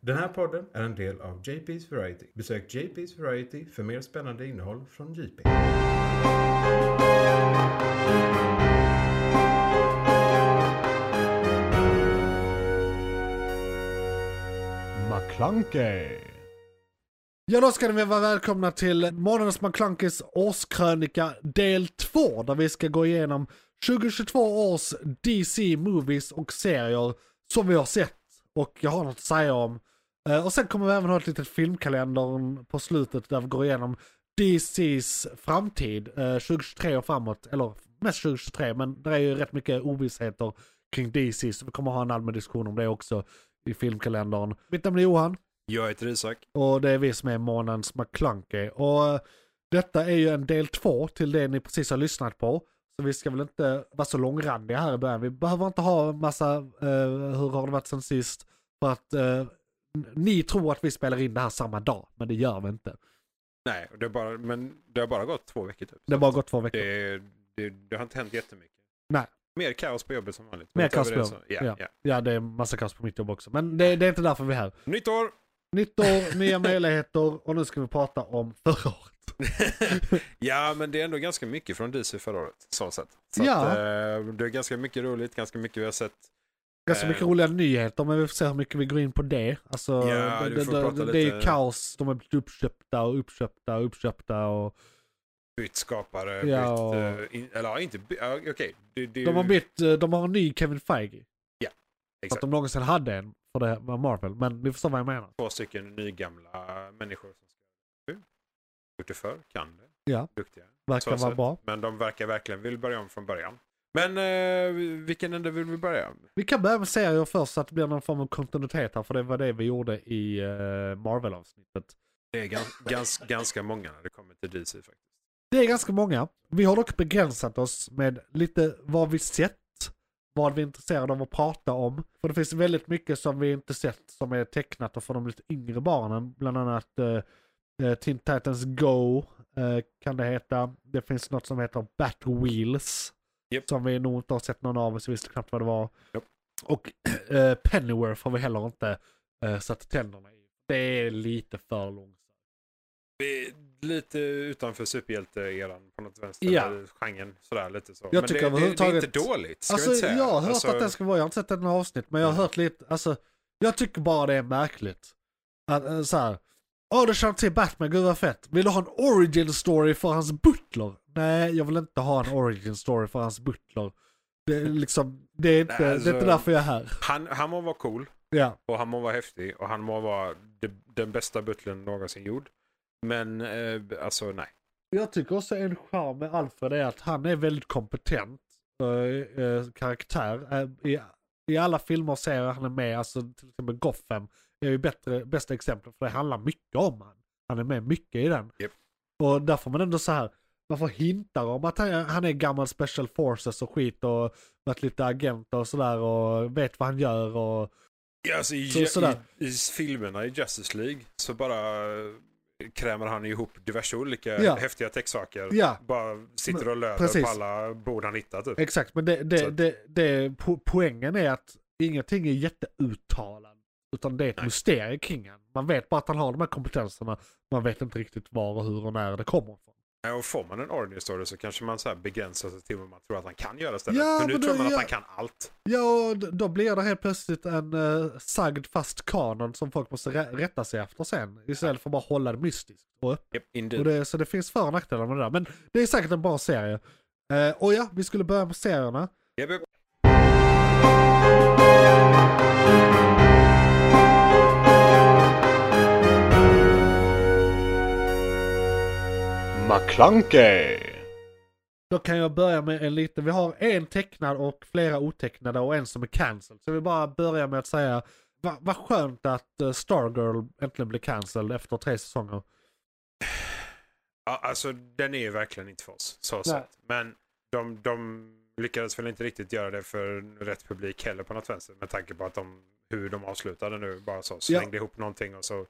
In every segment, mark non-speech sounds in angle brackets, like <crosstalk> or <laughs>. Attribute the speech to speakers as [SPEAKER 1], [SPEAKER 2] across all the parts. [SPEAKER 1] Den här podden är en del av JP's Variety. Besök JP's Variety för mer spännande innehåll från JP.
[SPEAKER 2] McClunkey.
[SPEAKER 3] Ja, då ska ni vara välkomna till Månadens McClunkys årskrönika del 2, där vi ska gå igenom 2022 års DC movies och serier som vi har sett och jag har något att säga om. Eh, Och sen kommer vi även ha ett litet filmkalender på slutet där vi går igenom DCs framtid eh, 2023 och framåt, eller mest 2023, men det är ju rätt mycket ovissheter kring DC, så vi kommer ha en allmän diskussion om det också i filmkalendern. Mitt namn är Johan.
[SPEAKER 2] Jag heter Isak.
[SPEAKER 3] Och det är vi som är månadens McClunky. Och eh, detta är ju en del två till det ni precis har lyssnat på. Så vi ska väl inte vara så långrandiga här i början. Vi behöver inte ha en massa eh, hur har det varit sen sist. För att eh, n- ni tror att vi spelar in det här samma dag. Men det gör vi inte.
[SPEAKER 2] Nej, det, är bara, men det har bara gått två veckor typ.
[SPEAKER 3] Det har bara gått två veckor.
[SPEAKER 2] Det, det, det har inte hänt jättemycket.
[SPEAKER 3] Nej.
[SPEAKER 2] Mer kaos på jobbet som vanligt.
[SPEAKER 3] Mer
[SPEAKER 2] Men utöver
[SPEAKER 3] kaos på
[SPEAKER 2] det så- Ja, ja.
[SPEAKER 3] Ja det är massa kaos på mitt jobb också. Men det, det är inte därför vi är här.
[SPEAKER 2] Nytt år! <laughs>
[SPEAKER 3] Nytt år, nya möjligheter och nu ska vi prata om förra året.
[SPEAKER 2] ja, men det är ändå ganska mycket från DC förra året. Så sett. Så
[SPEAKER 3] Ja.
[SPEAKER 2] att, eh, det är ganska mycket roligt, ganska mycket vi har sett.
[SPEAKER 3] Ganska
[SPEAKER 2] Eh.
[SPEAKER 3] mycket roliga nyheter men vi får se hur mycket vi går in på det. Alltså,
[SPEAKER 2] Ja,
[SPEAKER 3] det,
[SPEAKER 2] vi får
[SPEAKER 3] det,
[SPEAKER 2] prata
[SPEAKER 3] det, det är ju
[SPEAKER 2] lite-
[SPEAKER 3] kaos. De har blivit uppköpta och uppköpta och uppköpta. Och
[SPEAKER 2] Bytt skapare,
[SPEAKER 3] Ja.
[SPEAKER 2] bytt... eh, in, eller ja, inte by- ja, okej. Det, det,
[SPEAKER 3] de, har bytt, eh, de har en ny Kevin Feige. För att
[SPEAKER 2] Exakt.
[SPEAKER 3] de någonsin hade en, för det var Marvel. Men ni förstår vad jag menar.
[SPEAKER 2] Två stycken nygamla människor som ska... Gjort det förr, kan det.
[SPEAKER 3] Ja.
[SPEAKER 2] Duktiga.
[SPEAKER 3] Verkar
[SPEAKER 2] Så
[SPEAKER 3] vara
[SPEAKER 2] sett.
[SPEAKER 3] bra.
[SPEAKER 2] Men de verkar verkligen vilja börja om från början. Men eh, vilken ände vill vi börja?
[SPEAKER 3] Vi kan börja med serier först så att det blir någon form av kontinuitet här. För det var det vi gjorde i eh, Marvel-avsnittet.
[SPEAKER 2] Det är gans, gans, ganska många när det kommer till DC faktiskt.
[SPEAKER 3] Det är ganska många. Vi har dock begränsat oss med lite vad vi sett, vad vi är intresserade av att prata om. För det finns väldigt mycket som vi inte sett som är tecknat och för de lite yngre barnen. Bland annat eh, eh, Teen Titans Go eh, kan det heta. Det finns något som heter Batwheels.
[SPEAKER 2] Japp.
[SPEAKER 3] Som vi nog inte har sett någon av oss visste knappt vad det var.
[SPEAKER 2] Japp.
[SPEAKER 3] Och eh, Pennyworth har vi heller inte eh, satt tänderna i. Det är lite för långsamt.
[SPEAKER 2] Vi är lite utanför superhjälte-eran på något vänster.
[SPEAKER 3] Ja.
[SPEAKER 2] eller Genren sådär lite så.
[SPEAKER 3] Jag
[SPEAKER 2] Men
[SPEAKER 3] tycker
[SPEAKER 2] det, Det,
[SPEAKER 3] överhuvudtaget-
[SPEAKER 2] det är inte dåligt ska
[SPEAKER 3] alltså,
[SPEAKER 2] vi inte säga.
[SPEAKER 3] jag har hört
[SPEAKER 2] Alltså, Mm.
[SPEAKER 3] att den ska vara, jag har inte sett den här avsnitt, men jag har
[SPEAKER 2] Nej.
[SPEAKER 3] hört lite, alltså, jag tycker bara det är märkligt. Att, äh, så här, åh du känner till Batman, gud vad fett. Vill du ha en origin story för hans butler? Nej, jag vill inte ha en origin story för hans butler. Det är liksom, det är inte,
[SPEAKER 2] Nej, alltså-
[SPEAKER 3] det är inte därför jag är här.
[SPEAKER 2] han, han må vara cool
[SPEAKER 3] Ja,
[SPEAKER 2] och han må vara häftig och han må vara de, den bästa butlern någonsin gjord. Men eh, alltså nej.
[SPEAKER 3] jag tycker också en charm med Alfred är att han är väldigt kompetent eh, eh, karaktär. Eh, i, I alla filmer och serier han är med, alltså till exempel Gotham, är ju bättre, bästa exemplet för det handlar mycket om han. Han är med mycket i den.
[SPEAKER 2] Japp.
[SPEAKER 3] Och där får man ändå så här, man får hintar om att han, han är gammal special forces och skit och varit lite agent och sådär och vet vad han gör och
[SPEAKER 2] Ja, alltså, i,
[SPEAKER 3] Så- sådär.
[SPEAKER 2] i, I filmerna i Justice League så bara eh, krämer han ihop diverse olika
[SPEAKER 3] Ja.
[SPEAKER 2] häftiga textsaker.
[SPEAKER 3] ja.
[SPEAKER 2] Bara sitter och löver
[SPEAKER 3] precis.
[SPEAKER 2] på alla bord han hittar typ.
[SPEAKER 3] Exakt, men det,
[SPEAKER 2] Så
[SPEAKER 3] det,
[SPEAKER 2] att-
[SPEAKER 3] det, det, po poängen är att ingenting är jätteuttalat. Utan det är ett
[SPEAKER 2] Nej.
[SPEAKER 3] mysterium kring han. Man vet bara att han har de här kompetenserna. Man vet inte riktigt var och hur och när det kommer ifrån.
[SPEAKER 2] Ja, Och får man en origin story så kanske man så här begränsar sig till vad man tror att han kan göra istället.
[SPEAKER 3] Ja,
[SPEAKER 2] För nu
[SPEAKER 3] men
[SPEAKER 2] tror
[SPEAKER 3] då-
[SPEAKER 2] man
[SPEAKER 3] ja.
[SPEAKER 2] att han kan allt.
[SPEAKER 3] Ja, och d- då blir det helt plötsligt en uh, sagd fast kanon som folk måste rä- rätta sig efter sen. Istället för att bara hålla det mystiskt och öppet.
[SPEAKER 2] Yep,
[SPEAKER 3] Och det, så det finns för och nackdelar med det där. Men det är säkert en bra serie. Eh, och ja, vi skulle börja med serierna.
[SPEAKER 2] Yep, yep.
[SPEAKER 4] McClunkey.
[SPEAKER 3] Då kan jag börja med en liten, vi har en tecknad och flera otecknade och en som är cancelled. Så vi bara börjar med att säga, vad va skönt att eh, Stargirl äntligen blev cancelled efter tre säsonger.
[SPEAKER 2] Ja, alltså den är ju verkligen inte för oss. Så sett. Men de, de lyckades väl inte riktigt göra det för rätt publik heller på något vänster. Med tanke på att de, hur de avslutade nu bara så. Slängde ihop någonting och så.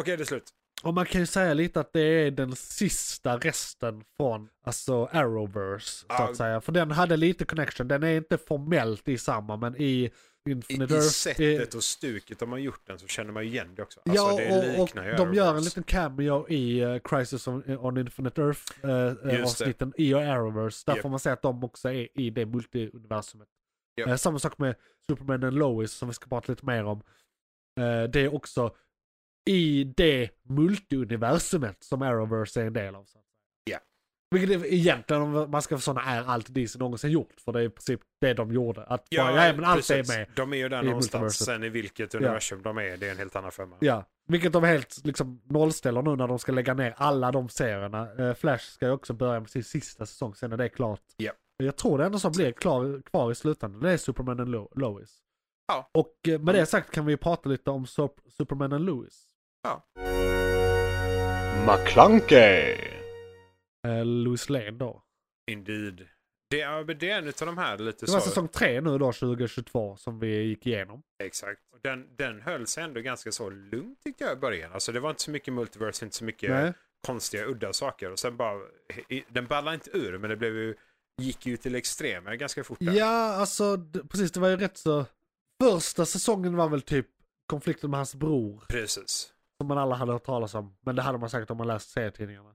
[SPEAKER 2] Okej, det är slut.
[SPEAKER 3] Och man kan ju säga lite att det är den sista resten från, alltså Arrowverse, så
[SPEAKER 2] Ja.
[SPEAKER 3] att säga. För den hade lite connection, den är inte formellt i samma, men i
[SPEAKER 2] I,
[SPEAKER 3] Infinite
[SPEAKER 2] I
[SPEAKER 3] Earth.
[SPEAKER 2] sättet och stuket de har gjort den så känner man ju igen det också. Alltså,
[SPEAKER 3] ja,
[SPEAKER 2] det
[SPEAKER 3] och, och
[SPEAKER 2] liknar ju
[SPEAKER 3] de gör en
[SPEAKER 2] Arrowverse.
[SPEAKER 3] liten cameo i eh, Crisis on, on Infinite Earth eh, eh,
[SPEAKER 2] Just det.
[SPEAKER 3] avsnitten i Arrowverse. Där
[SPEAKER 2] Japp.
[SPEAKER 3] får man se att de också är i det multiuniversumet.
[SPEAKER 2] Japp.
[SPEAKER 3] Eh, samma sak med Superman and Lois som vi ska prata lite mer om. Eh, det är också i det multiuniversumet som Arrowverse är en del av. Så. att säga.
[SPEAKER 2] Ja.
[SPEAKER 3] Vilket är, egentligen om man ska vara sån är allt DC någonsin gjort. För det är i princip det de gjorde. Att bara, ja, men allt
[SPEAKER 2] precis.
[SPEAKER 3] är med.
[SPEAKER 2] De är ju där
[SPEAKER 3] i
[SPEAKER 2] någonstans.
[SPEAKER 3] multiverset.
[SPEAKER 2] Sen i vilket universum de är, det är en helt annan femma.
[SPEAKER 3] Ja, vilket de helt liksom nollställer nu när de ska lägga ner alla de serierna. Eh, Flash ska ju också börja med sin sista säsong, sen är det klart.
[SPEAKER 2] Ja.
[SPEAKER 3] Jag tror det enda som blir klar, kvar i slutändan, det är Superman and Lo- Lois.
[SPEAKER 2] Ja.
[SPEAKER 3] Och eh, med det sagt kan vi ju prata lite om Sup- Superman and Lois.
[SPEAKER 4] McClunkey.
[SPEAKER 3] Eh, Lois Lane då.
[SPEAKER 2] Indeed. Det är, det är en utav de här lite
[SPEAKER 3] Det var
[SPEAKER 2] så.
[SPEAKER 3] säsong tre nu då, 2022, som vi gick igenom.
[SPEAKER 2] Exakt. Och Den, den höll sig ändå ganska så lugn tyckte jag i början. Alltså det var inte så mycket multiverse, inte så mycket
[SPEAKER 3] Nej.
[SPEAKER 2] konstiga, udda saker. Och sen bara, i- den ballade inte ur, men det blev ju, gick ju till extremer ganska fort. där.
[SPEAKER 3] Ja, alltså d- precis, det var ju rätt så... Första säsongen var väl typ konflikten med hans bror,
[SPEAKER 2] Precis.
[SPEAKER 3] som man alla hade hört talas om. Men det hade man säkert om man läst serietidningarna.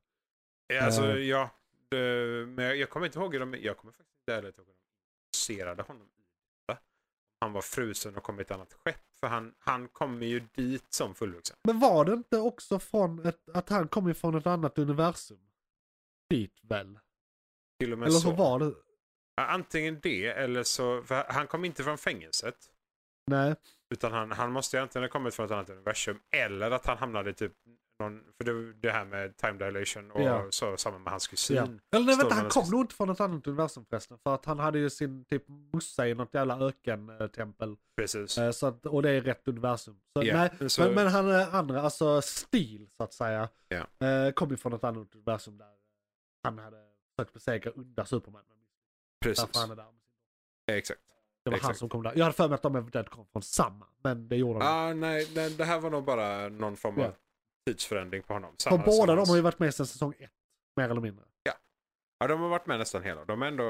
[SPEAKER 2] Ja, Alltså,
[SPEAKER 3] Eh.
[SPEAKER 2] ja. Det, men jag, jag kommer inte ihåg hur de, jag kommer faktiskt inte ärligt ihåg hur de introducerade honom. i detta. Han var frusen och kom i ett annat skepp. För han, han kommer ju dit som fullvuxen.
[SPEAKER 3] Men var det inte också från ett, att han kom ifrån ett annat universum? Dit väl?
[SPEAKER 2] Till och med
[SPEAKER 3] Eller
[SPEAKER 2] så.
[SPEAKER 3] så var det...
[SPEAKER 2] Ja, Antingen det eller så, för han kom inte från fängelset.
[SPEAKER 3] Nej.
[SPEAKER 2] Utan han, han måste ju antingen ha kommit från ett annat universum eller att han hamnade i typ någon, för det, det här med time dilation och
[SPEAKER 3] Ja.
[SPEAKER 2] så samma med hans kusin.
[SPEAKER 3] Ja. Eller nej,
[SPEAKER 2] Står
[SPEAKER 3] vänta, han
[SPEAKER 2] mellan
[SPEAKER 3] kom
[SPEAKER 2] sist-
[SPEAKER 3] nog inte från ett annat universum förresten. För att han hade ju sin typ mossa i något jävla ökentempel.
[SPEAKER 2] Precis.
[SPEAKER 3] Eh, Så att, och det är rätt universum. Så,
[SPEAKER 2] Ja,
[SPEAKER 3] nej,
[SPEAKER 2] så-
[SPEAKER 3] Men, men han eh, andra, alltså Steel så att säga,
[SPEAKER 2] Ja.
[SPEAKER 3] eh, kom ju från ett annat universum där han hade försökt besegra onda Superman. Men därför
[SPEAKER 2] Precis.
[SPEAKER 3] han är där.
[SPEAKER 2] Exakt.
[SPEAKER 3] Det var han
[SPEAKER 2] Exakt.
[SPEAKER 3] som kom där. Jag hade för mig att de eventuellt kom från samma, men det gjorde de inte.
[SPEAKER 2] Ah, nej, nej, det här var nog bara någon form av
[SPEAKER 3] Ja.
[SPEAKER 2] tidsförändring på honom.
[SPEAKER 3] För båda de har ju
[SPEAKER 2] ju...
[SPEAKER 3] varit med sedan säsong ett, mer eller mindre.
[SPEAKER 2] Ja, de har varit med nästan hela. De är ändå...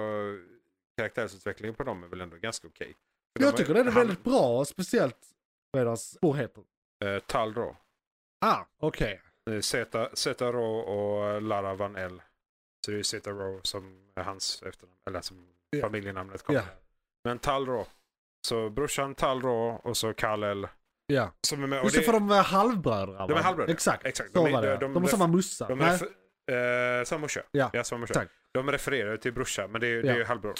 [SPEAKER 2] Karaktärsutvecklingen på dem är väl ändå ganska okej. För de
[SPEAKER 3] Jag
[SPEAKER 2] har-
[SPEAKER 3] tycker den är
[SPEAKER 2] han-
[SPEAKER 3] väldigt bra, och speciellt vad deras spår heter.
[SPEAKER 2] Eh, Tal Rho.
[SPEAKER 3] Ah, okej.
[SPEAKER 2] Eh, Zeta, Zeta Rho och Lara Van L. Så det är Zeta Rho som är hans efternamn, eller som
[SPEAKER 3] Ja.
[SPEAKER 2] familjenamnet kommer.
[SPEAKER 3] Ja.
[SPEAKER 2] Men Tal Rho. Så brorsan Tal Rho och så Kal-El.
[SPEAKER 3] Ja.
[SPEAKER 2] Som är med. Och
[SPEAKER 3] Just det,
[SPEAKER 2] det,
[SPEAKER 3] för de är halvbröder.
[SPEAKER 2] De är
[SPEAKER 3] va?
[SPEAKER 2] halvbröder.
[SPEAKER 3] Exakt,
[SPEAKER 2] Exakt.
[SPEAKER 3] så
[SPEAKER 2] De är-
[SPEAKER 3] var det.
[SPEAKER 2] de-
[SPEAKER 3] De,
[SPEAKER 2] de-
[SPEAKER 3] har samma mussa.
[SPEAKER 2] de
[SPEAKER 3] Nej,
[SPEAKER 2] är för, eh, samma morsa.
[SPEAKER 3] Ja.
[SPEAKER 2] samma morsa.
[SPEAKER 3] Tack.
[SPEAKER 2] De refererar ju till brorsa, men det är, det är ju
[SPEAKER 3] Ja.
[SPEAKER 2] halvbror.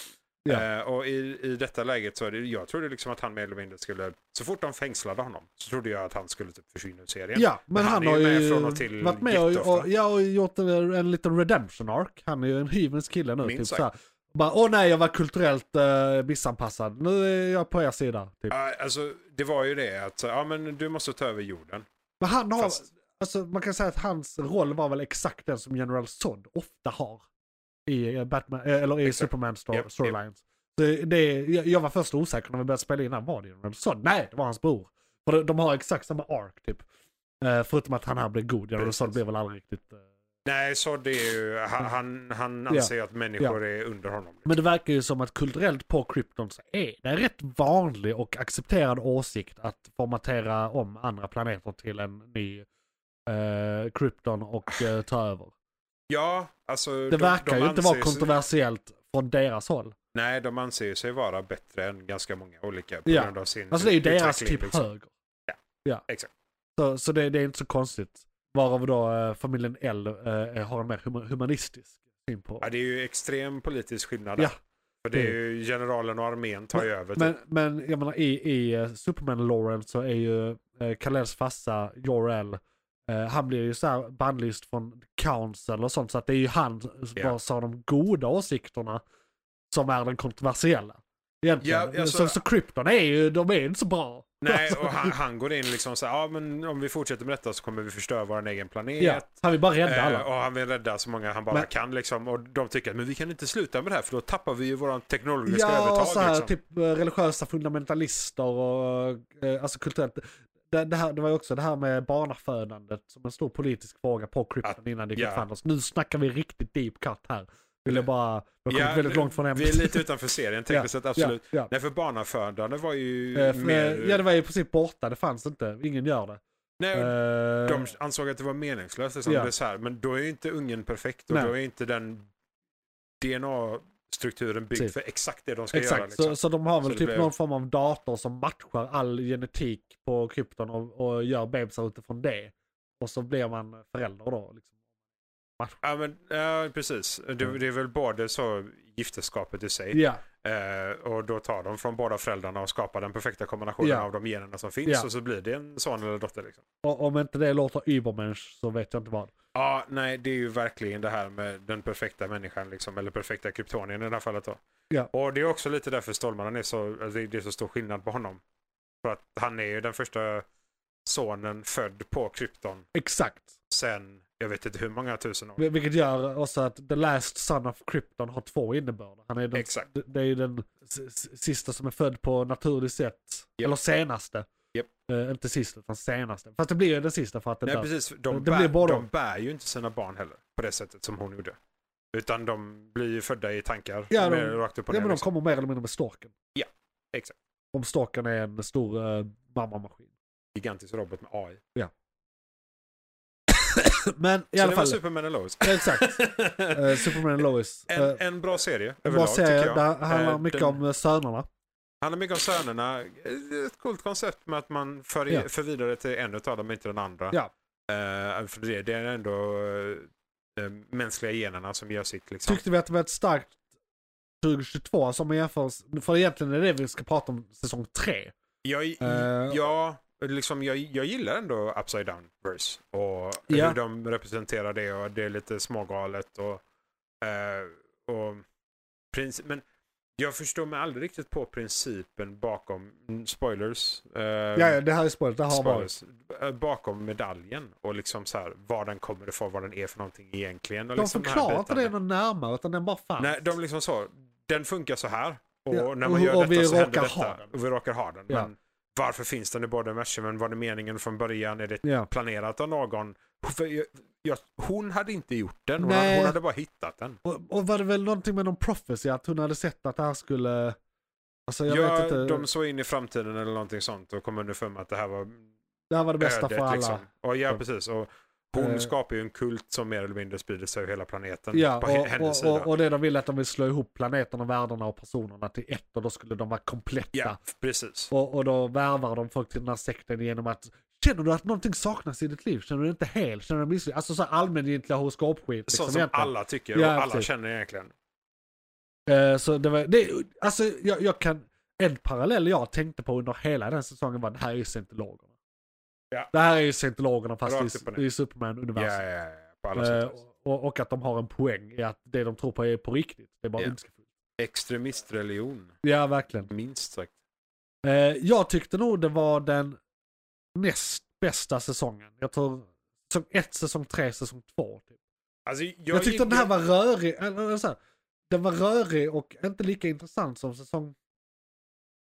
[SPEAKER 3] Ja.
[SPEAKER 2] Eh, och i, i detta läget så är det, jag trodde liksom att han mer eller mindre skulle, så fort de fängslade honom så trodde jag att han skulle typ försvinna ur serien.
[SPEAKER 3] Ja, men, han,
[SPEAKER 2] är
[SPEAKER 3] har
[SPEAKER 2] med
[SPEAKER 3] ju
[SPEAKER 2] från och till
[SPEAKER 3] varit med och,
[SPEAKER 2] jätteofta.
[SPEAKER 3] och, ja, och gjort en, en liten redemption arc. Han är ju en hyvens kille nu.
[SPEAKER 2] Minst
[SPEAKER 3] Typ,
[SPEAKER 2] sagt.
[SPEAKER 3] såhär. Bara, åh nej, jag var kulturellt eh, missanpassad. Nu är jag på er sida. Typ.
[SPEAKER 2] Ja, alltså, det var ju det att så, ja, men du måste ta över jorden.
[SPEAKER 3] Men han har,
[SPEAKER 2] Fast-
[SPEAKER 3] alltså, man kan säga att hans roll var väl exakt den som General Zod ofta har. I eh, Batman, eh, eller i
[SPEAKER 2] Exakt.
[SPEAKER 3] Superman stor,
[SPEAKER 2] Japp, japp.
[SPEAKER 3] storylines. Det, det, jag jag var först osäker när vi började spela in, han var det General Zod? Nej, det var hans bror. För de, de har exakt samma arc typ. Eh, förutom att han här blir god, General
[SPEAKER 2] Precis.
[SPEAKER 3] Zod blir väl aldrig riktigt... eh,
[SPEAKER 2] Nej, så det är ju, han, han, han anser ju att människor är under honom.
[SPEAKER 3] Men det verkar ju som att kulturellt på Krypton så är det en rätt vanlig och accepterad åsikt att formatera om andra planeter till en ny eh, Krypton och eh, ta över.
[SPEAKER 2] Ja, alltså.
[SPEAKER 3] Det verkar ju inte vara
[SPEAKER 2] sig,
[SPEAKER 3] kontroversiellt från deras håll.
[SPEAKER 2] Nej, de anser ju sig vara bättre än ganska många olika på
[SPEAKER 3] Ja.
[SPEAKER 2] grund av sin
[SPEAKER 3] Alltså det är ju deras
[SPEAKER 2] utveckling, liksom.
[SPEAKER 3] typ höger.
[SPEAKER 2] Ja, exakt.
[SPEAKER 3] Så, så det, det är inte så konstigt. Varav då eh, familjen L eh, har en mer huma- humanistisk syn på.
[SPEAKER 2] Ja, det är ju extrem politisk skillnad.
[SPEAKER 3] Ja.
[SPEAKER 2] där. För det är ju generalen och armén tar ju över.
[SPEAKER 3] Men,
[SPEAKER 2] typ.
[SPEAKER 3] men jag menar i, i eh, Superman Lauren så är ju eh, Kalels farsa Jor-El, eh, han blir ju så här bannlyst från Council och sånt så att det är ju han som
[SPEAKER 2] Ja.
[SPEAKER 3] yeah. har de goda åsikterna som är den kontroversiella. Egentligen.
[SPEAKER 2] Ja, alltså-
[SPEAKER 3] så, så Krypton är ju, de är ju inte så bra. <laughs>
[SPEAKER 2] Nej, och han, han går in liksom så här, ja men om vi fortsätter med detta så kommer vi förstöra vår egen planet.
[SPEAKER 3] Ja, han vill bara rädda
[SPEAKER 2] Eh,
[SPEAKER 3] alla.
[SPEAKER 2] och han vill rädda så många han bara
[SPEAKER 3] Men-
[SPEAKER 2] kan liksom. Och de tycker att men vi kan inte sluta med det här för då tappar vi ju våran teknologiska
[SPEAKER 3] Ja, och
[SPEAKER 2] övertag.
[SPEAKER 3] så här,
[SPEAKER 2] liksom.
[SPEAKER 3] typ eh, religiösa fundamentalister och eh, alltså kulturellt. Det, det, här, det var ju också det här med barnafödandet som en stor politisk fråga på Krypton
[SPEAKER 2] Att-
[SPEAKER 3] innan det gick
[SPEAKER 2] ja.
[SPEAKER 3] yeah. Nu snackar vi riktigt deep cut här. Vill jag bara, vi har kommit väldigt
[SPEAKER 4] nu-
[SPEAKER 3] långt från ämnet.
[SPEAKER 4] Vi är lite utanför serien tekniskt sett, absolut.
[SPEAKER 3] <laughs> Ja, ja.
[SPEAKER 4] Nej, för barnafödande var ju
[SPEAKER 3] Eh, för-
[SPEAKER 4] mer...
[SPEAKER 3] ja, det var i princip borta, det fanns inte, ingen gör det.
[SPEAKER 4] nej,
[SPEAKER 3] Eh,
[SPEAKER 4] De ansåg att det var meningslöst. Liksom.
[SPEAKER 3] Ja.
[SPEAKER 4] Det är så här, men då är ju inte ungen perfekt och
[SPEAKER 3] Nej.
[SPEAKER 4] då är inte den DNA-strukturen byggd
[SPEAKER 3] Precis.
[SPEAKER 4] för exakt det de ska
[SPEAKER 3] Exakt,
[SPEAKER 4] göra. Liksom.
[SPEAKER 3] så, så de har väl
[SPEAKER 4] Så det
[SPEAKER 3] typ
[SPEAKER 4] blev-
[SPEAKER 3] någon form av dator som matchar all genetik på krypton och, och gör bebisar utifrån det. Och så blir man förälder då. Liksom.
[SPEAKER 4] Ja, men, ja, precis. Det,
[SPEAKER 3] Mm.
[SPEAKER 4] det är väl både så gifterskapet i sig
[SPEAKER 3] Ja,
[SPEAKER 4] eh, och då tar de från båda föräldrarna och skapar den perfekta kombinationen
[SPEAKER 3] Ja.
[SPEAKER 4] av de generna som finns
[SPEAKER 3] Ja.
[SPEAKER 4] och så blir det en son eller dotter. Liksom.
[SPEAKER 3] och om inte det låter übermensch så vet jag inte vad.
[SPEAKER 4] Ja, nej, det är ju verkligen det här med den perfekta människan, liksom, eller perfekta kryptonien i det här fallet. Då.
[SPEAKER 3] Ja.
[SPEAKER 4] Och det är också lite därför Stålmannen är så, alltså, det är så stor skillnad på honom. För att han är ju den första sonen född på krypton
[SPEAKER 3] Exakt.
[SPEAKER 4] sen, jag vet inte hur många tusen år.
[SPEAKER 3] Vil- Vilket gör också att The Last Son of Krypton har två innebörder. Han är den,
[SPEAKER 4] Exakt.
[SPEAKER 3] d- Det är ju den s- s- sista som är född på naturligt sätt.
[SPEAKER 4] Japp.
[SPEAKER 3] Eller senaste.
[SPEAKER 4] Japp.
[SPEAKER 3] Eh, inte sista, utan senaste. Fast det blir ju den sista för att den
[SPEAKER 4] Nej,
[SPEAKER 3] dör.
[SPEAKER 4] precis. De,
[SPEAKER 3] Det
[SPEAKER 4] bär,
[SPEAKER 3] blir båda.
[SPEAKER 4] de bär ju inte sina barn heller på det sättet som hon gjorde. Utan de blir ju födda i tankar.
[SPEAKER 3] Ja, de-
[SPEAKER 4] mer rakt upp och
[SPEAKER 3] Ja,
[SPEAKER 4] ner.
[SPEAKER 3] men de
[SPEAKER 4] liksom.
[SPEAKER 3] kommer mer eller mindre med storken.
[SPEAKER 4] Ja, exakt.
[SPEAKER 3] Om storken är en stor uh, mammamaskin. <laughs>
[SPEAKER 4] Gigantisk robot med AI.
[SPEAKER 3] Men i
[SPEAKER 4] Så
[SPEAKER 3] alla
[SPEAKER 4] det var
[SPEAKER 3] fall.
[SPEAKER 4] Superman och
[SPEAKER 3] <laughs>
[SPEAKER 4] Lois.
[SPEAKER 3] Exakt. Eh, Superman och Lois. Eh,
[SPEAKER 4] <laughs> en, en bra serie
[SPEAKER 3] en bra
[SPEAKER 4] överlag,
[SPEAKER 3] serie.
[SPEAKER 4] tycker jag.
[SPEAKER 3] Det handlar
[SPEAKER 4] Eh,
[SPEAKER 3] mycket
[SPEAKER 4] den-
[SPEAKER 3] om eh, sönerna.
[SPEAKER 4] handlar mycket om sönerna. Ett coolt koncept med att man för,
[SPEAKER 3] Ja.
[SPEAKER 4] för vidare till en utav dem, inte den andra.
[SPEAKER 3] Ja.
[SPEAKER 4] Eh, för det, det är ändå eh, mänskliga generna som gör sitt. Liksom.
[SPEAKER 3] Tyckte vi att det var ett starkt 2022 som jämförs. För egentligen är det vi ska prata om säsong 3.
[SPEAKER 4] Jag,
[SPEAKER 3] Eh.
[SPEAKER 4] Mm. ja, liksom, jag, jag gillar ändå Upside Down-verse och
[SPEAKER 3] Ja.
[SPEAKER 4] hur de representerar det och det är lite smågalet. Och, eh, och princi- men jag förstår mig aldrig riktigt på principen bakom mm, spoilers. eh,
[SPEAKER 3] Ja, ja, det här är spoilet. Det har varit.
[SPEAKER 4] Spoilers. Eh, bakom medaljen och liksom så här var den kommer ifrån, vad den är för någonting egentligen. Och
[SPEAKER 3] De
[SPEAKER 4] liksom
[SPEAKER 3] förklarar inte det
[SPEAKER 4] bitarna.
[SPEAKER 3] någon närmare utan den bara fanns.
[SPEAKER 4] Nej, de liksom så, den funkar så här och
[SPEAKER 3] Ja,
[SPEAKER 4] när man
[SPEAKER 3] och-
[SPEAKER 4] gör
[SPEAKER 3] och
[SPEAKER 4] detta
[SPEAKER 3] vi
[SPEAKER 4] så händer
[SPEAKER 3] råkar ha
[SPEAKER 4] detta.
[SPEAKER 3] den.
[SPEAKER 4] Och vi råkar ha den.
[SPEAKER 3] Ja.
[SPEAKER 4] Men varför finns den i båda universumen? Var det meningen från början? Är det
[SPEAKER 3] Ja.
[SPEAKER 4] planerat av någon? För jag, jag, hon hade inte gjort den, hon,
[SPEAKER 3] Nej.
[SPEAKER 4] hon hade bara hittat den.
[SPEAKER 3] Och, och var det väl någonting med någon prophecy att hon hade sett att det här skulle... Alltså jag vet
[SPEAKER 4] ja,
[SPEAKER 3] inte.
[SPEAKER 4] de såg in i framtiden eller någonting sånt och kom underfund med att det här var
[SPEAKER 3] Det här var det bästa för alla.
[SPEAKER 4] Och, ja, precis. Och hon
[SPEAKER 3] Eh.
[SPEAKER 4] skapar ju en kult som mer eller mindre sprider sig över hela planeten.
[SPEAKER 3] Ja,
[SPEAKER 4] på he- hennes
[SPEAKER 3] och, och,
[SPEAKER 4] sida.
[SPEAKER 3] och, och det de vill är att de vill slå ihop planeten och världarna och personerna till ett och då skulle de vara kompletta.
[SPEAKER 4] ja, precis.
[SPEAKER 3] Och, och då värvar de folk till den här sekten genom att Känner du att någonting saknas i ditt liv? Känner du dig inte hel? Känner du dig misslyckad? Alltså så här allmängiltiga horoskopskit.
[SPEAKER 4] Sånt som
[SPEAKER 3] liksom egentligen.
[SPEAKER 4] alla tycker
[SPEAKER 3] Ja,
[SPEAKER 4] och alla
[SPEAKER 3] precis.
[SPEAKER 4] känner egentligen.
[SPEAKER 3] Eh, så det var, det, alltså jag, jag kan, en parallell jag tänkte på under hela den säsongen var det här är ju scientologerna.
[SPEAKER 4] Ja.
[SPEAKER 3] Det här är ju scientologerna
[SPEAKER 4] Rakt
[SPEAKER 3] fast
[SPEAKER 4] upp och
[SPEAKER 3] i,
[SPEAKER 4] ner.
[SPEAKER 3] i
[SPEAKER 4] Ja,
[SPEAKER 3] Superman-universum.
[SPEAKER 4] ja, ja, på alla sätt.
[SPEAKER 3] Eh, och, och att de har en poäng i att det de tror på är på riktigt. Det är bara
[SPEAKER 4] Ja.
[SPEAKER 3] ondskefullt.
[SPEAKER 4] Extremistreligion,
[SPEAKER 3] Ja, verkligen.
[SPEAKER 4] minst sagt.
[SPEAKER 3] Eh, jag tyckte nog det var den näst bästa säsongen. Jag tror säsong 1, säsong 3, säsong 2. Typ.
[SPEAKER 4] Alltså, jag,
[SPEAKER 3] Jag, tyckte
[SPEAKER 4] gill-
[SPEAKER 3] den här var rörig, eller, eller så här, den var rörig och inte lika intressant som säsong...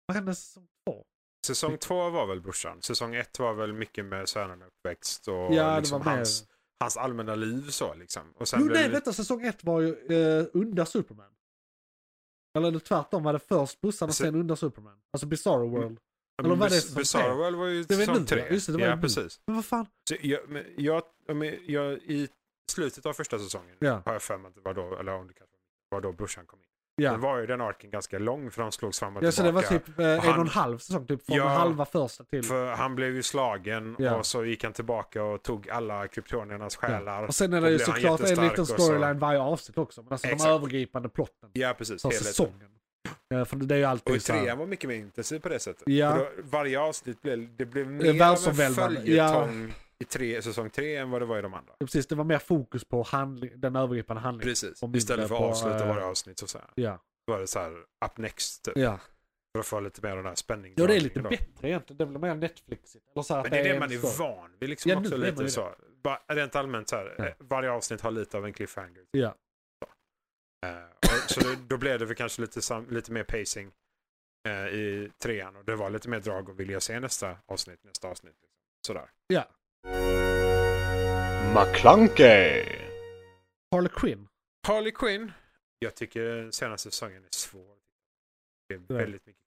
[SPEAKER 3] Vad hände säsong 2?
[SPEAKER 4] Säsong två var väl brorsan. Säsong ett var väl mycket med sönerna uppväxt och
[SPEAKER 3] Ja, det
[SPEAKER 4] liksom
[SPEAKER 3] var mer-
[SPEAKER 4] hans, hans allmänna liv så liksom. Och sen
[SPEAKER 3] Jo
[SPEAKER 4] blev
[SPEAKER 3] nej
[SPEAKER 4] det-
[SPEAKER 3] vänta, säsong 1 var ju eh, under Superman. Eller det tvärtom, var det först bussarna
[SPEAKER 4] Se-
[SPEAKER 3] sen under Superman? Alltså Bizarro
[SPEAKER 4] Mm.
[SPEAKER 3] World. eller
[SPEAKER 4] Men
[SPEAKER 3] var det
[SPEAKER 4] Biz-
[SPEAKER 3] säsong tre?
[SPEAKER 4] Bizarro World var ju
[SPEAKER 3] Det var
[SPEAKER 4] säsong
[SPEAKER 3] nu,
[SPEAKER 4] tre.
[SPEAKER 3] just det, det var
[SPEAKER 4] ja,
[SPEAKER 3] nu.
[SPEAKER 4] precis.
[SPEAKER 3] Men vad fan?
[SPEAKER 4] Så jag, men jag, men jag, I slutet av första säsongen
[SPEAKER 3] Ja.
[SPEAKER 4] har jag för mig att det var då, eller om det kanske var då brorsan kom in. Då
[SPEAKER 3] Ja,
[SPEAKER 4] var ju den arken ganska lång för han slogs fram och
[SPEAKER 3] ja så det
[SPEAKER 4] tillbaka.
[SPEAKER 3] var typ eh, en
[SPEAKER 4] han-
[SPEAKER 3] och en halv säsong, typ från
[SPEAKER 4] Ja,
[SPEAKER 3] halva första till...
[SPEAKER 4] För han blev ju slagen
[SPEAKER 3] Ja.
[SPEAKER 4] och så gick han tillbaka och tog alla kryptoniernas själar.
[SPEAKER 3] Ja.
[SPEAKER 4] Ja,
[SPEAKER 3] Och sen är
[SPEAKER 4] Då
[SPEAKER 3] det ju
[SPEAKER 4] blir han
[SPEAKER 3] såklart en
[SPEAKER 4] jättestark
[SPEAKER 3] liten
[SPEAKER 4] och så-
[SPEAKER 3] storyline varje avsnitt också. Men alltså
[SPEAKER 4] Exakt.
[SPEAKER 3] de övergripande plotten
[SPEAKER 4] precis.
[SPEAKER 3] för
[SPEAKER 4] helheten.
[SPEAKER 3] säsongen. Eh, För det är ju
[SPEAKER 4] Och i
[SPEAKER 3] alltid så här-
[SPEAKER 4] trean var mycket mer intensiv på det sättet.
[SPEAKER 3] Ja.
[SPEAKER 4] För Då, varje avsnitt blev, det blev mer av en
[SPEAKER 3] världsomvälvande.
[SPEAKER 4] följetong i tre, säsong tre än vad det var i de andra.
[SPEAKER 3] Ja, Precis, det var mer fokus på handling, den övergripande handlingen.
[SPEAKER 4] Precis.
[SPEAKER 3] Och mindre
[SPEAKER 4] Istället för att
[SPEAKER 3] på,
[SPEAKER 4] avsluta
[SPEAKER 3] eh,
[SPEAKER 4] varje avsnitt så, så här,
[SPEAKER 3] Ja.
[SPEAKER 4] var det så här up next typ,
[SPEAKER 3] ja.
[SPEAKER 4] för att få lite mer av den här spänningen.
[SPEAKER 3] Ja, det är lite
[SPEAKER 4] då.
[SPEAKER 3] bättre egentligen. Det blir mer Netflixigt. Eller så här
[SPEAKER 4] Men
[SPEAKER 3] att
[SPEAKER 4] det är det
[SPEAKER 3] en
[SPEAKER 4] man är
[SPEAKER 3] story.
[SPEAKER 4] van vid. Liksom
[SPEAKER 3] Ja, nu
[SPEAKER 4] också
[SPEAKER 3] är man ju
[SPEAKER 4] lite
[SPEAKER 3] det.
[SPEAKER 4] så. Bara Rent allmänt så här.
[SPEAKER 3] Ja.
[SPEAKER 4] eh, Varje avsnitt har lite av en cliffhanger.
[SPEAKER 3] Ja.
[SPEAKER 4] Eh, och, så då, då blev det väl kanske lite, sam, lite mer pacing eh, i trean. Och det var lite mer drag och vilja se nästa avsnitt, nästa avsnitt. Liksom. Sådär.
[SPEAKER 3] ja.
[SPEAKER 5] McClunkey!
[SPEAKER 3] Harley Quinn.
[SPEAKER 4] Harley Quinn. Jag tycker den senaste säsongen är svår. Det är
[SPEAKER 3] Ja.
[SPEAKER 4] väldigt mycket.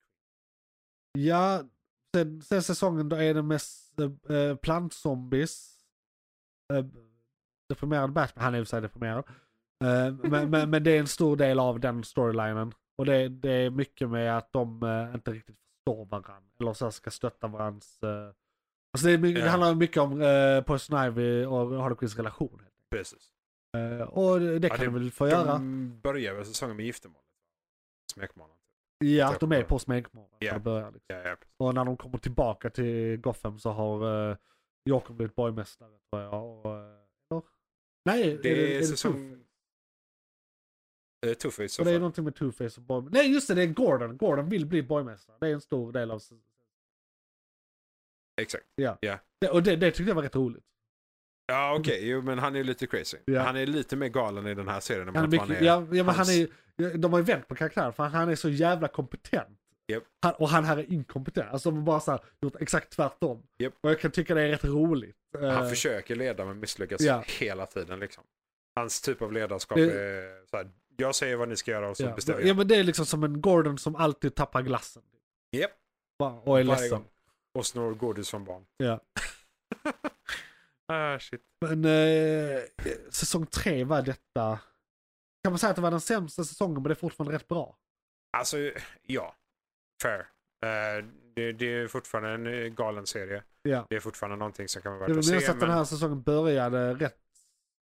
[SPEAKER 3] Ja, sen, sen säsongen då är det mest eh, eh, plantzombies. Eh, deprimerad Batman, han är i och för sig deprimerad. Eh, men, men, men det är en stor del av den storylinen. Och det, det är mycket med att de eh, inte riktigt förstår varandra. Eller så här ska stötta varandras... Eh, alltså det, är, my-
[SPEAKER 4] Ja.
[SPEAKER 3] det handlar mycket om eh, Poison Ivy och Harley Quinns relation.
[SPEAKER 4] Precis.
[SPEAKER 3] Eh, och det, det kan
[SPEAKER 4] det-
[SPEAKER 3] de väl få göra.
[SPEAKER 4] De börjar väl säsongen med giftermålet. Smekmånaden.
[SPEAKER 3] Ja, de är på smekmånaden.
[SPEAKER 4] Ja.
[SPEAKER 3] Yeah.
[SPEAKER 4] Ja, ja, precis.
[SPEAKER 3] Och när de kommer tillbaka till Gotham så har uh, Jakob blivit borgmästare tror jag. Och, eh, eller? Nej,
[SPEAKER 4] Det
[SPEAKER 3] är det,
[SPEAKER 4] är
[SPEAKER 3] är det
[SPEAKER 4] säsong-
[SPEAKER 3] Two-Face?
[SPEAKER 4] Eh, Tuffy i så
[SPEAKER 3] För Det är
[SPEAKER 4] fall.
[SPEAKER 3] någonting med Two-Face och borgmästare. Nej just det, det är Gordon. Gordon vill bli borgmästare. Det är en stor del av... s-
[SPEAKER 4] Exakt.
[SPEAKER 3] Det, och det, det tyckte jag var rätt roligt.
[SPEAKER 4] Ja okej, jo men han är ju lite crazy.
[SPEAKER 3] Ja.
[SPEAKER 4] Han är lite mer galen i den här serien än
[SPEAKER 3] Han är
[SPEAKER 4] vad han
[SPEAKER 3] mycket,
[SPEAKER 4] är.
[SPEAKER 3] ja, ja, men han
[SPEAKER 4] hans-
[SPEAKER 3] är, ja, de har ju vänt på karaktären för han är så jävla kompetent.
[SPEAKER 4] Japp.
[SPEAKER 3] Han, och han här är inkompetent. Alltså de har bara så här, gjort exakt tvärtom.
[SPEAKER 4] Japp.
[SPEAKER 3] Och jag kan tycka det är rätt roligt.
[SPEAKER 4] Han
[SPEAKER 3] Eh,
[SPEAKER 4] försöker leda men misslyckas
[SPEAKER 3] Ja.
[SPEAKER 4] hela tiden liksom. Hans typ av ledarskap
[SPEAKER 3] Det-
[SPEAKER 4] är så här, jag säger vad ni ska göra och så
[SPEAKER 3] ja.
[SPEAKER 4] bestämmer
[SPEAKER 3] ja
[SPEAKER 4] jag.
[SPEAKER 3] men det är liksom som en Gordon som alltid tappar glassen.
[SPEAKER 4] Japp.
[SPEAKER 3] Bara, och
[SPEAKER 4] Varje
[SPEAKER 3] är ledsen.
[SPEAKER 4] gång. Och snor godis från barn.
[SPEAKER 3] Ja.
[SPEAKER 4] <laughs> ah, shit.
[SPEAKER 3] Men eh, säsong tre var detta. Kan man säga att det var den sämsta säsongen men det är fortfarande rätt bra.
[SPEAKER 4] Alltså, ja. Fair. Eh, det, det är fortfarande en eh, galen serie.
[SPEAKER 3] Ja.
[SPEAKER 4] Det är fortfarande någonting som kan vara
[SPEAKER 3] Jag
[SPEAKER 4] värt att se.
[SPEAKER 3] minns att
[SPEAKER 4] men
[SPEAKER 3] den här säsongen började rätt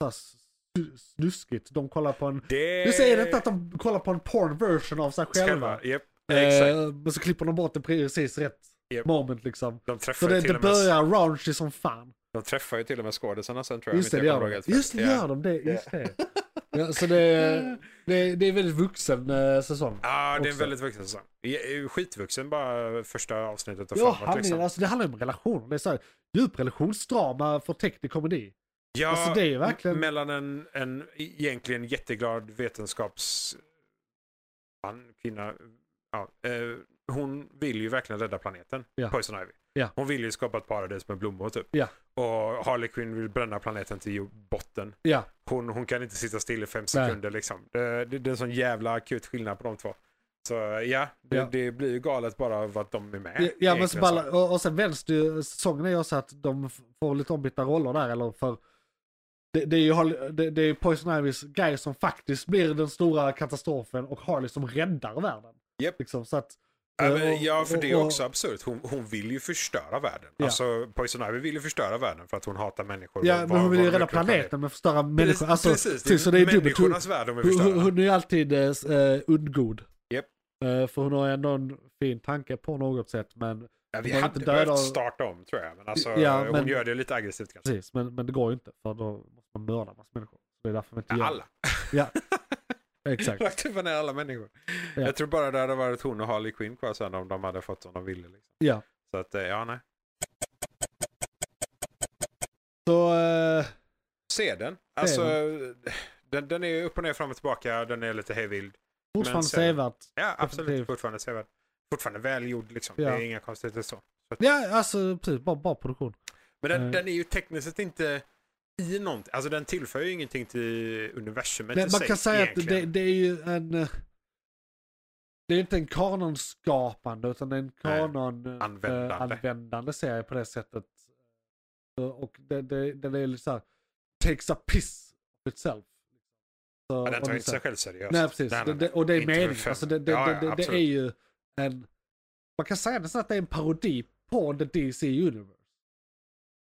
[SPEAKER 3] så här snu- snuskigt. De kollar på en...
[SPEAKER 4] det...
[SPEAKER 3] Nu säger jag inte att de kollar på en porn version av sig själva.
[SPEAKER 4] Själva. Japp, exakt.
[SPEAKER 3] Eh, men så klipper de bort det precis rätt
[SPEAKER 4] Japp.
[SPEAKER 3] moment liksom.
[SPEAKER 4] De
[SPEAKER 3] Så
[SPEAKER 4] träffar, ju
[SPEAKER 3] det,
[SPEAKER 4] till
[SPEAKER 3] det
[SPEAKER 4] och med,
[SPEAKER 3] börjar raunchy som fan.
[SPEAKER 4] de träffar ju till och med skådisarna sen tror jag.
[SPEAKER 3] Just det,
[SPEAKER 4] om
[SPEAKER 3] det
[SPEAKER 4] inte jag
[SPEAKER 3] gör
[SPEAKER 4] kommer
[SPEAKER 3] de.
[SPEAKER 4] ihåg helt
[SPEAKER 3] Just det,
[SPEAKER 4] fel. Ja.
[SPEAKER 3] gör de. Det, just det.
[SPEAKER 4] <laughs>
[SPEAKER 3] Ja, så det, det, det är väldigt vuxen eh, säsong.
[SPEAKER 4] Ja, det är en
[SPEAKER 3] också.
[SPEAKER 4] väldigt vuxen säsong. I- Skitvuxen bara första avsnittet och
[SPEAKER 3] Ja,
[SPEAKER 4] framåt.
[SPEAKER 3] handlingen,
[SPEAKER 4] liksom.
[SPEAKER 3] alltså det handlar ju om relationer. Det är så här, djup relationsdrama förtäckt i komedi.
[SPEAKER 4] ja,
[SPEAKER 3] alltså, det är ju verkligen-
[SPEAKER 4] m- Mellan en, en egentligen jätteglad vetenskaps... Man, kvinna. Ja, eh, hon vill ju verkligen rädda planeten.
[SPEAKER 3] Ja.
[SPEAKER 4] Poison Ivy.
[SPEAKER 3] Ja.
[SPEAKER 4] Hon vill ju skapa ett paradis med blommor typ.
[SPEAKER 3] Ja.
[SPEAKER 4] Och Harley Quinn vill bränna planeten till jord- botten.
[SPEAKER 3] Ja,
[SPEAKER 4] Hon, hon kan inte sitta still i fem
[SPEAKER 3] Nej.
[SPEAKER 4] sekunder liksom. Det, det, det är en sån jävla akut skillnad på de två. Så ja, det,
[SPEAKER 3] Ja.
[SPEAKER 4] det blir ju galet bara av att de är med.
[SPEAKER 3] ja, ja men så
[SPEAKER 4] egentligen,
[SPEAKER 3] balla, och, och sen vänds det ju, säsongen är ju också att de f- får lite ombytta roller där eller för det, det är ju Harley- det, det är ju Poison Ivys grej som faktiskt blir den stora katastrofen och Harley som räddar världen.
[SPEAKER 4] Japp.
[SPEAKER 3] Liksom, så att,
[SPEAKER 4] Ja,
[SPEAKER 3] eh,
[SPEAKER 4] men,
[SPEAKER 3] och-
[SPEAKER 4] ja, för
[SPEAKER 3] och-
[SPEAKER 4] det är
[SPEAKER 3] och-
[SPEAKER 4] också absurt. Hon, hon vill ju förstöra världen.
[SPEAKER 3] Ja.
[SPEAKER 4] Alltså, Poison Ivy vill ju förstöra världen för att hon hatar människor.
[SPEAKER 3] Ja,
[SPEAKER 4] och
[SPEAKER 3] men
[SPEAKER 4] vad-
[SPEAKER 3] hon vill ju
[SPEAKER 4] vad de
[SPEAKER 3] rädda
[SPEAKER 4] utgör
[SPEAKER 3] planeten men förstöra människor.
[SPEAKER 4] Precis,
[SPEAKER 3] Alltså,
[SPEAKER 4] precis.
[SPEAKER 3] så det är dubbelt. Hon,
[SPEAKER 4] människornas värld hon vill
[SPEAKER 3] hon,
[SPEAKER 4] förstöra.
[SPEAKER 3] hon är ju alltid eh, undgod.
[SPEAKER 4] Japp.
[SPEAKER 3] Eh, för hon har ändå en fin tanke på något sätt men
[SPEAKER 4] Ja, vi
[SPEAKER 3] hon är
[SPEAKER 4] hade
[SPEAKER 3] inte död
[SPEAKER 4] behövt
[SPEAKER 3] av-
[SPEAKER 4] starta om tror jag. Men alltså,
[SPEAKER 3] Ja, men-
[SPEAKER 4] hon gör det lite aggressivt kanske.
[SPEAKER 3] Precis, men, men det går ju inte för då måste man mörda massa människor. Så det är därför man inte
[SPEAKER 4] Ja,
[SPEAKER 3] gör
[SPEAKER 4] alla.
[SPEAKER 3] det.
[SPEAKER 4] <laughs>
[SPEAKER 3] Exakt.
[SPEAKER 4] Rakt upp och ner alla människor.
[SPEAKER 3] Ja.
[SPEAKER 4] Jag tror bara det hade varit hon och Harley Quinn kvar sen om de hade fått som de ville. Liksom.
[SPEAKER 3] Ja.
[SPEAKER 4] Så att, eh, ja nej.
[SPEAKER 3] Så, eh,
[SPEAKER 4] Se den. Alltså, den, den är upp och ner, fram och tillbaka. Den är lite hejvild. Men
[SPEAKER 3] fortfarande
[SPEAKER 4] sen-
[SPEAKER 3] sevärt.
[SPEAKER 4] Ja,
[SPEAKER 3] Definitivt.
[SPEAKER 4] absolut. Fortfarande sevärd. Fortfarande välgjord liksom.
[SPEAKER 3] Ja.
[SPEAKER 4] Det är inga konstigheter så.
[SPEAKER 3] Ja, alltså precis, bara, bara produktion.
[SPEAKER 4] Men den,
[SPEAKER 3] Eh.
[SPEAKER 4] den är ju tekniskt sett inte i någonting. Alltså den tillför ju ingenting till universumet
[SPEAKER 3] Men
[SPEAKER 4] i
[SPEAKER 3] man
[SPEAKER 4] sig
[SPEAKER 3] kan säga att det,
[SPEAKER 4] egentligen.
[SPEAKER 3] det är ju en... eh, Det är inte en kanonskapande utan det är en
[SPEAKER 4] Nej,
[SPEAKER 3] kanon eh,
[SPEAKER 4] användande.
[SPEAKER 3] användande serie på det sättet. Så, Och det, det, den är lite såhär, takes a piss of itself. Så,
[SPEAKER 4] ja, den
[SPEAKER 3] om
[SPEAKER 4] tar
[SPEAKER 3] du
[SPEAKER 4] inte sig själv seriöst.
[SPEAKER 3] Nej, precis.
[SPEAKER 4] Den-
[SPEAKER 3] det, det, och det är
[SPEAKER 4] inte för
[SPEAKER 3] meningen.
[SPEAKER 4] fem.
[SPEAKER 3] Alltså, det, det,
[SPEAKER 4] Ja, ja,
[SPEAKER 3] det, det, det är
[SPEAKER 4] absolut.
[SPEAKER 3] ju en... Man kan säga nästan att det är en parodi på The DC Universe.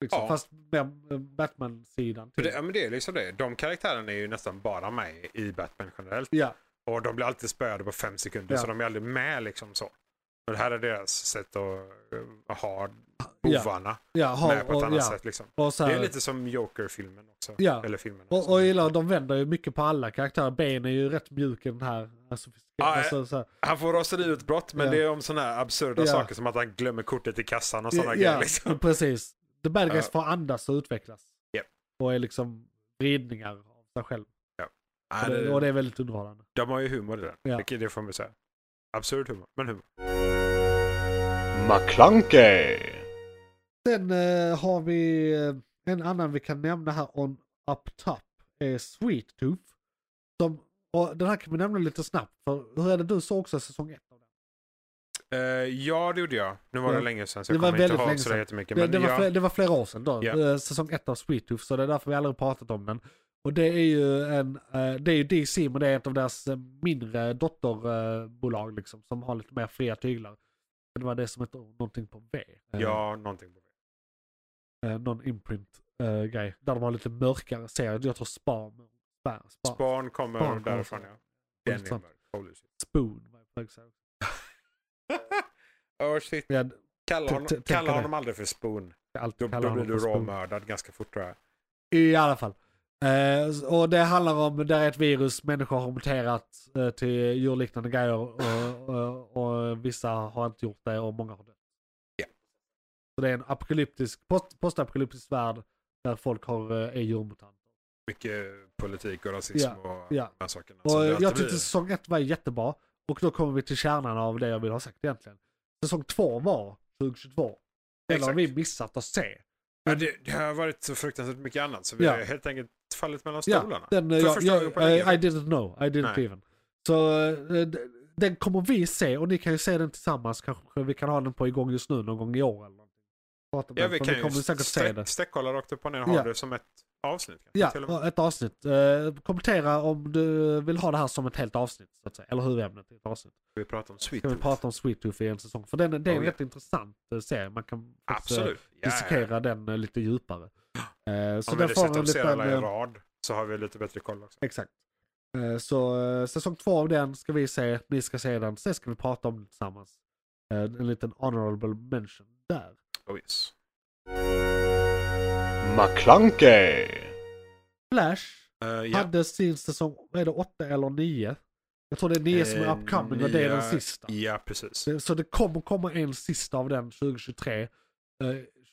[SPEAKER 3] Liksom,
[SPEAKER 4] Ja.
[SPEAKER 3] Fast med eh, Batman-sidan. typ.
[SPEAKER 4] För
[SPEAKER 3] till.
[SPEAKER 4] det, ja, men det är liksom det. De karaktärerna är ju nästan bara med i Batman generellt.
[SPEAKER 3] Ja,
[SPEAKER 4] Och de blir alltid spöade på fem sekunder
[SPEAKER 3] Ja.
[SPEAKER 4] så de är aldrig med liksom så. Och det här är deras sätt att eh, ha
[SPEAKER 3] ja,
[SPEAKER 4] bovarna
[SPEAKER 3] ja, ha,
[SPEAKER 4] med på ett
[SPEAKER 3] och,
[SPEAKER 4] annat
[SPEAKER 3] ja.
[SPEAKER 4] sätt liksom.
[SPEAKER 3] Och, så
[SPEAKER 4] Det
[SPEAKER 3] här,
[SPEAKER 4] är lite som Joker-filmen också.
[SPEAKER 3] Ja.
[SPEAKER 4] Eller filmen också.
[SPEAKER 3] och, och jag gillar att de vänder ju mycket på alla karaktärer. Ben är ju rätt mjuk i den här. Alltså,
[SPEAKER 4] Ja,
[SPEAKER 3] alltså, så här.
[SPEAKER 4] Han får raseriutbrott men
[SPEAKER 3] Ja.
[SPEAKER 4] det är om sådana här absurda
[SPEAKER 3] Ja.
[SPEAKER 4] saker som att han glömmer kortet i kassan och sådana
[SPEAKER 3] Ja,
[SPEAKER 4] grejer.
[SPEAKER 3] <laughs>
[SPEAKER 4] Liksom.
[SPEAKER 3] precis. The bad guys
[SPEAKER 4] Ja.
[SPEAKER 3] får andas och utvecklas.
[SPEAKER 4] Japp.
[SPEAKER 3] Och är liksom vridningar av sig själv.
[SPEAKER 4] Nej,
[SPEAKER 3] och, det,
[SPEAKER 4] det-
[SPEAKER 3] och det är väldigt underhållande.
[SPEAKER 4] De har ju humor i den.
[SPEAKER 3] Ja.
[SPEAKER 4] Det, det får man säga. Absurd humor, men humor.
[SPEAKER 5] McClunkey.
[SPEAKER 3] Sen eh, har vi eh, en annan vi kan nämna här on up top. Är Sweet Tooth. Som Och den här kan vi nämna lite snabbt, för hur är det du såg också säsong 1?
[SPEAKER 4] Eh, ja, det gjorde jag. Nu var
[SPEAKER 3] Ja.
[SPEAKER 4] det länge sedan så
[SPEAKER 3] Det
[SPEAKER 4] jag
[SPEAKER 3] var
[SPEAKER 4] kommer inte
[SPEAKER 3] väldigt länge
[SPEAKER 4] ihåg sådär
[SPEAKER 3] sedan.
[SPEAKER 4] jättemycket.
[SPEAKER 3] Det,
[SPEAKER 4] Men
[SPEAKER 3] det, var
[SPEAKER 4] ja,
[SPEAKER 3] flera, det var flera år sedan då,
[SPEAKER 4] Ja.
[SPEAKER 3] eh, säsong 1 av Sweet Tooth, så det är därför vi aldrig pratat om den. Och det är ju en, eh, det är ju DC, men det är ett av deras eh, mindre dotterbolag liksom, som har lite mer fria tyglar. Det var det som hette någonting på V. eh,
[SPEAKER 4] ja, någonting. på det.
[SPEAKER 3] eh, någon imprint-grej. där de har lite mörkare serier. Jag tror Spam. Spam. Spam.
[SPEAKER 4] Span kommer
[SPEAKER 3] Span kommer
[SPEAKER 4] därifrån,
[SPEAKER 3] från-
[SPEAKER 4] ja. Den är
[SPEAKER 3] intressant.
[SPEAKER 4] mörk. Holy shit.
[SPEAKER 3] Spoon. vad jag försöker säga.
[SPEAKER 4] Oh, shit.
[SPEAKER 3] Jag hade
[SPEAKER 4] Kalla,
[SPEAKER 3] T-
[SPEAKER 4] honom,
[SPEAKER 3] t- tänka
[SPEAKER 4] kalla
[SPEAKER 3] det.
[SPEAKER 4] honom aldrig för Spoon. Då,
[SPEAKER 3] alltid kallat
[SPEAKER 4] då blir
[SPEAKER 3] honom
[SPEAKER 4] du
[SPEAKER 3] för Spoon.
[SPEAKER 4] råmördad ganska fort tror jag.
[SPEAKER 3] I alla fall. Eh, och det handlar om, där är ett virus, människor har muterat eh, till djurliknande grejer och, och, och vissa har inte gjort det och många har dött.
[SPEAKER 4] Ja.
[SPEAKER 3] Så det är en apokalyptisk, post, postapokalyptisk värld där folk har, eh, är djurmutanter.
[SPEAKER 4] Mycket politik och rasism
[SPEAKER 3] Ja,
[SPEAKER 4] och
[SPEAKER 3] ja.
[SPEAKER 4] de här sakerna.
[SPEAKER 3] Och
[SPEAKER 4] som gör att det
[SPEAKER 3] jag tyckte
[SPEAKER 4] blir-
[SPEAKER 3] säsong ett var jättebra. Och då kommer vi till kärnan av det jag vill ha sagt egentligen. Säsong två var 2022. Den har
[SPEAKER 4] Exakt.
[SPEAKER 3] vi missat att se.
[SPEAKER 4] Ja, det, det har varit så fruktansvärt mycket annat så vi
[SPEAKER 3] Ja.
[SPEAKER 4] har helt enkelt fallit mellan
[SPEAKER 3] Ja,
[SPEAKER 4] stolarna.
[SPEAKER 3] den, eh,
[SPEAKER 4] För
[SPEAKER 3] jag,
[SPEAKER 4] första gången
[SPEAKER 3] jag,
[SPEAKER 4] på länge.
[SPEAKER 3] I, I didn't know, I didn't
[SPEAKER 4] Nej.
[SPEAKER 3] even. Så eh, d- den kommer vi se och ni kan ju se den tillsammans. Kanske vi kan ha den på igång just nu någon gång i år eller någonting. Prata om
[SPEAKER 4] Ja,
[SPEAKER 3] den,
[SPEAKER 4] vi
[SPEAKER 3] för
[SPEAKER 4] kan
[SPEAKER 3] kommer
[SPEAKER 4] ju
[SPEAKER 3] säkert se det.
[SPEAKER 4] streck- streckkolla rakt upp och ner och ha
[SPEAKER 3] Ja.
[SPEAKER 4] det som ett avsnitt. kanske,
[SPEAKER 3] Ja,
[SPEAKER 4] till och med.
[SPEAKER 3] och ett avsnitt. Eh, kommentera om du vill ha det här som ett helt avsnitt. Så att säga. Eller huvudämnet i ett avsnitt.
[SPEAKER 4] Vi pratar om Sweet
[SPEAKER 3] Ska vi
[SPEAKER 4] Tooth.
[SPEAKER 3] prata om Sweet Tooth i en säsong? För den, det är en
[SPEAKER 4] Oh, ja.
[SPEAKER 3] rätt intressant eh, serie. Man kan faktiskt, eh,
[SPEAKER 4] Absolut. Ja, ja, ja.
[SPEAKER 3] dissekera den eh, lite djupare. Eh, så
[SPEAKER 4] Om vi
[SPEAKER 3] där får
[SPEAKER 4] dessutom
[SPEAKER 3] en
[SPEAKER 4] ser
[SPEAKER 3] liten...
[SPEAKER 4] alla i
[SPEAKER 3] eh,
[SPEAKER 4] rad så har vi lite bättre koll också.
[SPEAKER 3] Exakt. Eh, Så eh, säsong två av den ska vi se, ni ska se den, sen ska vi prata om den tillsammans. Eh, En liten honorable mention där.
[SPEAKER 4] Oh, yes.
[SPEAKER 5] McClunkey,
[SPEAKER 3] Flash
[SPEAKER 4] Eh, ja.
[SPEAKER 3] hade sin säsong, vad är det, åtta eller nio? Jag tror det är nio som är
[SPEAKER 4] Eh,
[SPEAKER 3] upcoming och det är den
[SPEAKER 4] nya-
[SPEAKER 3] sista.
[SPEAKER 4] Ja, precis.
[SPEAKER 3] Det- Så det kommer komma en sista av den 2023. Eh,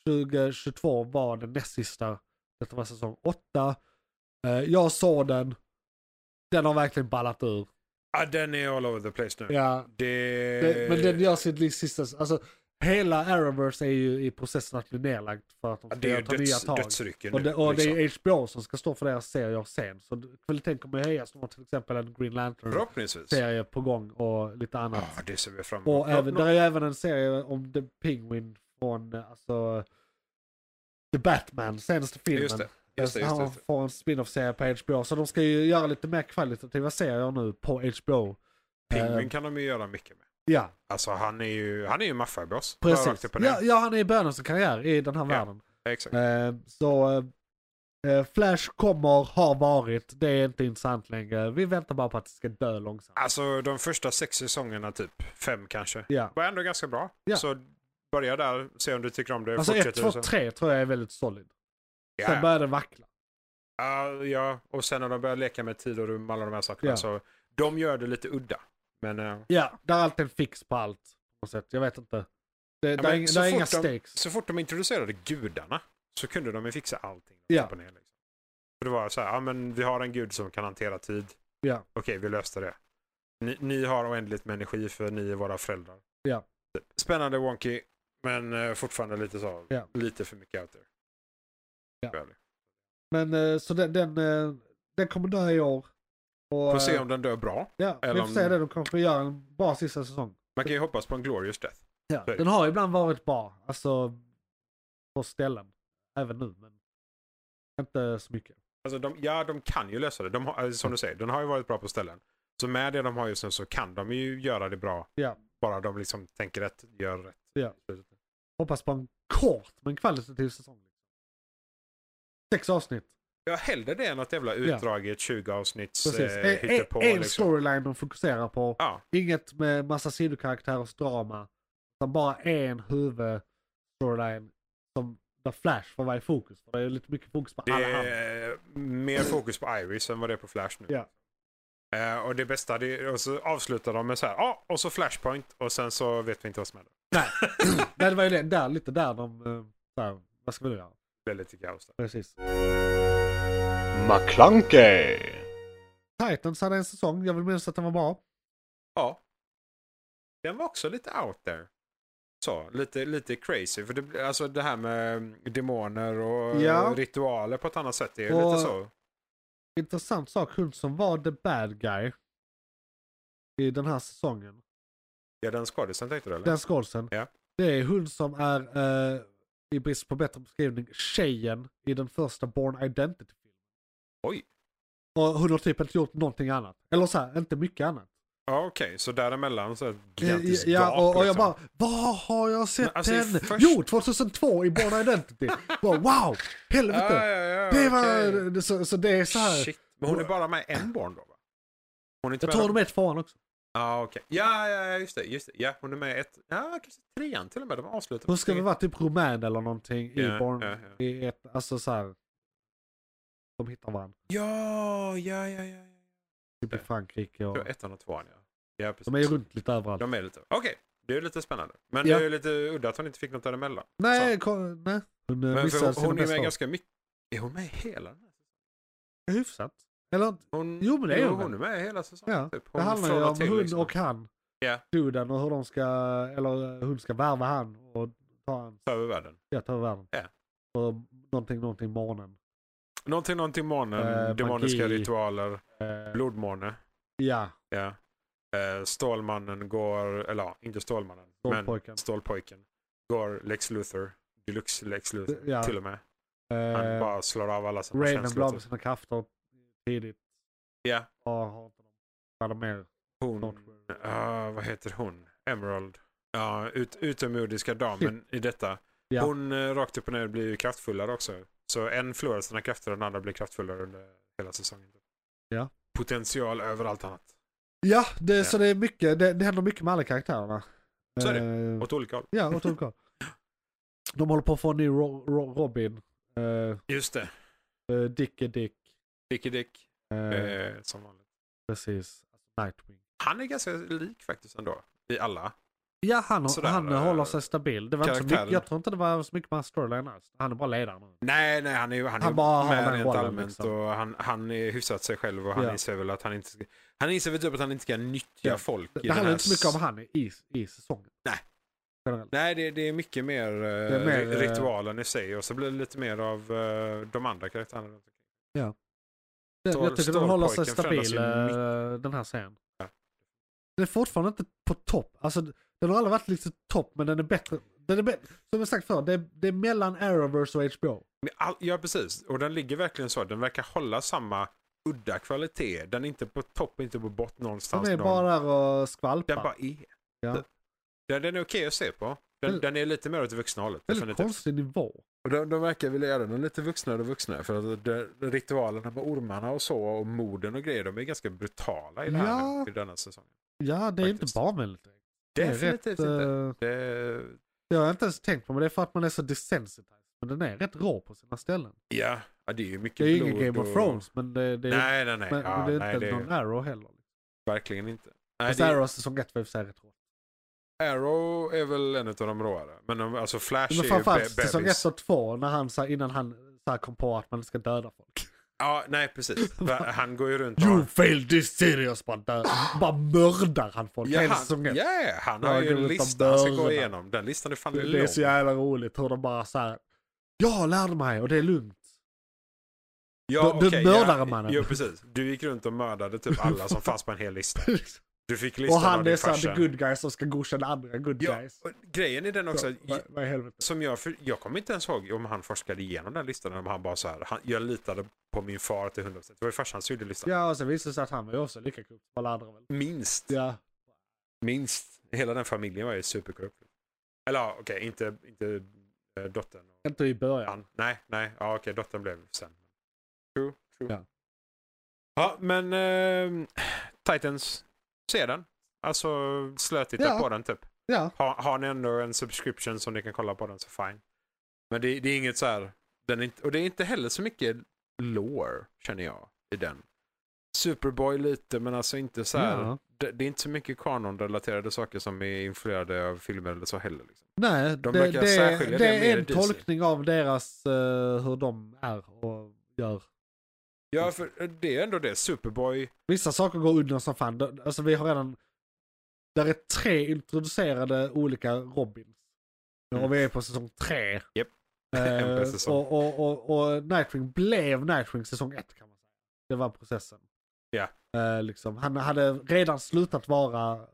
[SPEAKER 3] 2022 var den näst sista. Detta var säsong 8. Jag såg den. Den har verkligen ballat ur.
[SPEAKER 4] Ja, den är all over the place nu.
[SPEAKER 3] Ja,
[SPEAKER 4] Det...
[SPEAKER 3] det, men den gör sitt livs sista... Alltså, hela Arrowverse är ju i processen att bli nedlagt för att de
[SPEAKER 4] Ja,
[SPEAKER 3] ska
[SPEAKER 4] det är ju
[SPEAKER 3] ta nya
[SPEAKER 4] döds,
[SPEAKER 3] tag.
[SPEAKER 4] dödsrycken
[SPEAKER 3] Och,
[SPEAKER 4] nu.
[SPEAKER 3] det, och det
[SPEAKER 4] liksom.
[SPEAKER 3] är HBO som ska stå för deras serier sen. Så kvaliteten kommer höjas. De har till exempel en Green Lantern-serie
[SPEAKER 4] Förhoppningsvis.
[SPEAKER 3] på gång och lite annat.
[SPEAKER 4] Ja, det ser vi fram emot.
[SPEAKER 3] Och även,
[SPEAKER 4] Nå-
[SPEAKER 3] där är ju även en serie om The Penguin från eh, alltså, The Batman, senaste filmen.
[SPEAKER 4] Just det. Just det, just det,
[SPEAKER 3] Han
[SPEAKER 4] just det.
[SPEAKER 3] får en spin-off-serie på HBO. Så de ska ju göra lite mer kvalitativa serier nu på HBO.
[SPEAKER 4] Pingvin
[SPEAKER 3] Eh,
[SPEAKER 4] kan de ju göra mycket med.
[SPEAKER 3] Ja,
[SPEAKER 4] Alltså han är ju, han är ju maffabross. Bara rakt
[SPEAKER 3] precis.
[SPEAKER 4] upp och ner.
[SPEAKER 3] Ja, ja, han är i början av sin karriär i den här världen.
[SPEAKER 4] Exakt.
[SPEAKER 3] Eh, Så eh, eh, Flash kommer, har varit, det är inte intressant längre. Vi väntar bara på att det ska dö långsamt.
[SPEAKER 4] Alltså de första sex säsongerna typ, fem kanske,
[SPEAKER 3] Ja.
[SPEAKER 4] var ändå ganska bra.
[SPEAKER 3] Ja.
[SPEAKER 4] Så börja där, se om du tycker om det.
[SPEAKER 3] Alltså 1,
[SPEAKER 4] fortsätter
[SPEAKER 3] 2,
[SPEAKER 4] så.
[SPEAKER 3] 3 tror jag är väldigt solid. Sen
[SPEAKER 4] Ja.
[SPEAKER 3] börjar det vackla.
[SPEAKER 4] Ja, ja, och sen när de börjar leka med tid och rum, alla de här sakerna.
[SPEAKER 3] Ja.
[SPEAKER 4] Så de gör det lite udda. Men, eh,
[SPEAKER 3] Ja, där är alltid en fix på allt. På något sätt. Jag vet inte. Det, där
[SPEAKER 4] men
[SPEAKER 3] är, inga-
[SPEAKER 4] så
[SPEAKER 3] där är inga
[SPEAKER 4] fort de-
[SPEAKER 3] stakes.
[SPEAKER 4] så fort de introducerade gudarna så kunde de ju fixa allting.
[SPEAKER 3] Ja.
[SPEAKER 4] Upp och ner, liksom. För det var så här, ja men vi har en gud som kan hantera tid.
[SPEAKER 3] Ja.
[SPEAKER 4] Okej, vi löste det. Ni, ni har oändligt med energi för ni är våra föräldrar.
[SPEAKER 3] Ja.
[SPEAKER 4] Spännande wonky, men eh, fortfarande lite så,
[SPEAKER 3] Ja.
[SPEAKER 4] lite för mycket out there.
[SPEAKER 3] Ja.
[SPEAKER 4] Tyvärr.
[SPEAKER 3] Men eh, så den, den, eh, den kommer dö i år. Och,
[SPEAKER 4] Får se
[SPEAKER 3] eh,
[SPEAKER 4] om den dör bra.
[SPEAKER 3] Ja, vi
[SPEAKER 4] eller
[SPEAKER 3] får
[SPEAKER 4] om-
[SPEAKER 3] se det. De kanske gör en bra sista säsong.
[SPEAKER 4] Man kan ju hoppas på en glorious death.
[SPEAKER 3] Ja,
[SPEAKER 4] Så är det.
[SPEAKER 3] den har ibland varit bra. Alltså, på ställen. Även nu, men inte så mycket.
[SPEAKER 4] Alltså de, ja, de kan ju lösa det. De har, eh, som du säger, den har ju varit bra på ställen. Så med det de har just nu så kan de ju göra det bra.
[SPEAKER 3] Ja.
[SPEAKER 4] Bara de liksom tänker rätt, gör rätt.
[SPEAKER 3] Ja. Hoppas på en kort men kvalitativ säsong. liksom. Sex avsnitt.
[SPEAKER 4] Jag hellre det än att jävla utdraget 20 avsnitts
[SPEAKER 3] Precis.
[SPEAKER 4] eh,
[SPEAKER 3] En- en
[SPEAKER 4] hittepå.
[SPEAKER 3] en
[SPEAKER 4] liksom.
[SPEAKER 3] storyline de fokuserar på.
[SPEAKER 4] Ja,
[SPEAKER 3] Inget med massa sidokaraktärers drama. Utan bara en huvudstoryline som där Flash får vara i fokus. För det är lite mycket fokus på
[SPEAKER 4] det
[SPEAKER 3] alla han.
[SPEAKER 4] är eh, mer fokus på Iris än vad det är på Flash nu.
[SPEAKER 3] Ja.
[SPEAKER 4] Eh, och det bästa, det är, och så avslutar de med så här, ja, och så Flashpoint och sen så vet vi inte vad som händer.
[SPEAKER 3] Nej, <clears throat> det var ju det, där, lite där de... eh, Där, vad ska vi nu göra?
[SPEAKER 4] Det är lite kaos där.
[SPEAKER 3] Precis.
[SPEAKER 5] McClunkey,
[SPEAKER 3] Titans hade en säsong, jag vill minnas att den var bra.
[SPEAKER 4] Ja. Den var också lite out there. Så, lite, lite crazy. För det, alltså det här med demoner och eh,
[SPEAKER 3] Ja.
[SPEAKER 4] ritualer på ett annat sätt. Det är ju
[SPEAKER 3] Och-
[SPEAKER 4] lite så.
[SPEAKER 3] intressant sak, hon som var the bad guy i den här säsongen,
[SPEAKER 4] Ja, den skådisen tänkte du eller?
[SPEAKER 3] den skådisen.
[SPEAKER 4] Ja.
[SPEAKER 3] Det är hon som är, eh, i brist på bättre beskrivning, tjejen i den första Born Identity-filmen.
[SPEAKER 4] Oj.
[SPEAKER 3] Och hon har typ inte gjort någonting annat. Eller så här, inte mycket annat.
[SPEAKER 4] Ja, okej. Så däremellan så är det ett
[SPEAKER 3] Eh,
[SPEAKER 4] gigantiskt
[SPEAKER 3] Ja,
[SPEAKER 4] gap,
[SPEAKER 3] och, och
[SPEAKER 4] liksom.
[SPEAKER 3] jag bara, vad har jag sett
[SPEAKER 4] Men alltså, i
[SPEAKER 3] henne?
[SPEAKER 4] först-
[SPEAKER 3] Jo, 2002 i Born Identity. bara, wow, helvete.
[SPEAKER 4] Ja, ja, Ah, ja,
[SPEAKER 3] det var,
[SPEAKER 4] okej.
[SPEAKER 3] så, så det är så här.
[SPEAKER 4] Shit. Men hon är bara med en barn då va? Hon är inte
[SPEAKER 3] Jag
[SPEAKER 4] med
[SPEAKER 3] tror de är tvåan också.
[SPEAKER 4] Ja, okej. Ja, ja, ja, just det. Just det. Ja, hon är med ett... Ja, kanske trean till och med. De avslutar
[SPEAKER 3] Hon ska
[SPEAKER 4] tre.
[SPEAKER 3] väl vara typ rumän eller någonting i
[SPEAKER 4] Ja,
[SPEAKER 3] Born.
[SPEAKER 4] ja, ja.
[SPEAKER 3] I ett, alltså så här. De hittar varandra.
[SPEAKER 4] Ja, ja, ja, ja.
[SPEAKER 3] Typ i
[SPEAKER 4] Ja.
[SPEAKER 3] Frankrike
[SPEAKER 4] Jag
[SPEAKER 3] och.
[SPEAKER 4] tror ettan och tvåan ja. Ja, precis.
[SPEAKER 3] De är ju runt lite överallt.
[SPEAKER 4] De är lite... Okej, det är lite spännande. Men
[SPEAKER 3] Ja.
[SPEAKER 4] det är ju lite udda att hon inte fick något däremellan.
[SPEAKER 3] Nej, kom, nej. Hon eh,
[SPEAKER 4] Men för
[SPEAKER 3] missade
[SPEAKER 4] hon,
[SPEAKER 3] sina
[SPEAKER 4] hon är
[SPEAKER 3] bästa
[SPEAKER 4] med
[SPEAKER 3] år.
[SPEAKER 4] ganska mycket. Är hon med hela den här säsongen?
[SPEAKER 3] Hyfsat. Eller inte.
[SPEAKER 4] hon,
[SPEAKER 3] Jo, men det är hon
[SPEAKER 4] hon är med hela säsongen.
[SPEAKER 3] Ja.
[SPEAKER 4] Typ. Hon
[SPEAKER 3] Det handlar ju
[SPEAKER 4] från och
[SPEAKER 3] om
[SPEAKER 4] till,
[SPEAKER 3] hon
[SPEAKER 4] liksom.
[SPEAKER 3] och han.
[SPEAKER 4] Ja.
[SPEAKER 3] Duden och hur de ska, eller eh, hon ska värva han och ta han.
[SPEAKER 4] Ta över världen.
[SPEAKER 3] Ja, ta över världen.
[SPEAKER 4] Ja.
[SPEAKER 3] Och någonting, någonting månen.
[SPEAKER 4] Någonting, någonting månen,
[SPEAKER 3] Eh,
[SPEAKER 4] demoniska
[SPEAKER 3] magi.
[SPEAKER 4] ritualer,
[SPEAKER 3] Eh,
[SPEAKER 4] blodmåne.
[SPEAKER 3] ja,
[SPEAKER 4] Ja. Eh, Stålmannen går, eller ja, inte Stålmannen,
[SPEAKER 3] Stålpojken.
[SPEAKER 4] men Stålpojken. Går Lex Luthor, Deluxe Lex Luthor
[SPEAKER 3] Ja.
[SPEAKER 4] till och med. Han
[SPEAKER 3] eh,
[SPEAKER 4] bara slår av alla sina
[SPEAKER 3] Raven
[SPEAKER 4] känslor.
[SPEAKER 3] blev
[SPEAKER 4] typ.
[SPEAKER 3] sina krafter tidigt.
[SPEAKER 4] Ja,
[SPEAKER 3] Och har inte de vad de mer.
[SPEAKER 4] hon, ah, vad heter hon? Emerald. Ja, ut, utomjordiska damen i detta.
[SPEAKER 3] Ja.
[SPEAKER 4] Hon eh, rakt upp och ner blir ju kraftfullare också. Så en förlorar sina krafter och den andra blir kraftfullare under hela säsongen.
[SPEAKER 3] Ja.
[SPEAKER 4] Potential överallt annat.
[SPEAKER 3] Ja, det,
[SPEAKER 4] Ja.
[SPEAKER 3] så det är mycket. Det, det händer mycket med alla karaktärerna.
[SPEAKER 4] Så är det.
[SPEAKER 3] Eh,
[SPEAKER 4] Åt olika håll.
[SPEAKER 3] ja, åt olika håll. <laughs> De håller på att få en ny Ro, Ro, Robin. Eh,
[SPEAKER 4] Just det.
[SPEAKER 3] eh, Dick är Dick.
[SPEAKER 4] Dicky Dick.
[SPEAKER 3] Eh,
[SPEAKER 4] Eh, som vanligt.
[SPEAKER 3] Precis. Alltså, Nightwing.
[SPEAKER 4] Han är ganska lik faktiskt ändå. I alla.
[SPEAKER 3] Ja, han,
[SPEAKER 4] Sådär,
[SPEAKER 3] han
[SPEAKER 4] eh,
[SPEAKER 3] håller sig stabil. Det var inte så
[SPEAKER 4] karaktären.
[SPEAKER 3] mycket, jag tror inte det var så mycket med hans storyline alls. Han är bara ledaren.
[SPEAKER 4] Nej, nej, han är ju han är
[SPEAKER 3] Han
[SPEAKER 4] ju
[SPEAKER 3] bara har
[SPEAKER 4] med
[SPEAKER 3] den
[SPEAKER 4] rent
[SPEAKER 3] rollen,
[SPEAKER 4] allmänt
[SPEAKER 3] liksom.
[SPEAKER 4] och han, han är hyfsat sig själv och han
[SPEAKER 3] Ja.
[SPEAKER 4] inser väl att han inte ska, han inser väl typ att han inte ska nyttja
[SPEAKER 3] Ja.
[SPEAKER 4] folk. i
[SPEAKER 3] Det
[SPEAKER 4] den
[SPEAKER 3] handlar
[SPEAKER 4] här
[SPEAKER 3] inte så mycket om han i, i säsongen.
[SPEAKER 4] Nej.
[SPEAKER 3] Generellt.
[SPEAKER 4] Nej, det, det är mycket mer, eh,
[SPEAKER 3] är mer,
[SPEAKER 4] ri-
[SPEAKER 3] eh,
[SPEAKER 4] ritualen i sig och så blir det lite mer av eh, de andra karaktärerna. runt omkring.
[SPEAKER 3] Det, jag tycker den
[SPEAKER 4] Stålpojken
[SPEAKER 3] håller sig
[SPEAKER 4] förändras
[SPEAKER 3] stabil,
[SPEAKER 4] ju
[SPEAKER 3] eh, den här serien.
[SPEAKER 4] Ja.
[SPEAKER 3] Den är fortfarande inte på topp. Alltså, den har aldrig varit liksom topp, men den är bättre. Den är bättre. Som jag sagt förr, det är, det är mellan Arrowverse och HBO.
[SPEAKER 4] Men all, ja, precis. Och den ligger verkligen så. Den verkar hålla samma udda kvalitet. Den är inte på topp, inte på botten
[SPEAKER 3] Den
[SPEAKER 4] någonstans.
[SPEAKER 3] är
[SPEAKER 4] någon-
[SPEAKER 3] bara där och skvalpar.
[SPEAKER 4] den bara är.
[SPEAKER 3] Ja.
[SPEAKER 4] Den, den är okej att se på. Den,
[SPEAKER 3] Väl-
[SPEAKER 4] den är lite mer åt det vuxna hållet.
[SPEAKER 3] Väldigt
[SPEAKER 4] definitivt.
[SPEAKER 3] konstig nivå.
[SPEAKER 4] Och de, de verkar vilja göra den lite vuxnare och vuxnare för att de, de ritualerna med ormarna och så och morden och grejer de är ganska brutala i, det här,
[SPEAKER 3] Ja.
[SPEAKER 4] i denna säsongen.
[SPEAKER 3] Ja, det är
[SPEAKER 4] Faktiskt.
[SPEAKER 3] inte barnvänligt. Det är
[SPEAKER 4] Definitivt
[SPEAKER 3] rätt,
[SPEAKER 4] inte.
[SPEAKER 3] eh,
[SPEAKER 4] Det,
[SPEAKER 3] Det har jag inte ens tänkt på, men det är för att man är så desensitized. Men den är rätt rå på sina ställen.
[SPEAKER 4] ja, ja, det är ju mycket
[SPEAKER 3] Det är ju
[SPEAKER 4] blod
[SPEAKER 3] ingen Game of
[SPEAKER 4] och-
[SPEAKER 3] Thrones, men det, det, är-
[SPEAKER 4] Nej, nej, nej.
[SPEAKER 3] men,
[SPEAKER 4] ja,
[SPEAKER 3] men det är
[SPEAKER 4] nej,
[SPEAKER 3] inte
[SPEAKER 4] det är
[SPEAKER 3] någon Arrow heller.
[SPEAKER 4] verkligen inte. Nej,
[SPEAKER 3] Fast
[SPEAKER 4] det,
[SPEAKER 3] Arrow säsong 1 var i och för sig rätt rå.
[SPEAKER 4] Arrow är väl en av de råare. Men de, alltså Flash
[SPEAKER 3] Men
[SPEAKER 4] är ju
[SPEAKER 3] framförallt
[SPEAKER 4] be-
[SPEAKER 3] säsong
[SPEAKER 4] bebis.
[SPEAKER 3] 1 och 2, när han, så här, innan han så här, kom på att man ska döda folk.
[SPEAKER 4] Ja, nej precis.
[SPEAKER 3] <laughs>
[SPEAKER 4] För Han går ju runt
[SPEAKER 3] You failed this serious! Bara, dö- bara mördar han folk
[SPEAKER 4] Ja,
[SPEAKER 3] hela
[SPEAKER 4] han,
[SPEAKER 3] säsong
[SPEAKER 4] ja,
[SPEAKER 3] ett.
[SPEAKER 4] ja, han har
[SPEAKER 3] Ja,
[SPEAKER 4] ju
[SPEAKER 3] går
[SPEAKER 4] en
[SPEAKER 3] runt och
[SPEAKER 4] lista han ska gå
[SPEAKER 3] börjar.
[SPEAKER 4] igenom. Den listan är fan
[SPEAKER 3] Det,
[SPEAKER 4] lång.
[SPEAKER 3] det är så jävla roligt hur de bara så här. Jag lärde mig och det
[SPEAKER 4] <laughs>
[SPEAKER 3] är lugnt.
[SPEAKER 4] Ja,
[SPEAKER 3] Du- du
[SPEAKER 4] okej,
[SPEAKER 3] mördade
[SPEAKER 4] ja,
[SPEAKER 3] mannen.
[SPEAKER 4] Ja, precis. Du gick runt och mördade
[SPEAKER 3] <laughs>
[SPEAKER 4] typ alla som fanns på en hel lista. Du fick listan
[SPEAKER 3] och
[SPEAKER 4] av
[SPEAKER 3] han
[SPEAKER 4] din
[SPEAKER 3] är såhär
[SPEAKER 4] farsa.
[SPEAKER 3] the good guys som ska godkänna andra good
[SPEAKER 4] ja,
[SPEAKER 3] guys.
[SPEAKER 4] och Grejen i den också,
[SPEAKER 3] Så,
[SPEAKER 4] att
[SPEAKER 3] vad- Vad i helvete.
[SPEAKER 4] som jag, för, jag kommer inte ens ihåg om han forskade igenom den listan eller om han bara så här, han, jag litade på min far till 100%. Det var ju farsan som gjorde listan.
[SPEAKER 3] Ja, och sen visade det sig att han var ju också lika korrupt som alla andra väl.
[SPEAKER 4] Minst,
[SPEAKER 3] Ja.
[SPEAKER 4] minst, hela den familjen var ju superkorrupt. Eller ja, okej, inte, inte eh, dottern. och
[SPEAKER 3] Inte i början.
[SPEAKER 4] Han, nej, nej, ja, okej, dottern blev sen. True, true.
[SPEAKER 3] Ja.
[SPEAKER 4] Ja, men ehm, Titans, se den. Alltså slötitta
[SPEAKER 3] Ja.
[SPEAKER 4] på den typ.
[SPEAKER 3] Ja.
[SPEAKER 4] Har, har ni ändå en subscription som ni kan kolla på den så fine. Men det, det är inget så här. Den är inte, och det är inte heller så mycket lore känner jag i den. Superboy lite men alltså inte så här.
[SPEAKER 3] Ja.
[SPEAKER 4] Det, det är inte så mycket kanonrelaterade saker som är influerade av filmer eller så heller. Liksom.
[SPEAKER 3] Nej,
[SPEAKER 4] De
[SPEAKER 3] det,
[SPEAKER 4] verkar
[SPEAKER 3] det,
[SPEAKER 4] särskilja
[SPEAKER 3] det,
[SPEAKER 4] det mer
[SPEAKER 3] är
[SPEAKER 4] än
[SPEAKER 3] en
[SPEAKER 4] DC.
[SPEAKER 3] tolkning av deras, eh, hur de är och gör. Mm.
[SPEAKER 4] Ja, för eh, det är ändå det. Superboy.
[SPEAKER 3] Vissa saker går undan som fan. De- Alltså vi har redan, där är tre introducerade olika Robins.
[SPEAKER 4] Mm.
[SPEAKER 3] Och vi är på säsong tre.
[SPEAKER 4] Japp.
[SPEAKER 3] Eh,
[SPEAKER 4] <laughs> En per säsong.
[SPEAKER 3] och, och, och, och Nightwing blev Nightwing säsong ett kan man säga. Det var processen.
[SPEAKER 4] Ja.
[SPEAKER 3] Eh, liksom, han hade redan slutat vara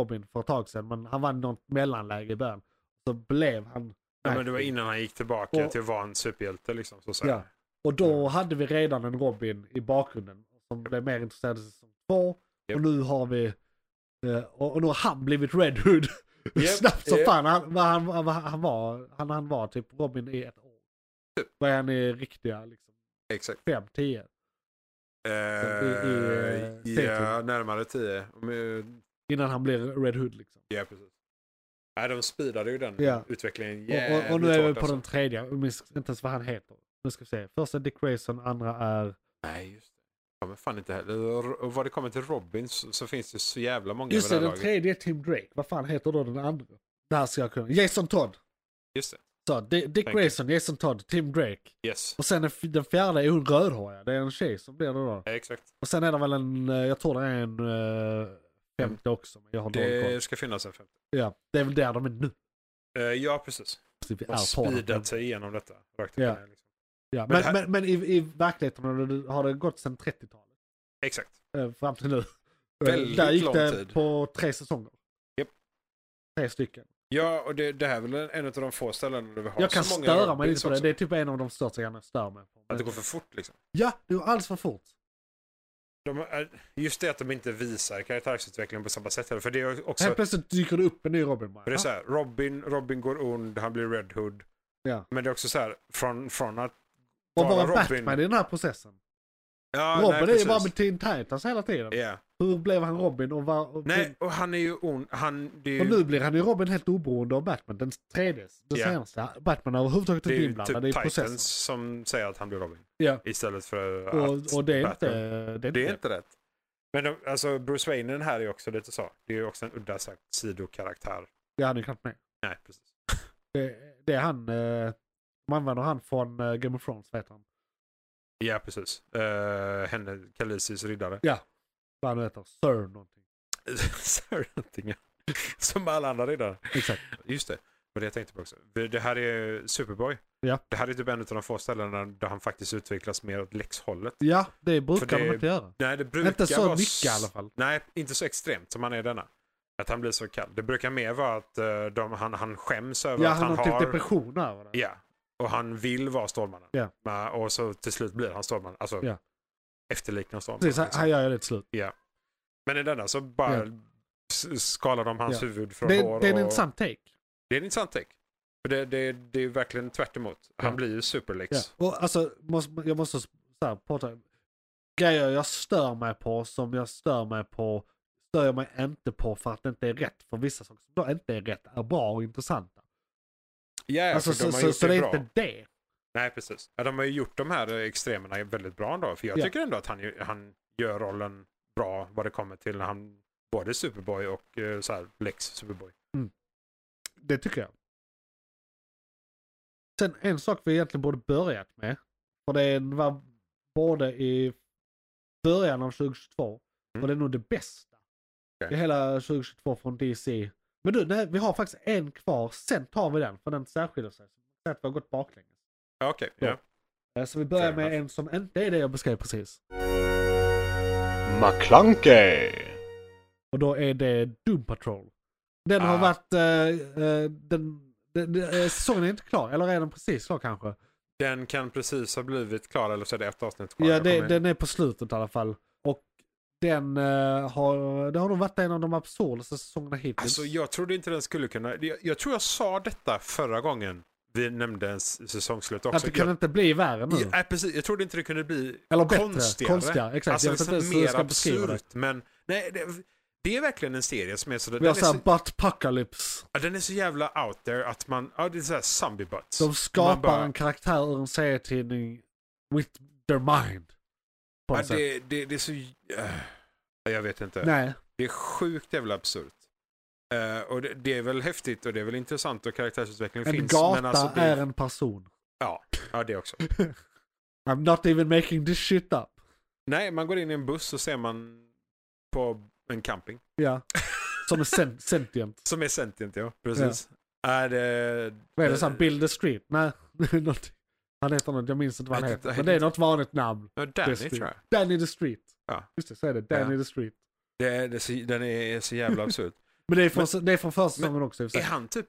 [SPEAKER 3] Robin för ett tag sedan, men han var något mellanläge i början. Så blev han...
[SPEAKER 4] Ja, men det var
[SPEAKER 3] Nightwing.
[SPEAKER 4] innan han gitt tillbaka
[SPEAKER 3] Och-
[SPEAKER 4] till att vara en superhjälte liksom. Så att säga.
[SPEAKER 3] Ja. Och
[SPEAKER 4] Mm.
[SPEAKER 3] då hade vi redan en Robin i bakgrunden som blev mer intresserad i säsong två.
[SPEAKER 4] Japp.
[SPEAKER 3] Och nu har vi... eh, Och och nu har han blivit Red Hood. <laughs>
[SPEAKER 4] Japp,
[SPEAKER 3] Snabbt som
[SPEAKER 4] japp.
[SPEAKER 3] fan. Han, vad han, vad han, var, han, han var typ Robin i ett år.
[SPEAKER 4] Typ.
[SPEAKER 3] Vad är han i riktiga liksom,
[SPEAKER 4] Exakt.
[SPEAKER 3] fem, tio? i- i, eh,
[SPEAKER 4] ja,
[SPEAKER 3] serien.
[SPEAKER 4] närmare 10. Om, eh,
[SPEAKER 3] Innan han blir Red Hood liksom.
[SPEAKER 4] Ja, precis. Nej, de speedade ju den
[SPEAKER 3] Ja.
[SPEAKER 4] utvecklingen
[SPEAKER 3] Och,
[SPEAKER 4] jävligt
[SPEAKER 3] och, och nu är vi
[SPEAKER 4] hårt,
[SPEAKER 3] på
[SPEAKER 4] alltså.
[SPEAKER 3] den tredje. Jag minns inte ens vad han heter. Nu ska vi se. Första Dick Grayson, andra är...
[SPEAKER 4] Nej, just det. Ja, men fan inte heller. Och vad det kommer till Robin så, så finns det så jävla många
[SPEAKER 3] Just
[SPEAKER 4] över
[SPEAKER 3] det,
[SPEAKER 4] det här laget.
[SPEAKER 3] den tredje är Tim Drake. Vad fan heter då den andra? Det här ska jag kunna. Jason Todd.
[SPEAKER 4] Just det.
[SPEAKER 3] Så, Di- Dick
[SPEAKER 4] Thank you.
[SPEAKER 3] Grayson, Jason Todd, Tim Drake.
[SPEAKER 4] Yes.
[SPEAKER 3] Och sen den, f- den fjärde är hon rödhåriga. Det är en tjej som blir det då.
[SPEAKER 4] Ja, exakt.
[SPEAKER 3] Och sen är det väl en, eh, jag tror det är en eh, femte också. Men jag har dålig koll.
[SPEAKER 4] Det ska finnas en femte.
[SPEAKER 3] Ja, det är väl där de är nu.
[SPEAKER 4] Eh, ja, precis.
[SPEAKER 3] Typ i
[SPEAKER 4] De har speedat sig igenom detta. Rakt upp
[SPEAKER 3] Ja.
[SPEAKER 4] och ner, liksom.
[SPEAKER 3] ja,
[SPEAKER 4] Men det
[SPEAKER 3] men,
[SPEAKER 4] här-
[SPEAKER 3] men, men i, i verkligheten har det, har det gått sedan 30-talet.
[SPEAKER 4] Exakt.
[SPEAKER 3] eh, Fram till nu. Eh,
[SPEAKER 4] Väldigt
[SPEAKER 3] där gick
[SPEAKER 4] lång
[SPEAKER 3] det
[SPEAKER 4] tid.
[SPEAKER 3] på tre säsonger.
[SPEAKER 4] Japp.
[SPEAKER 3] Tre stycken.
[SPEAKER 4] Ja, och det, det här är väl en, en av de få ställen där vi har
[SPEAKER 3] jag kan
[SPEAKER 4] så många
[SPEAKER 3] störa mig
[SPEAKER 4] Robins
[SPEAKER 3] lite på det.
[SPEAKER 4] också.
[SPEAKER 3] Det är typ en av de största grejerna jag stör mig på.
[SPEAKER 4] Att det går för fort liksom.
[SPEAKER 3] Ja, det går alldeles för fort.
[SPEAKER 4] De, är- just det att de inte visar karaktärsutvecklingen på samma sätt heller. För det är också...
[SPEAKER 3] Helt plötsligt dyker det upp en ny Robin. bara,
[SPEAKER 4] För det är
[SPEAKER 3] "Ah,
[SPEAKER 4] så här, Robin, Robin går ond, han blir Red Hood.
[SPEAKER 3] Ja.
[SPEAKER 4] Men det är också så här, från, från att
[SPEAKER 3] Och
[SPEAKER 4] vara
[SPEAKER 3] vara
[SPEAKER 4] Robin-
[SPEAKER 3] Batman i den här processen.
[SPEAKER 4] Ja, nej,
[SPEAKER 3] Robin är ju
[SPEAKER 4] precis.
[SPEAKER 3] bara med Teen Titans hela tiden.
[SPEAKER 4] Ja.
[SPEAKER 3] Hur blev han Robin och var... och-
[SPEAKER 4] Nej, och han är ju ond. Han, det är ju,
[SPEAKER 3] Och nu blir typ han ju Robin helt oberoende av Batman. Den tredje, den
[SPEAKER 4] Ja.
[SPEAKER 3] senaste. Batman är överhuvudtaget
[SPEAKER 4] det är
[SPEAKER 3] inte
[SPEAKER 4] ju
[SPEAKER 3] inblandad i
[SPEAKER 4] typ
[SPEAKER 3] processen.
[SPEAKER 4] Titans som säger att han blir Robin.
[SPEAKER 3] Ja.
[SPEAKER 4] Istället för att
[SPEAKER 3] Och, och det är inte...
[SPEAKER 4] Batman.
[SPEAKER 3] Det är
[SPEAKER 4] Det är
[SPEAKER 3] inte.
[SPEAKER 4] inte rätt. Men de, alltså Bruce Wayne i den här är ju också lite så. Det är ju också en udda så här, sidokaraktär.
[SPEAKER 3] Ja, han är knappt med.
[SPEAKER 4] Nej, precis.
[SPEAKER 3] Det, det är han... Eh, man använder han från eh, Game of Thrones, vet han.
[SPEAKER 4] Ja, precis. Uh, henne, Khaleesi's riddare. <laughs>
[SPEAKER 3] Vad han heter. Sir någonting.
[SPEAKER 4] Sir någonting, ja. Som alla andra riddare.
[SPEAKER 3] Exakt.
[SPEAKER 4] Just det. Och det jag tänkte på också. Det här är Superboy.
[SPEAKER 3] Ja.
[SPEAKER 4] Det här är typ en av de få ställena där han faktiskt utvecklas mer åt läxhållet.
[SPEAKER 3] Ja, det brukar
[SPEAKER 4] För det-
[SPEAKER 3] de inte göra.
[SPEAKER 4] Nej, det brukar
[SPEAKER 3] Inte så
[SPEAKER 4] vara... s-
[SPEAKER 3] mycket i alla fall.
[SPEAKER 4] Nej, inte så extremt som han är i denna. Att han blir så kall. Det brukar mer vara att eh, de, han, han skäms över
[SPEAKER 3] Ja,
[SPEAKER 4] att
[SPEAKER 3] han
[SPEAKER 4] han,
[SPEAKER 3] har typ
[SPEAKER 4] har...
[SPEAKER 3] depression över det.
[SPEAKER 4] ja. Och han vill vara Stålmannen.
[SPEAKER 3] Ja.
[SPEAKER 4] Men- Och så till slut blir han Stålmannen. Alltså
[SPEAKER 3] Ja.
[SPEAKER 4] efterliknar Stålmannen.
[SPEAKER 3] Precis, han,
[SPEAKER 4] liksom.
[SPEAKER 3] han gör ju det till slut.
[SPEAKER 4] Men i denna så bara
[SPEAKER 3] Ja.
[SPEAKER 4] s- skalar de hans
[SPEAKER 3] Ja.
[SPEAKER 4] huvud från
[SPEAKER 3] Det,
[SPEAKER 4] hår
[SPEAKER 3] det är en
[SPEAKER 4] och...
[SPEAKER 3] intressant take.
[SPEAKER 4] Det är en intressant take. För det, det, det är ju verkligen tvärt emot. Han
[SPEAKER 3] Ja.
[SPEAKER 4] blir ju superlex.
[SPEAKER 3] Ja. Och alltså, måste, jag måste så här, prata. Grejer jag stör mig på som jag stör mig på stör jag mig inte på för att det inte är rätt. För vissa saker som då inte är rätt är bra och intressanta.
[SPEAKER 4] Ja,
[SPEAKER 3] alltså,
[SPEAKER 4] för de
[SPEAKER 3] så,
[SPEAKER 4] har
[SPEAKER 3] så,
[SPEAKER 4] gjort
[SPEAKER 3] så det
[SPEAKER 4] det
[SPEAKER 3] är
[SPEAKER 4] bra.
[SPEAKER 3] inte det.
[SPEAKER 4] Nej, precis. Ja, de har ju gjort de här eh, extremerna väldigt bra ändå. För jag
[SPEAKER 3] Ja.
[SPEAKER 4] tycker ändå att han, ju- han gör rollen bra vad det kommer till när han både är Superboy och eh, så här, Lex Superboy.
[SPEAKER 3] Det tycker jag. Sen en sak vi egentligen borde börjat med. För det var både i början av 2022
[SPEAKER 4] Mm.
[SPEAKER 3] och det är nog det bästa.
[SPEAKER 4] Okej.
[SPEAKER 3] I hela 2022 från DC. Men du, nej, vi har faktiskt en kvar. Sen tar vi den, för den särskiljer sig. Så att vi har gått baklänges.
[SPEAKER 4] Ja, Okej,
[SPEAKER 3] Ja.
[SPEAKER 4] ja.
[SPEAKER 3] Eh, Så vi börjar
[SPEAKER 4] Fair
[SPEAKER 3] med
[SPEAKER 4] enough.
[SPEAKER 3] en som inte är det jag beskrev precis.
[SPEAKER 5] McClunkey.
[SPEAKER 3] Och då är det Doom Patrol. Den har
[SPEAKER 4] Ah.
[SPEAKER 3] varit... eh, eh, den, den, den, eh, säsongen är inte klar, eller är den precis klar kanske?
[SPEAKER 4] Den kan precis ha blivit klar, eller så är det ett avsnitt kvar.
[SPEAKER 3] Ja,
[SPEAKER 4] Jag
[SPEAKER 3] det,
[SPEAKER 4] kommer-
[SPEAKER 3] den är på slutet i alla fall. Och den eh, har, det har nog varit en av de absurdaste säsongerna hittills.
[SPEAKER 4] Alltså jag trodde inte den skulle kunna... Jag, jag tror jag sa detta förra gången vi nämnde en s- säsongsslut också.
[SPEAKER 3] att det kan inte bli värre nu.
[SPEAKER 4] jag, nej, precis. Jag trodde inte det kunde bli
[SPEAKER 3] Mm. Eller bättre.
[SPEAKER 4] konstigare.
[SPEAKER 3] Konstigare, exakt.
[SPEAKER 4] Alltså
[SPEAKER 3] jag vet inte ens
[SPEAKER 4] liksom
[SPEAKER 3] hur jag
[SPEAKER 4] mer
[SPEAKER 3] ska beskriva det.
[SPEAKER 4] absurt. Men nej, det, det är verkligen en serie som är så...
[SPEAKER 3] Vi
[SPEAKER 4] Den
[SPEAKER 3] har
[SPEAKER 4] är så,
[SPEAKER 3] såhär buttpucalypse.
[SPEAKER 4] ja, den är så jävla out there att man... Ja, det är såhär zombie butts.
[SPEAKER 3] De skapar
[SPEAKER 4] Man bara-
[SPEAKER 3] en karaktär ur en serietidning with their mind. På
[SPEAKER 4] ja,
[SPEAKER 3] något sätt.
[SPEAKER 4] det, det, det är så... äh, jag vet inte.
[SPEAKER 3] Nej,
[SPEAKER 4] Det är sjukt jävla absurt. Eh, och det, det är väl häftigt och det är väl intressant och karaktärsutveckling
[SPEAKER 3] en
[SPEAKER 4] finns.
[SPEAKER 3] gata
[SPEAKER 4] men alltså, det,
[SPEAKER 3] är en person.
[SPEAKER 4] Ja, ja, det också.
[SPEAKER 3] I'm not even making this shit up.
[SPEAKER 4] Nej, man går in i en buss och ser man på en camping.
[SPEAKER 3] Ja. Som
[SPEAKER 4] <laughs>
[SPEAKER 3] är sen- sentient.
[SPEAKER 4] Som är sentient, ja. Precis. Är det... eh,
[SPEAKER 3] Vad är det? Såhär, build the street? Nej, <laughs> någonting. Han heter något, jag minns inte vad han
[SPEAKER 4] Jag
[SPEAKER 3] heter.
[SPEAKER 4] vet
[SPEAKER 3] Men
[SPEAKER 4] inte.
[SPEAKER 3] det är något vanligt namn.
[SPEAKER 4] Ja, Danny
[SPEAKER 3] Just det.
[SPEAKER 4] tror jag.
[SPEAKER 3] Danny the Street.
[SPEAKER 4] Ja.
[SPEAKER 3] Just det, så är det. Danny
[SPEAKER 4] Ja.
[SPEAKER 3] the Street.
[SPEAKER 4] Det är, det är, så- den är så jävla
[SPEAKER 3] <laughs>
[SPEAKER 4] absurd.
[SPEAKER 3] Men det är från, det är från första säsongen också i och för
[SPEAKER 4] är
[SPEAKER 3] sig.
[SPEAKER 4] han typ...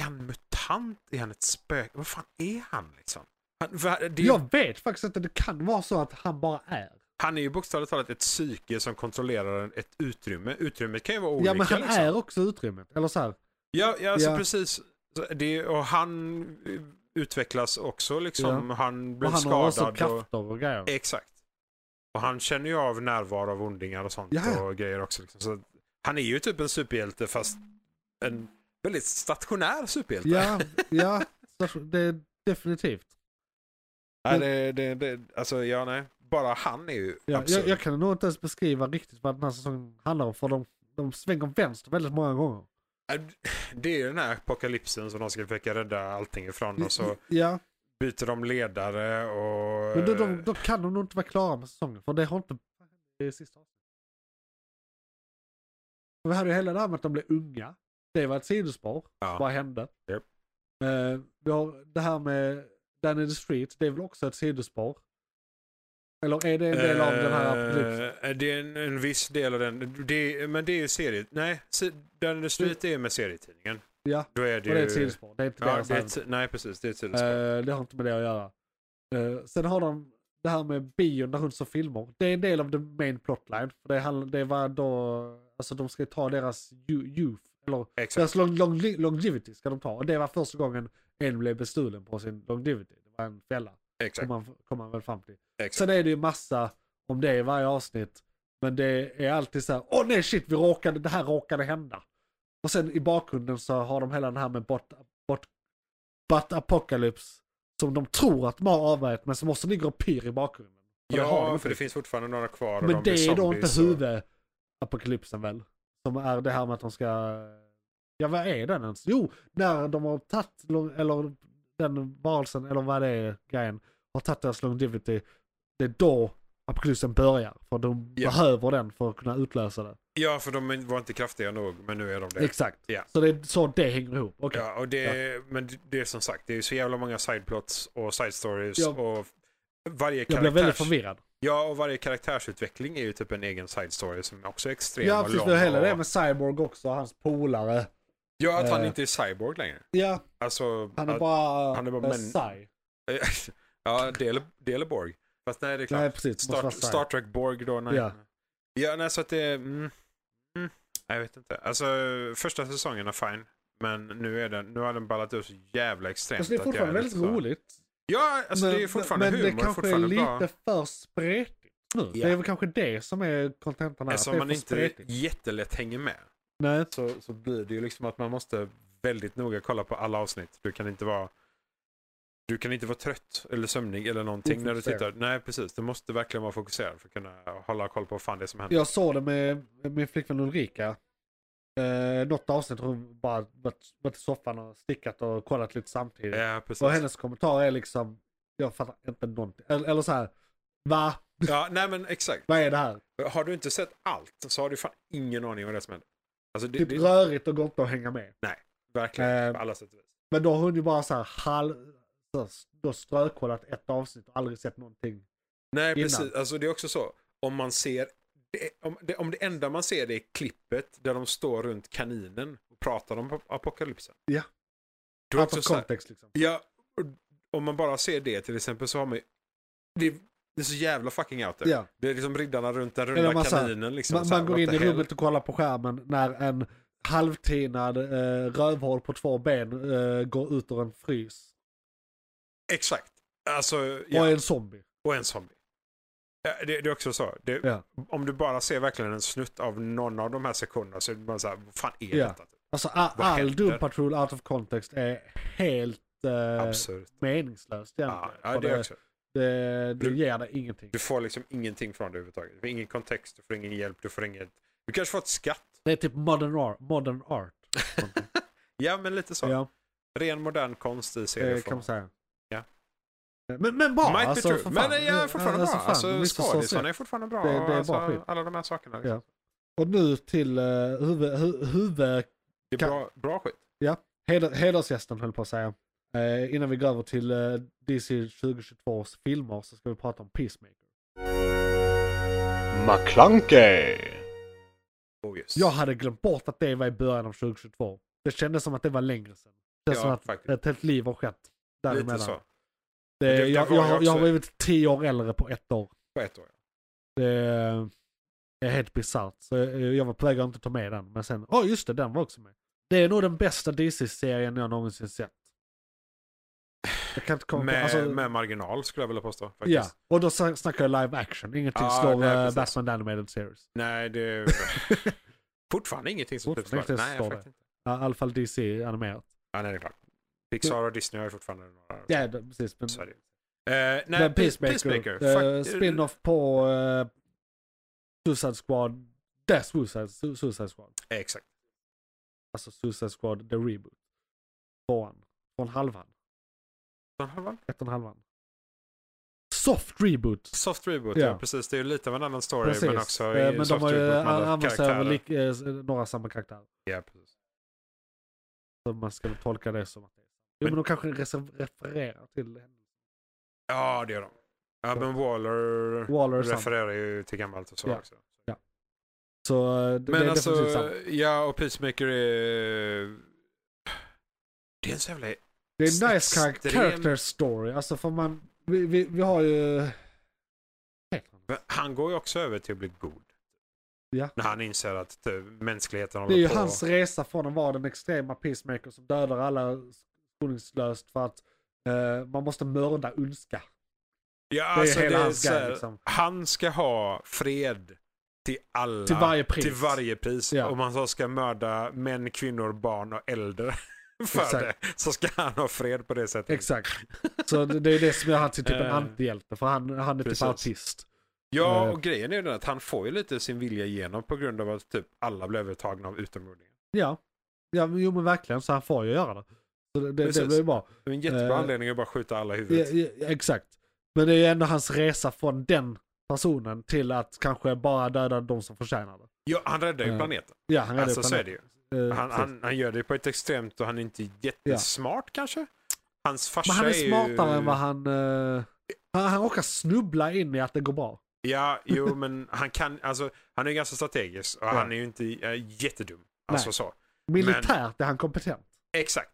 [SPEAKER 4] Är han mutant? Är han ett spöke? Vad fan är han liksom? Han, va- det,
[SPEAKER 3] Jag vet faktiskt inte, det kan vara så att han bara är.
[SPEAKER 4] han är ju bokstavligt talat ett psyke som kontrollerar ett utrymme. Utrymmet kan ju vara olika.
[SPEAKER 3] ja men han
[SPEAKER 4] liksom.
[SPEAKER 3] är också utrymmet. Eller så här.
[SPEAKER 4] Ja, ja, alltså
[SPEAKER 3] Ja.
[SPEAKER 4] precis. Så Det, och han eh, utvecklas också liksom. Han blir
[SPEAKER 3] Och han har också
[SPEAKER 4] skadad. och,
[SPEAKER 3] krafter och grejer.
[SPEAKER 4] exakt. Och han känner ju av närvaro av ondingar och sånt
[SPEAKER 3] Ja, ja.
[SPEAKER 4] och grejer också. Liksom. Så att han är ju typ en superhjälte fast en väldigt stationär superhjälte.
[SPEAKER 3] Ja, ja. så Det är definitivt.
[SPEAKER 4] Nej, det, det, det, alltså, ja, nej. Bara han är ju
[SPEAKER 3] Ja,
[SPEAKER 4] absurd.
[SPEAKER 3] jag, jag kan nog inte ens beskriva riktigt vad den här säsongen handlar om. För de, de svänger vänster väldigt många gånger.
[SPEAKER 4] Äh, Det är ju den här apokalypsen som de ska försöka rädda allting ifrån och så
[SPEAKER 3] Ja,
[SPEAKER 4] byter de ledare och...
[SPEAKER 3] Mm. men då, då, då kan de nog inte vara klara med säsongen. För det har inte... Det är sista avsnittet. Vi hade ju hela det här med att de blev unga. Det var ett sidospår.
[SPEAKER 4] Ja.
[SPEAKER 3] Vad hände?
[SPEAKER 4] Japp.
[SPEAKER 3] Eh, vi har det här med Danny the Street. Det är väl också ett sidospår? Eller är det en del av den här apokalypsen?
[SPEAKER 4] Eh, Det är en, en viss del av den. Det, men det är ju seriet. Nej, se- den slut är med serietidningen.
[SPEAKER 3] Ja,
[SPEAKER 4] Då är det
[SPEAKER 3] och
[SPEAKER 4] ju...
[SPEAKER 3] det är ett sidospår. Det är inte
[SPEAKER 4] Ja,
[SPEAKER 3] deras
[SPEAKER 4] det är
[SPEAKER 3] äventyr.
[SPEAKER 4] ett, nej, precis. Det är ett sidospår.
[SPEAKER 3] Eh, det har inte med det att göra. Eh, sen har de det här med bion där hon såg filmer. Det är en del av the main plotline. För det, handl- det var då, alltså de ska ta deras ju- youth, eller
[SPEAKER 4] Exakt.
[SPEAKER 3] deras long, long, longevity ska de ta. Och det var första gången en blev bestulen på sin longevity. Det var en fälla,
[SPEAKER 4] Exakt.
[SPEAKER 3] kom man, kom man väl fram till.
[SPEAKER 4] exakt.
[SPEAKER 3] Sen är det ju massa om det i varje avsnitt. Men det är alltid så här, åh nej shit, vi råkade, det här råkade hända. Och sen i bakgrunden så har de hela den här med bot, bot, bot apocalypse. Som de tror att de har avvärjt men som också ligger och pyr i bakgrunden. Och det har de
[SPEAKER 4] Ja,
[SPEAKER 3] inte
[SPEAKER 4] för det
[SPEAKER 3] riktigt.
[SPEAKER 4] finns fortfarande några kvar. och
[SPEAKER 3] Men
[SPEAKER 4] de blir
[SPEAKER 3] det är då
[SPEAKER 4] zombies
[SPEAKER 3] inte
[SPEAKER 4] och-
[SPEAKER 3] huvudapokalypsen väl? Som är det här med att de ska... Ja vad är den ens? Jo, när de har tagit, lo- eller den varelsen, eller vad det är, grejen, har tagit deras longevity. Det är då apokalypsen börjar. För de
[SPEAKER 4] Ja.
[SPEAKER 3] behöver den för att kunna utlösa det.
[SPEAKER 4] Ja, för de var inte kraftiga nog, men nu är de det.
[SPEAKER 3] Exakt.
[SPEAKER 4] Ja.
[SPEAKER 3] Så det är så det hänger ihop. Okej.
[SPEAKER 4] Ja, och det, men det är som sagt, det är så jävla många sideplots och side stories
[SPEAKER 3] Ja.
[SPEAKER 4] och varje
[SPEAKER 3] Jag blev väldigt
[SPEAKER 4] karaktärs,
[SPEAKER 3] förvirrad.
[SPEAKER 4] ja, och varje karaktärsutveckling är ju typ en egen side story som också är extrem
[SPEAKER 3] Ja,
[SPEAKER 4] och
[SPEAKER 3] precis.
[SPEAKER 4] lång.
[SPEAKER 3] Det är hela
[SPEAKER 4] och,
[SPEAKER 3] det med Cyborg också, hans polare.
[SPEAKER 4] Ja, att han
[SPEAKER 3] Eh.
[SPEAKER 4] inte är cyborg längre.
[SPEAKER 3] Ja,
[SPEAKER 4] Alltså,
[SPEAKER 3] han är
[SPEAKER 4] att-
[SPEAKER 3] bara...
[SPEAKER 4] han är bara
[SPEAKER 3] eh,
[SPEAKER 4] män-
[SPEAKER 3] Cy.
[SPEAKER 4] <laughs> ja, del, Deleborg. Fast nej, det är klart.
[SPEAKER 3] Nej, precis. Måste
[SPEAKER 4] Star,
[SPEAKER 3] vara Cy.
[SPEAKER 4] Star Trek Borg då, nej.
[SPEAKER 3] Ja.
[SPEAKER 4] Ja, nej, så att det... Mm, mm, nej, jag vet inte. Alltså, första säsongen är fine. Men nu, är den, nu har den ballat ur så jävla extremt.
[SPEAKER 3] Alltså, det är
[SPEAKER 4] att jag
[SPEAKER 3] fortfarande väldigt
[SPEAKER 4] lite så-
[SPEAKER 3] roligt.
[SPEAKER 4] Ja, alltså det är ju fortfarande
[SPEAKER 3] men,
[SPEAKER 4] humor.
[SPEAKER 3] Men det kanske
[SPEAKER 4] fortfarande
[SPEAKER 3] är
[SPEAKER 4] bra.
[SPEAKER 3] lite för spretigt nu.
[SPEAKER 4] Ja.
[SPEAKER 3] Det är väl kanske det som är kontentan här.
[SPEAKER 4] Eftersom
[SPEAKER 3] att det är
[SPEAKER 4] Alltså, man
[SPEAKER 3] för
[SPEAKER 4] inte
[SPEAKER 3] spretigt.
[SPEAKER 4] jättelätt hänger med
[SPEAKER 3] Nej.
[SPEAKER 4] så, så blir det ju liksom att man måste väldigt noga kolla på alla avsnitt. Du kan inte vara du kan inte vara trött eller sömnig eller någonting när du tittar.
[SPEAKER 3] Ofokuserad.
[SPEAKER 4] Nej, precis. Du måste verkligen vara fokuserad för att kunna hålla koll på vad fan det är som händer.
[SPEAKER 3] Jag såg det med med min flickvän Ulrika. Eh, något avsnitt har hon bara varit, varit i soffan och stickat och kollat lite samtidigt.
[SPEAKER 4] Ja, Eh, precis.
[SPEAKER 3] och hennes kommentar är liksom, jag fattar inte någonting. Eller, eller så här, va?
[SPEAKER 4] Ja, nej men exakt.
[SPEAKER 3] Vad är det här?
[SPEAKER 4] Har du inte sett allt så har du fan ingen aning vad det är som händer. Alltså det,
[SPEAKER 3] Typ
[SPEAKER 4] det är
[SPEAKER 3] rörigt och går inte att hänga med.
[SPEAKER 4] verkligen
[SPEAKER 3] Eh,
[SPEAKER 4] på alla sätt och vis.
[SPEAKER 3] Men då har hon ju bara så här halv... så- Då strökollat ett avsnitt och aldrig sett någonting.
[SPEAKER 4] Nej,
[SPEAKER 3] innan.
[SPEAKER 4] precis. Alltså det är också så. Om man ser det, om, det, om det enda man ser det är klippet där de står runt kaninen och pratar om ap- apokalypsen.
[SPEAKER 3] Ja.
[SPEAKER 4] Då är det
[SPEAKER 3] Out
[SPEAKER 4] också
[SPEAKER 3] of
[SPEAKER 4] så här,
[SPEAKER 3] context liksom.
[SPEAKER 4] Ja, och- om man bara ser det till exempel så har man ju... Det är, det är så jävla fucking out there.
[SPEAKER 3] Ja.
[SPEAKER 4] Det är liksom riddarna runt den
[SPEAKER 3] Eller
[SPEAKER 4] runda
[SPEAKER 3] man så här-
[SPEAKER 4] kaninen. Liksom,
[SPEAKER 3] Man,
[SPEAKER 4] så här,
[SPEAKER 3] man går
[SPEAKER 4] what
[SPEAKER 3] in
[SPEAKER 4] the
[SPEAKER 3] i
[SPEAKER 4] hell?
[SPEAKER 3] rummet och kollar på skärmen när en halvtinad eh, rövhål på två ben eh, går ut ur en frys.
[SPEAKER 4] Exakt. Alltså, ja.
[SPEAKER 3] Och är en zombie.
[SPEAKER 4] och en zombie. Ja, det, det är också så. Det,
[SPEAKER 3] Ja.
[SPEAKER 4] Om du bara ser verkligen en snutt av någon av de här sektionerna så är det bara så här, vad fan är
[SPEAKER 3] Ja.
[SPEAKER 4] detta?
[SPEAKER 3] Alltså a-
[SPEAKER 4] Vad
[SPEAKER 3] all
[SPEAKER 4] händer?
[SPEAKER 3] Doom Patrol out of context är helt eh,
[SPEAKER 4] Absurt.
[SPEAKER 3] meningslöst
[SPEAKER 4] Ja,
[SPEAKER 3] egentligen.
[SPEAKER 4] ja,
[SPEAKER 3] För
[SPEAKER 4] det också.
[SPEAKER 3] det, det
[SPEAKER 4] Du-
[SPEAKER 3] ger dig ingenting.
[SPEAKER 4] Du får liksom ingenting från det överhuvudtaget. Du får ingen kontext, du får ingen hjälp, du får inget... Du kanske får ett skatt.
[SPEAKER 3] Det är typ modern art. Modern art.
[SPEAKER 4] Ja, men lite <laughs> så.
[SPEAKER 3] ja,
[SPEAKER 4] Ren modern konst i
[SPEAKER 3] det kan
[SPEAKER 4] serieform.
[SPEAKER 3] man säga.
[SPEAKER 4] Ja.
[SPEAKER 3] Men, men bra,
[SPEAKER 4] Might
[SPEAKER 3] alltså
[SPEAKER 4] be true,
[SPEAKER 3] för fan.
[SPEAKER 4] men eh, jag är fortfarande
[SPEAKER 3] Alltså,
[SPEAKER 4] bra.
[SPEAKER 3] fan,
[SPEAKER 4] Alltså,
[SPEAKER 3] missförstås
[SPEAKER 4] skådisarna
[SPEAKER 3] rätt.
[SPEAKER 4] är fortfarande bra.
[SPEAKER 3] Det- det är
[SPEAKER 4] och
[SPEAKER 3] bra
[SPEAKER 4] alltså,
[SPEAKER 3] skit.
[SPEAKER 4] alla de här sakerna. Liksom.
[SPEAKER 3] Ja. Och nu till eh, huvud, hu, huvud,
[SPEAKER 4] Det är
[SPEAKER 3] Kan-
[SPEAKER 4] bra, bra skit.
[SPEAKER 3] Ja, heder, hedersgästen höll på att säga. Eh, innan vi går över till eh, DC 2022 års filmer så ska vi prata om Peacemaker.
[SPEAKER 5] McClunkey.
[SPEAKER 4] Oh, yes.
[SPEAKER 3] Jag hade glömt bort att det var i början av 2022. Det kändes som att det var längre sedan. Det känns
[SPEAKER 4] Ja,
[SPEAKER 3] som att
[SPEAKER 4] faktiskt.
[SPEAKER 3] ett helt liv har skett.
[SPEAKER 4] Lite
[SPEAKER 3] Däremellan.
[SPEAKER 4] så.
[SPEAKER 3] Det,
[SPEAKER 4] Det- det
[SPEAKER 3] jag,
[SPEAKER 4] var
[SPEAKER 3] jag,
[SPEAKER 4] ju
[SPEAKER 3] har- jag har
[SPEAKER 4] också-
[SPEAKER 3] blivit tio år äldre på ett år.
[SPEAKER 4] På ett år. ja.
[SPEAKER 3] Det är helt bisarrt. Så eh, jag var på väg att inte ta med den. Men sen, ja just det, den var också med. Det är nog den bästa DC-serien jag någonsin sett. Jag kan inte komma på,
[SPEAKER 4] Med,
[SPEAKER 3] alltså,
[SPEAKER 4] med marginal skulle jag vilja påstå. Faktiskt.
[SPEAKER 3] Ja, och då sn- snackar jag live action. Ingenting
[SPEAKER 4] Ja,
[SPEAKER 3] slår
[SPEAKER 4] nej,
[SPEAKER 3] eh,
[SPEAKER 4] precis.
[SPEAKER 3] Batman The Animated Series.
[SPEAKER 4] Nej, det
[SPEAKER 3] <laughs>
[SPEAKER 4] är fortfarande ingenting som
[SPEAKER 3] Fortfarande
[SPEAKER 4] typ
[SPEAKER 3] inte
[SPEAKER 4] Nej,
[SPEAKER 3] står
[SPEAKER 4] faktiskt inte.
[SPEAKER 3] Ja, I alla fall DC animerat.
[SPEAKER 4] Ja, nej, det är klart. Pixar och Disney har ju fortfarande några.
[SPEAKER 3] Ja, det- precis. Men,
[SPEAKER 4] Sverige. Eh, nej,
[SPEAKER 3] men
[SPEAKER 4] Peacemaker.
[SPEAKER 3] Peacemaker.
[SPEAKER 4] Peacemaker.
[SPEAKER 3] eh,
[SPEAKER 4] fuck-
[SPEAKER 3] spin-off på eh, Suicide Squad. Det är Suicide, Su- Suicide Squad.
[SPEAKER 4] Eh, Exakt.
[SPEAKER 3] Alltså Suicide Squad, the reboot. Tvåan. Från halvan. Ett och en halvan. Soft reboot.
[SPEAKER 4] Soft reboot,
[SPEAKER 3] Ja.
[SPEAKER 4] ja. precis. Det är ju lite av en annan story,
[SPEAKER 3] Precis.
[SPEAKER 4] men också
[SPEAKER 3] Eh,
[SPEAKER 4] i
[SPEAKER 3] men de
[SPEAKER 4] soft
[SPEAKER 3] har ju
[SPEAKER 4] reboot med alla
[SPEAKER 3] använt sig av
[SPEAKER 4] karaktärer.
[SPEAKER 3] lik- eh, s- några samma karaktärer.
[SPEAKER 4] Ja, precis.
[SPEAKER 3] Så man ska väl tolka det som att det är. Jo, men
[SPEAKER 4] Men-
[SPEAKER 3] de kanske reser- refererar till henne.
[SPEAKER 4] ja, det gör de. Ja, men Waller,
[SPEAKER 3] Waller och sånt.
[SPEAKER 4] refererar ju till gammalt och så
[SPEAKER 3] Ja.
[SPEAKER 4] också.
[SPEAKER 3] Så eh, det,
[SPEAKER 4] Men
[SPEAKER 3] det är
[SPEAKER 4] alltså,
[SPEAKER 3] definitivt sant.
[SPEAKER 4] ja, och Peacemaker är... Det är en så jävla...
[SPEAKER 3] Det är en nice
[SPEAKER 4] extrem-
[SPEAKER 3] kar- character story. Alltså för man, vi, vi, vi har ju... Heter han?
[SPEAKER 4] Han går ju också över till att bli god.
[SPEAKER 3] Ja.
[SPEAKER 4] När han inser att eh, mänskligheten
[SPEAKER 3] Det
[SPEAKER 4] håller
[SPEAKER 3] är ju
[SPEAKER 4] på.
[SPEAKER 3] hans resa från att vara den extrema peacemaker som dödar alla skoningslöst för att eh, man måste mörda ondska.
[SPEAKER 4] Ja,
[SPEAKER 3] är
[SPEAKER 4] alltså,
[SPEAKER 3] hela
[SPEAKER 4] det är
[SPEAKER 3] hans
[SPEAKER 4] så
[SPEAKER 3] grej,
[SPEAKER 4] här,
[SPEAKER 3] liksom.
[SPEAKER 4] Han ska ha fred till alla.
[SPEAKER 3] Till varje pris.
[SPEAKER 4] Till varje pris.
[SPEAKER 3] Ja.
[SPEAKER 4] Om han så ska mörda män, kvinnor, barn och äldre <laughs> för
[SPEAKER 3] Exakt.
[SPEAKER 4] det. Så ska han ha fred på det sättet.
[SPEAKER 3] Exakt. Så det det är det som gör han till typ en
[SPEAKER 4] Eh.
[SPEAKER 3] antihjälte. För han, han är
[SPEAKER 4] Precis.
[SPEAKER 3] typ autist.
[SPEAKER 4] Ja,
[SPEAKER 3] Eh.
[SPEAKER 4] och grejen är ju den att han får ju lite sin vilja igenom på grund av att typ alla blev övertagna av utomjordingar.
[SPEAKER 3] Ja. ja, men- jo men verkligen. Så han får ju göra det. Så det, det, det
[SPEAKER 4] Precis.
[SPEAKER 3] blir ju bra.
[SPEAKER 4] Det är en jättebra
[SPEAKER 3] Eh.
[SPEAKER 4] anledning att bara skjuta alla i
[SPEAKER 3] Ja,
[SPEAKER 4] huvudet.
[SPEAKER 3] ja, exakt. Men det är ju ändå hans resa från den personen till att kanske bara döda de som förtjänar det.
[SPEAKER 4] Ja, han räddar ju
[SPEAKER 3] Eh.
[SPEAKER 4] planeten.
[SPEAKER 3] Ja, han räddade
[SPEAKER 4] Alltså, så är det ju.
[SPEAKER 3] ju. Eh,
[SPEAKER 4] Han, han, han gör det på ett extremt och han är inte jättesmart kanske. Hans farsa
[SPEAKER 3] Men han är smartare
[SPEAKER 4] ju...
[SPEAKER 3] än vad han... eh, han, han råkar snubbla in i att det går bra.
[SPEAKER 4] Ja, jo men han kan, alltså han är ju ganska strategisk och
[SPEAKER 3] Ja.
[SPEAKER 4] han är ju inte äh, jättedum. Alltså
[SPEAKER 3] Nej.
[SPEAKER 4] så.
[SPEAKER 3] Militärt är han kompetent.
[SPEAKER 4] Exakt.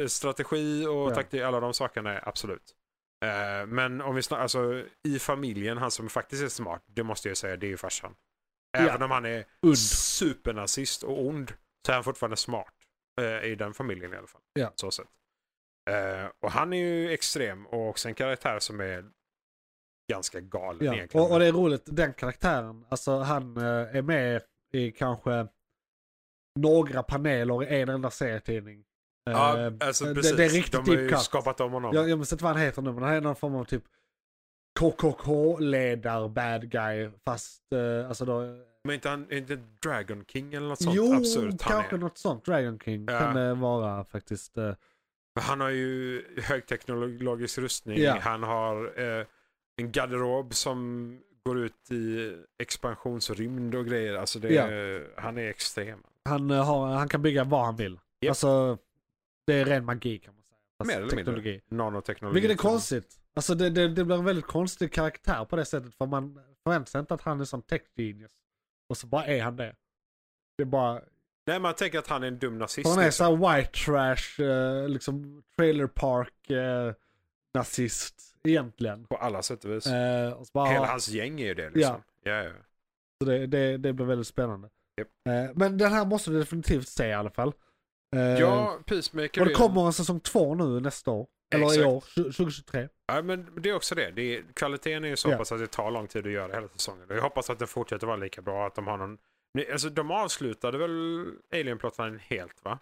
[SPEAKER 4] Eh, Strategi och
[SPEAKER 3] Ja.
[SPEAKER 4] taktik, alla de sakerna, absolut. Eh, men om vi snackar, alltså i familjen, han som faktiskt är smart, det måste jag ju säga, det är ju farsan. Även om han är
[SPEAKER 3] Und.
[SPEAKER 4] supernazist och ond, så är han fortfarande smart. eh, I den familjen i alla fall.
[SPEAKER 3] Ja.
[SPEAKER 4] Så sett. Eh, och han är ju extrem och också en karaktär som är ganska galen
[SPEAKER 3] Ja.
[SPEAKER 4] egentligen.
[SPEAKER 3] Och, och det är roligt, den karaktären, alltså han eh, är med i kanske några paneler i en enda serietidning.
[SPEAKER 4] Ja,
[SPEAKER 3] Eh,
[SPEAKER 4] alltså
[SPEAKER 3] det-
[SPEAKER 4] precis.
[SPEAKER 3] Det är riktigt typ
[SPEAKER 4] De har ju
[SPEAKER 3] deep cut.
[SPEAKER 4] skapat om honom.
[SPEAKER 3] Jag, jag minns inte vad han heter nu, men han är någon form av typ KKK-ledar-bad guy, fast eh, alltså då...
[SPEAKER 4] Men inte han, är inte Dragon King eller något sånt
[SPEAKER 3] jo,
[SPEAKER 4] absurt han
[SPEAKER 3] kanske
[SPEAKER 4] är.
[SPEAKER 3] något sånt. Dragon King
[SPEAKER 4] Ja.
[SPEAKER 3] kan det vara faktiskt. eh,
[SPEAKER 4] Men Han har ju högteknologisk rustning.
[SPEAKER 3] Ja.
[SPEAKER 4] Han har eh, en garderob som går ut i expansionsrymd och grejer. Alltså det är, han är extrem.
[SPEAKER 3] Han, eh, har, han kan bygga vad han vill.
[SPEAKER 4] Japp.
[SPEAKER 3] Alltså, det är ren magi kan man säga.
[SPEAKER 4] Mer
[SPEAKER 3] Alltså,
[SPEAKER 4] eller mindre.
[SPEAKER 3] teknologi.
[SPEAKER 4] Nanoteknologi.
[SPEAKER 3] Vilket är konstigt. Alltså det, det, det blir en väldigt konstig karaktär på det sättet. För man förväntar sig inte att han är som tech genius. Och så bara är han det. Det är bara,
[SPEAKER 4] Nej, man tänker att han är en dum nazist.
[SPEAKER 3] för han är
[SPEAKER 4] liksom.
[SPEAKER 3] såhär white trash, eh, liksom trailer park eh, nazist egentligen.
[SPEAKER 4] På alla sätt och vis.
[SPEAKER 3] Eh, och så bara,
[SPEAKER 4] Hela
[SPEAKER 3] ja,
[SPEAKER 4] hans gäng är ju det liksom. Ja. Ja,
[SPEAKER 3] så det, det, det blir väldigt spännande.
[SPEAKER 4] Japp.
[SPEAKER 3] Eh, men den här måste du definitivt se i alla fall. Eh,
[SPEAKER 4] ja Peacemaker.
[SPEAKER 3] och det
[SPEAKER 4] är-
[SPEAKER 3] kommer en säsong två nu nästa år. Eller i
[SPEAKER 4] Exakt.
[SPEAKER 3] år, 20- 2023.
[SPEAKER 4] Ja, men det är också det. det är, kvaliteten är ju så
[SPEAKER 3] Ja.
[SPEAKER 4] pass att det tar lång tid att göra hela säsongen. Och jag hoppas att den fortsätter vara lika bra. Att de har någon... Nej, Alltså, de avslutade väl Alien-plottaren helt va?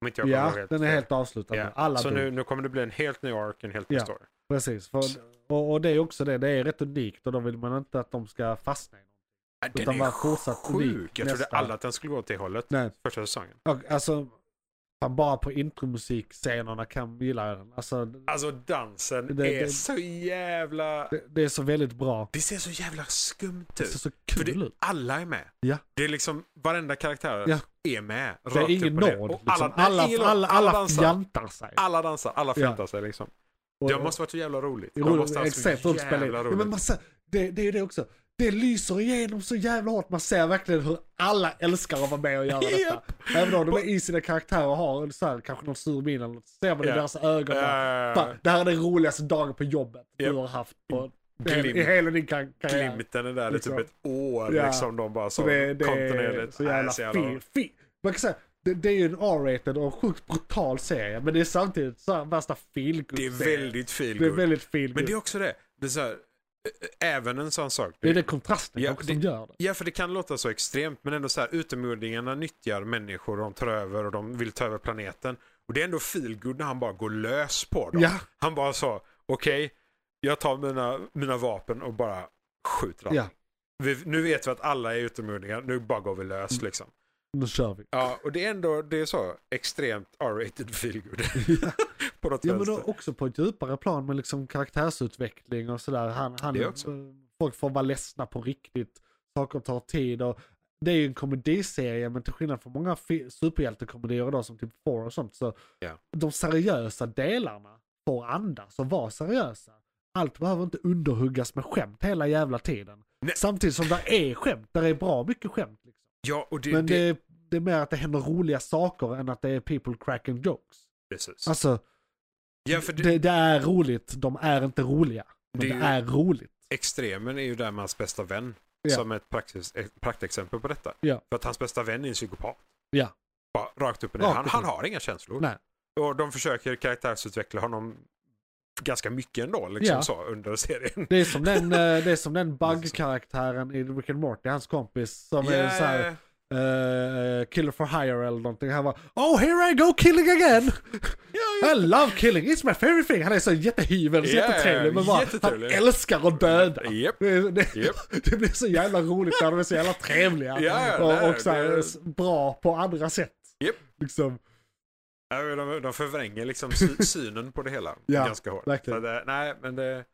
[SPEAKER 4] Om inte jag kommer
[SPEAKER 3] Ja,
[SPEAKER 4] ihåg helt
[SPEAKER 3] den är
[SPEAKER 4] fel.
[SPEAKER 3] helt avslutad. nu.
[SPEAKER 4] Ja.
[SPEAKER 3] Alla
[SPEAKER 4] så
[SPEAKER 3] dog.
[SPEAKER 4] nu, nu kommer det bli en helt ny ark, en helt ny
[SPEAKER 3] Ja.
[SPEAKER 4] story.
[SPEAKER 3] Precis, för, och, och det är också det. Det är rätt unikt och då vill man inte att de ska fastna i något.
[SPEAKER 4] Ja, Den
[SPEAKER 3] Utan
[SPEAKER 4] är
[SPEAKER 3] bara fortsatt unik
[SPEAKER 4] sjuk. Jag trodde
[SPEAKER 3] nästa-
[SPEAKER 4] alla att den skulle gå åt det hållet
[SPEAKER 3] Nej.
[SPEAKER 4] första säsongen.
[SPEAKER 3] Och, alltså, fan bara på intromusikscenerna kan gilla den. Alltså, det,
[SPEAKER 4] Alltså dansen
[SPEAKER 3] Det-
[SPEAKER 4] är
[SPEAKER 3] det-
[SPEAKER 4] så jävla... Det,
[SPEAKER 3] det är så väldigt bra.
[SPEAKER 4] ser så jävla skumt
[SPEAKER 3] Det
[SPEAKER 4] ut.
[SPEAKER 3] ser så
[SPEAKER 4] För
[SPEAKER 3] kul
[SPEAKER 4] det,
[SPEAKER 3] ut.
[SPEAKER 4] alla är med.
[SPEAKER 3] Ja.
[SPEAKER 4] Det är liksom varenda karaktär.
[SPEAKER 3] Ja.
[SPEAKER 4] är med.
[SPEAKER 3] Det är
[SPEAKER 4] rakt
[SPEAKER 3] ingen
[SPEAKER 4] upp och ner.
[SPEAKER 3] nåd.
[SPEAKER 4] Och
[SPEAKER 3] Liksom.
[SPEAKER 4] nej,
[SPEAKER 3] Alla,
[SPEAKER 4] ingen
[SPEAKER 3] alla,
[SPEAKER 4] nåd.
[SPEAKER 3] alla, alla
[SPEAKER 4] dansar.
[SPEAKER 3] fjantar sig.
[SPEAKER 4] Alla dansar, alla
[SPEAKER 3] Ja.
[SPEAKER 4] fjantar sig liksom.
[SPEAKER 3] Och-
[SPEAKER 4] Det måste varit så jävla roligt. Det
[SPEAKER 3] Roligt,
[SPEAKER 4] måste ha varit så
[SPEAKER 3] exakt, roligt spel.
[SPEAKER 4] jävla
[SPEAKER 3] Ja,
[SPEAKER 4] roligt.
[SPEAKER 3] men man ser, det, det är ju det också. Det lyser igenom så jävla hårt. Man ser verkligen hur alla älskar att vara med
[SPEAKER 4] <laughs>
[SPEAKER 3] och göra detta. Även om de är i sina karaktärer och har så här, kanske någon sur min eller något. Ser man i
[SPEAKER 4] Ja.
[SPEAKER 3] deras ögon. bara,
[SPEAKER 4] Eh,
[SPEAKER 3] Fan, det här är den roligaste dagen på jobbet
[SPEAKER 4] Japp.
[SPEAKER 3] du har haft på,
[SPEAKER 4] Glimt.
[SPEAKER 3] i hela din kar- karriär.
[SPEAKER 4] Glimten är där i
[SPEAKER 3] Liksom.
[SPEAKER 4] typ ett år
[SPEAKER 3] Ja.
[SPEAKER 4] liksom. De bara så,
[SPEAKER 3] Så det, det är
[SPEAKER 4] kontinuerligt.
[SPEAKER 3] så
[SPEAKER 4] Nej,
[SPEAKER 3] jävla, fi,
[SPEAKER 4] roligt.
[SPEAKER 3] fi. Man kan säga, det, det är ju en R-rated och sjukt brutal serie. Men det är samtidigt så här, värsta feelgood
[SPEAKER 4] Det är väldigt feel
[SPEAKER 3] Det är
[SPEAKER 4] good.
[SPEAKER 3] väldigt feelgood.
[SPEAKER 4] Men det är också det. det är så här, eh, även en sån sak.
[SPEAKER 3] Det är den kontrasten
[SPEAKER 4] Ja,
[SPEAKER 3] också
[SPEAKER 4] det-
[SPEAKER 3] som gör det.
[SPEAKER 4] Ja, för det kan låta så extremt, men ändå så här, utomjordingarna nyttjar människor, de tar över och de vill ta över planeten. Och det är ändå feelgood när han bara går lös på dem.
[SPEAKER 3] Ja.
[SPEAKER 4] Han bara sa, okej, jag tar mina, mina vapen och bara skjuter allt.
[SPEAKER 3] Ja,
[SPEAKER 4] Vi, nu vet vi att alla är utomjordingar, nu bara går vi lös
[SPEAKER 3] Mm.
[SPEAKER 4] liksom.
[SPEAKER 3] nu kör vi.
[SPEAKER 4] Ja, och det är ändå, det är så extremt R-rated feelgood. <laughs> på något
[SPEAKER 3] Ja men
[SPEAKER 4] vänster.
[SPEAKER 3] då också på ett djupare plan med liksom karaktärsutveckling och sådär. Han, han,
[SPEAKER 4] Det också.
[SPEAKER 3] Folk får vara ledsna på riktigt. Saker tar tid och det är ju en komediserie men till skillnad från många fi- superhjältekomedier idag som typ Four och sånt så
[SPEAKER 4] Ja.
[SPEAKER 3] de seriösa delarna får andas och vara seriösa. Allt behöver inte underhuggas med skämt hela jävla tiden.
[SPEAKER 4] Nej.
[SPEAKER 3] Samtidigt som det är skämt, där är bra mycket skämt. Liksom.
[SPEAKER 4] Ja, och det,
[SPEAKER 3] Men
[SPEAKER 4] det,
[SPEAKER 3] det, är- det är mer att det händer roliga saker än att det är people cracking jokes.
[SPEAKER 4] precis.
[SPEAKER 3] Alltså,
[SPEAKER 4] ja, för det,
[SPEAKER 3] det, det är roligt, de är inte roliga. Men
[SPEAKER 4] Det
[SPEAKER 3] det,
[SPEAKER 4] är ju-
[SPEAKER 3] är roligt.
[SPEAKER 4] extremen är ju där med hans bästa vän.
[SPEAKER 3] Ja.
[SPEAKER 4] Som ett praktis, ett praktexempel på detta.
[SPEAKER 3] Ja.
[SPEAKER 4] För att hans bästa vän är en psykopat.
[SPEAKER 3] Ja.
[SPEAKER 4] Bara rakt upp och ner.
[SPEAKER 3] Rakt
[SPEAKER 4] Han,
[SPEAKER 3] upp och
[SPEAKER 4] han
[SPEAKER 3] ner.
[SPEAKER 4] har inga känslor.
[SPEAKER 3] Nej.
[SPEAKER 4] Och de försöker karaktärsutveckla honom ganska mycket ändå liksom
[SPEAKER 3] Ja.
[SPEAKER 4] så under serien.
[SPEAKER 3] Det är som den, eh, det är
[SPEAKER 4] <laughs>
[SPEAKER 3] som den bug-karaktären i Rick and Morty, hans kompis som är så här, eh, killer for hire eller någonting. Han var Oh here I go
[SPEAKER 4] <laughs>
[SPEAKER 3] killing again! I love killing, it's my favorite thing! Han är så jättehyvel, så
[SPEAKER 4] Yeah,
[SPEAKER 3] jättetrevlig men bara, han
[SPEAKER 4] jättetrevlig.
[SPEAKER 3] älskar att döda.
[SPEAKER 4] Japp.
[SPEAKER 3] Det, det,
[SPEAKER 4] Japp.
[SPEAKER 3] <laughs> det blir så jävla roligt när de är så jävla trevliga.
[SPEAKER 4] Ja,
[SPEAKER 3] och
[SPEAKER 4] nej,
[SPEAKER 3] och så här,
[SPEAKER 4] det-
[SPEAKER 3] s- bra på andra sätt.
[SPEAKER 4] Japp.
[SPEAKER 3] Liksom,
[SPEAKER 4] Ja, men De, de förvränger liksom
[SPEAKER 3] <laughs>
[SPEAKER 4] sy- synen på det hela
[SPEAKER 3] Ja,
[SPEAKER 4] ganska hårt.
[SPEAKER 3] verkligen.
[SPEAKER 4] Så det, nej, men det...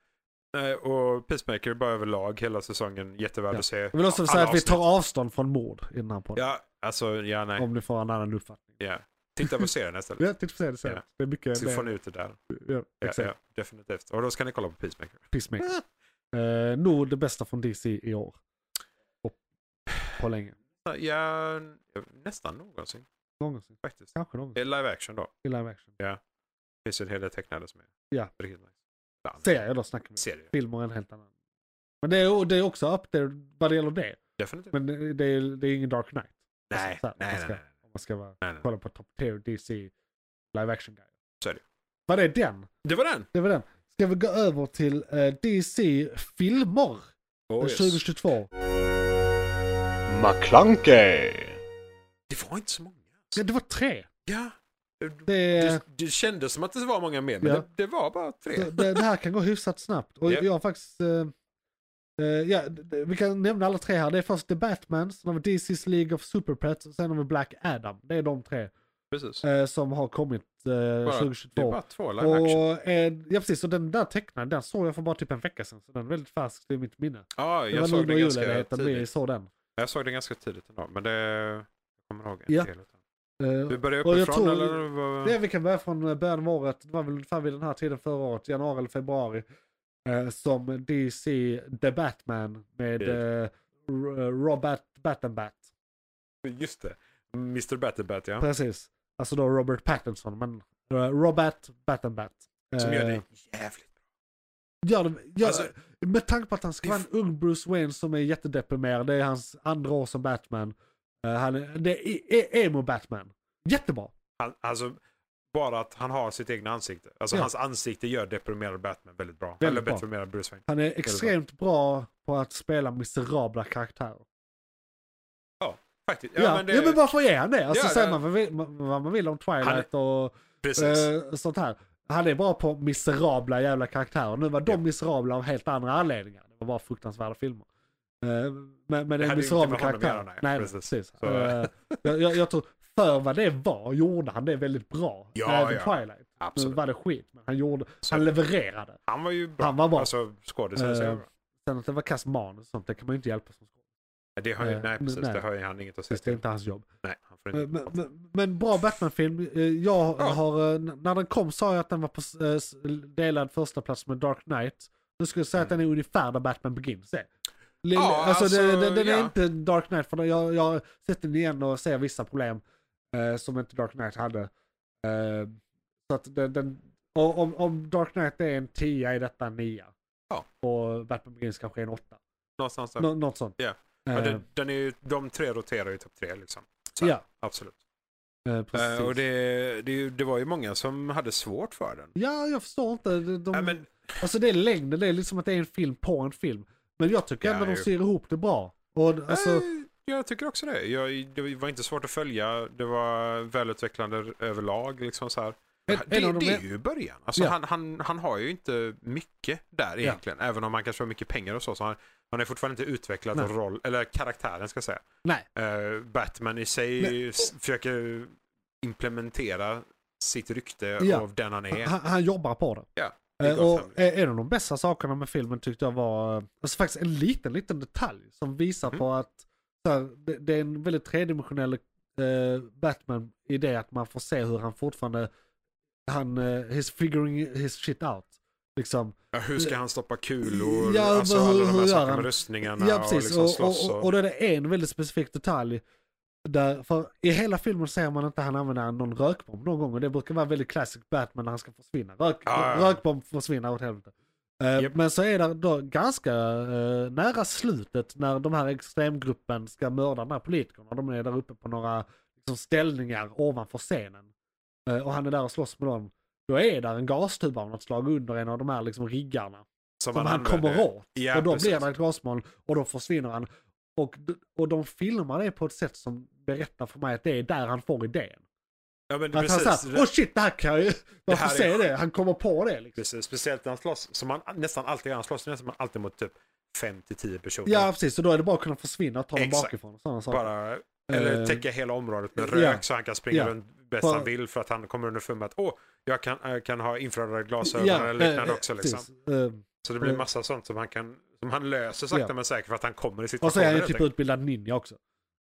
[SPEAKER 4] nej, Och Peacemaker är bara överlag hela säsongen jättevärd
[SPEAKER 3] Ja.
[SPEAKER 4] att se.
[SPEAKER 3] jag vill också
[SPEAKER 4] Alla
[SPEAKER 3] säga att vi
[SPEAKER 4] avsnitt.
[SPEAKER 3] tar avstånd från mord i den här podden.
[SPEAKER 4] Ja, alltså ja, nej.
[SPEAKER 3] Om ni får en annan uppfattning.
[SPEAKER 4] Ja. Titta på serien istället.
[SPEAKER 3] <laughs> Ja, titta på det sen.
[SPEAKER 4] Ja.
[SPEAKER 3] Det är mycket
[SPEAKER 4] Så får
[SPEAKER 3] mer.
[SPEAKER 4] ni ut det där.
[SPEAKER 3] Ja,
[SPEAKER 4] Ja,
[SPEAKER 3] exakt.
[SPEAKER 4] ja, definitivt. Och då ska ni kolla på Peacemaker. <laughs>
[SPEAKER 3] Peacemaker. Eh, nog det bästa från DC i år. Och på länge.
[SPEAKER 4] Ja, nästan någonsin
[SPEAKER 3] Någonsin.
[SPEAKER 4] faktiskt.
[SPEAKER 3] Kanske någonsin.
[SPEAKER 4] Det är live action då.
[SPEAKER 3] I live action.
[SPEAKER 4] Det finns ju en hel del tecknade som är
[SPEAKER 3] Ja.
[SPEAKER 4] riktigt nice. Ibland.
[SPEAKER 3] Serier då snackar vi.
[SPEAKER 4] Serier.
[SPEAKER 3] Filmer är en helt annan. Men det är, det är också up there vad det gäller det.
[SPEAKER 4] Definitivt.
[SPEAKER 3] Men det det är, det är ingen Dark Knight.
[SPEAKER 4] nej,
[SPEAKER 3] Så här,
[SPEAKER 4] nej,
[SPEAKER 3] man
[SPEAKER 4] nej,
[SPEAKER 3] ska-
[SPEAKER 4] nej.
[SPEAKER 3] Om man ska vara,
[SPEAKER 4] nej, nej.
[SPEAKER 3] kolla på top tier DC live action guy.
[SPEAKER 4] Så är det.
[SPEAKER 3] Var det den?
[SPEAKER 4] Det var den!
[SPEAKER 3] Det var den. Ska vi gå över till eh, DC filmer
[SPEAKER 4] Oh, yes.
[SPEAKER 3] 2022?
[SPEAKER 5] McClunkey.
[SPEAKER 4] Det var inte så många.
[SPEAKER 3] Ja, det var tre.
[SPEAKER 4] Ja. Det,
[SPEAKER 3] Det,
[SPEAKER 4] det, det kändes som att det var många mer, men
[SPEAKER 3] Eh. Ja.
[SPEAKER 4] det, det var bara tre.
[SPEAKER 3] det, det, det här kan gå hyfsat snabbt. Och
[SPEAKER 4] Japp.
[SPEAKER 3] jag har faktiskt... Eh, eh, ja, d- d- vi kan nämna alla tre här. Det är först The Batman, sen har vi DC's League of Super Pets och sen har vi Black Adam. Det är de tre
[SPEAKER 4] Precis.
[SPEAKER 3] eh, som har kommit eh,
[SPEAKER 4] Det är
[SPEAKER 3] 2022.
[SPEAKER 4] bara två live action.
[SPEAKER 3] Och, eh, ja precis, och den där tecknade, den såg jag för bara typ en vecka sedan. Så den är väldigt färsk i mitt minne.
[SPEAKER 4] Ja,
[SPEAKER 3] Det var
[SPEAKER 4] jag
[SPEAKER 3] nu
[SPEAKER 4] såg
[SPEAKER 3] under
[SPEAKER 4] det ganska
[SPEAKER 3] julledigheten vi
[SPEAKER 4] tidigt.
[SPEAKER 3] såg den.
[SPEAKER 4] Jag såg det ganska tidigt ändå, men det... Jag kommer ihåg inte
[SPEAKER 3] Ja.
[SPEAKER 4] hela tiden.
[SPEAKER 3] Eh,
[SPEAKER 4] Vi börjar
[SPEAKER 3] Och jag
[SPEAKER 4] uppifrån
[SPEAKER 3] tror-
[SPEAKER 4] eller? vad-
[SPEAKER 3] Det vi kan börja från eh, början av året, det var väl ungefär vid den här tiden förra året, januari eller februari, eh, som DC The Batman med eh, R- Robert Battenbat.
[SPEAKER 4] Just det. Mr Battlebat ja.
[SPEAKER 3] Precis. Alltså då Robert Pattinson, men eh, Robert Battenbat. Eh,
[SPEAKER 4] Som gör det jävligt
[SPEAKER 3] Gör det, gör,
[SPEAKER 4] Alltså-
[SPEAKER 3] med tanke på att han ska
[SPEAKER 4] Det-
[SPEAKER 3] vara en ung Bruce Wayne som är jättedeprimerad, det är hans andra år som Batman. Eh, han är, det är, är emo Batman. Jättebra.
[SPEAKER 4] Han, alltså, bara att han har sitt egna ansikte. Alltså
[SPEAKER 3] Ja.
[SPEAKER 4] hans ansikte gör deprimerad Batman väldigt bra.
[SPEAKER 3] Väldigt
[SPEAKER 4] Eller
[SPEAKER 3] bra.
[SPEAKER 4] deprimerad Bruce Wayne.
[SPEAKER 3] Han är extremt bra på att spela miserabla karaktärer.
[SPEAKER 4] Faktiskt. Ja,
[SPEAKER 3] Ja,
[SPEAKER 4] men det...
[SPEAKER 3] ja men varför är han det? Alltså
[SPEAKER 4] Ja,
[SPEAKER 3] säger
[SPEAKER 4] det-
[SPEAKER 3] man vad vill- vad man vill om Twilight och
[SPEAKER 4] Precis.
[SPEAKER 3] eh, sånt här. Han är bra på miserabla jävla karaktärer. Nu var de
[SPEAKER 4] Ja.
[SPEAKER 3] miserabla av helt andra anledningar. Det var bara fruktansvärda filmer. Eh, men, men
[SPEAKER 4] hade
[SPEAKER 3] det är en
[SPEAKER 4] ju inte
[SPEAKER 3] miserabel
[SPEAKER 4] med honom att
[SPEAKER 3] karaktär.
[SPEAKER 4] göra, nej.
[SPEAKER 3] nej, precis.
[SPEAKER 4] Precis.
[SPEAKER 3] precis.
[SPEAKER 4] Så-
[SPEAKER 3] Eh, jag, jag, jag tror för vad det var gjorde han det väldigt bra.
[SPEAKER 4] Ja,
[SPEAKER 3] Även
[SPEAKER 4] ja.
[SPEAKER 3] Twilight. Nu
[SPEAKER 4] Absolut.
[SPEAKER 3] var det skit, men han, gjorde,
[SPEAKER 4] Så-
[SPEAKER 3] han levererade.
[SPEAKER 4] Han var ju bra.
[SPEAKER 3] Han var bra.
[SPEAKER 4] Alltså skådisen
[SPEAKER 3] Eh,
[SPEAKER 4] så jävla bra.
[SPEAKER 3] Sen att det var kass manus och sånt, det kan man ju inte hjälpa som skådespelare.
[SPEAKER 4] Det har ju,
[SPEAKER 3] Eh,
[SPEAKER 4] nej, precis,
[SPEAKER 3] nej. Eh,
[SPEAKER 4] det har ju han inget att säga
[SPEAKER 3] Det är
[SPEAKER 4] till.
[SPEAKER 3] inte hans jobb.
[SPEAKER 4] Nej, han får inte.
[SPEAKER 3] Men, men, men bra Batman-film. Eh, Jag
[SPEAKER 4] Ja.
[SPEAKER 3] har, eh, n- när den kom sa jag att den var på s- eh, s- delad första plats med Dark Knight. Nu skulle jag säga att den är ungefär där Batman Begins är. Lille,
[SPEAKER 4] Mm. Ja,
[SPEAKER 3] alltså,
[SPEAKER 4] alltså,
[SPEAKER 3] den, den, den är
[SPEAKER 4] ja.
[SPEAKER 3] inte Dark Knight, för jag, jag har sett den igen och ser vissa problem eh, som inte Dark Knight hade. Eh, så att den, den, och, om, om Dark Knight är en 10 är detta en 9.
[SPEAKER 4] Ja.
[SPEAKER 3] Och Batman Begins kanske är en 8.
[SPEAKER 4] Någonstans där.
[SPEAKER 3] Nå, något sånt.
[SPEAKER 4] Ja. Ja,
[SPEAKER 3] Eh,
[SPEAKER 4] den, den är ju, de tre roterar ju topp tre liksom. Så här,
[SPEAKER 3] ja,
[SPEAKER 4] Absolut.
[SPEAKER 3] eh, precis.
[SPEAKER 4] Eh, och det, det, är ju- det var ju många som hade svårt för den.
[SPEAKER 3] Ja, jag förstår inte. De, de,
[SPEAKER 4] Nej, men,
[SPEAKER 3] Alltså det är längden, det är liksom att det är en film på en film. Men jag tycker
[SPEAKER 4] Ja,
[SPEAKER 3] ändå de
[SPEAKER 4] jo.
[SPEAKER 3] syr ihop det bra. Och alltså,
[SPEAKER 4] eh, jag tycker också det. Jag, det var inte svårt att följa. Det var välutvecklande överlag. Liksom så här.
[SPEAKER 3] en,
[SPEAKER 4] det
[SPEAKER 3] en av
[SPEAKER 4] det
[SPEAKER 3] de,
[SPEAKER 4] är ju början. Alltså,
[SPEAKER 3] Ja.
[SPEAKER 4] han, han, han har ju inte mycket där
[SPEAKER 3] Ja.
[SPEAKER 4] egentligen. Även om han kanske har mycket pengar och så. så han, han har fortfarande inte utvecklat
[SPEAKER 3] Nej.
[SPEAKER 4] roll, eller karaktären ska jag säga.
[SPEAKER 3] nej,
[SPEAKER 4] Eh, Batman i sig
[SPEAKER 3] Nej.
[SPEAKER 4] s- försöker implementera sitt rykte
[SPEAKER 3] Ja.
[SPEAKER 4] av den han är.
[SPEAKER 3] han, han jobbar på det.
[SPEAKER 4] Ja, det
[SPEAKER 3] Eh,
[SPEAKER 4] är gott
[SPEAKER 3] och eh, en av de bästa sakerna med filmen tyckte jag var, eh, alltså faktiskt en liten, liten detalj som visar
[SPEAKER 4] Mm.
[SPEAKER 3] på att så här, det, det är en väldigt tredimensionell eh, Batman i det att man får se hur han fortfarande, han, eh, he's figuring his shit out. Liksom,
[SPEAKER 4] Ja, hur ska han stoppa kulor?
[SPEAKER 3] Ja,
[SPEAKER 4] alltså
[SPEAKER 3] men hur-
[SPEAKER 4] alla de
[SPEAKER 3] hur
[SPEAKER 4] här
[SPEAKER 3] gör
[SPEAKER 4] sakerna
[SPEAKER 3] han?
[SPEAKER 4] med rustningarna
[SPEAKER 3] Ja, precis.
[SPEAKER 4] och liksom slåss.
[SPEAKER 3] och, och, och då är det en väldigt specifik detalj. Där, för I hela filmen ser man inte han använda någon rökbomb någon gång. Och det brukar vara väldigt classic Batman när han ska försvinna. Rök,
[SPEAKER 4] Ja, ja.
[SPEAKER 3] Rökbomb försvinner åt helvete. Eh,
[SPEAKER 4] Japp.
[SPEAKER 3] Men så är det då ganska eh, nära slutet när de här extremgruppen ska mörda den här politikern. Och de är där uppe på några liksom, ställningar ovanför scenen. Eh, och han är där och slåss med dem. Då är där en gastub av något slag under en av de här liksom, riggarna. Som han
[SPEAKER 4] använder.
[SPEAKER 3] kommer åt.
[SPEAKER 4] Ja,
[SPEAKER 3] och då
[SPEAKER 4] precis.
[SPEAKER 3] blir han ett gasmoln och då försvinner han. Och, d- och de filmar det på ett sätt som berättar för mig att det är där han får idén.
[SPEAKER 4] Ja, men
[SPEAKER 3] Att han
[SPEAKER 4] precis.
[SPEAKER 3] säger åh shit det här
[SPEAKER 4] <laughs>
[SPEAKER 3] kan jag ju, varför
[SPEAKER 4] här är
[SPEAKER 3] säger
[SPEAKER 4] sjukt."
[SPEAKER 3] det? Han kommer på det liksom.
[SPEAKER 4] precis. Speciellt när han slåss. Som han nästan alltid gör. Han slåss nästan alltid mot typ 5-10 personer.
[SPEAKER 3] Ja precis, och då är det bara att kunna försvinna och ta dem
[SPEAKER 4] Exakt.
[SPEAKER 3] bakifrån och sådana saker.
[SPEAKER 4] Bara, eller
[SPEAKER 3] Eh,
[SPEAKER 4] täcka hela området med
[SPEAKER 3] ja.
[SPEAKER 4] rök så han kan springa
[SPEAKER 3] Ja.
[SPEAKER 4] runt bäst
[SPEAKER 3] Bara-
[SPEAKER 4] han vill för att han kommer underfund med att åh, jag kan, jag kan ha infraröda glasögon eller
[SPEAKER 3] eh,
[SPEAKER 4] liknande
[SPEAKER 3] eh,
[SPEAKER 4] också. Liksom.
[SPEAKER 3] precis. Eh,
[SPEAKER 4] Så det blir
[SPEAKER 3] Eh.
[SPEAKER 4] massa sånt som han kan som han löser sakta
[SPEAKER 3] Ja.
[SPEAKER 4] men säkert för att han kommer i
[SPEAKER 3] Och så
[SPEAKER 4] situationer.
[SPEAKER 3] är han ju
[SPEAKER 4] helt
[SPEAKER 3] typ
[SPEAKER 4] enkelt.
[SPEAKER 3] utbildad ninja också.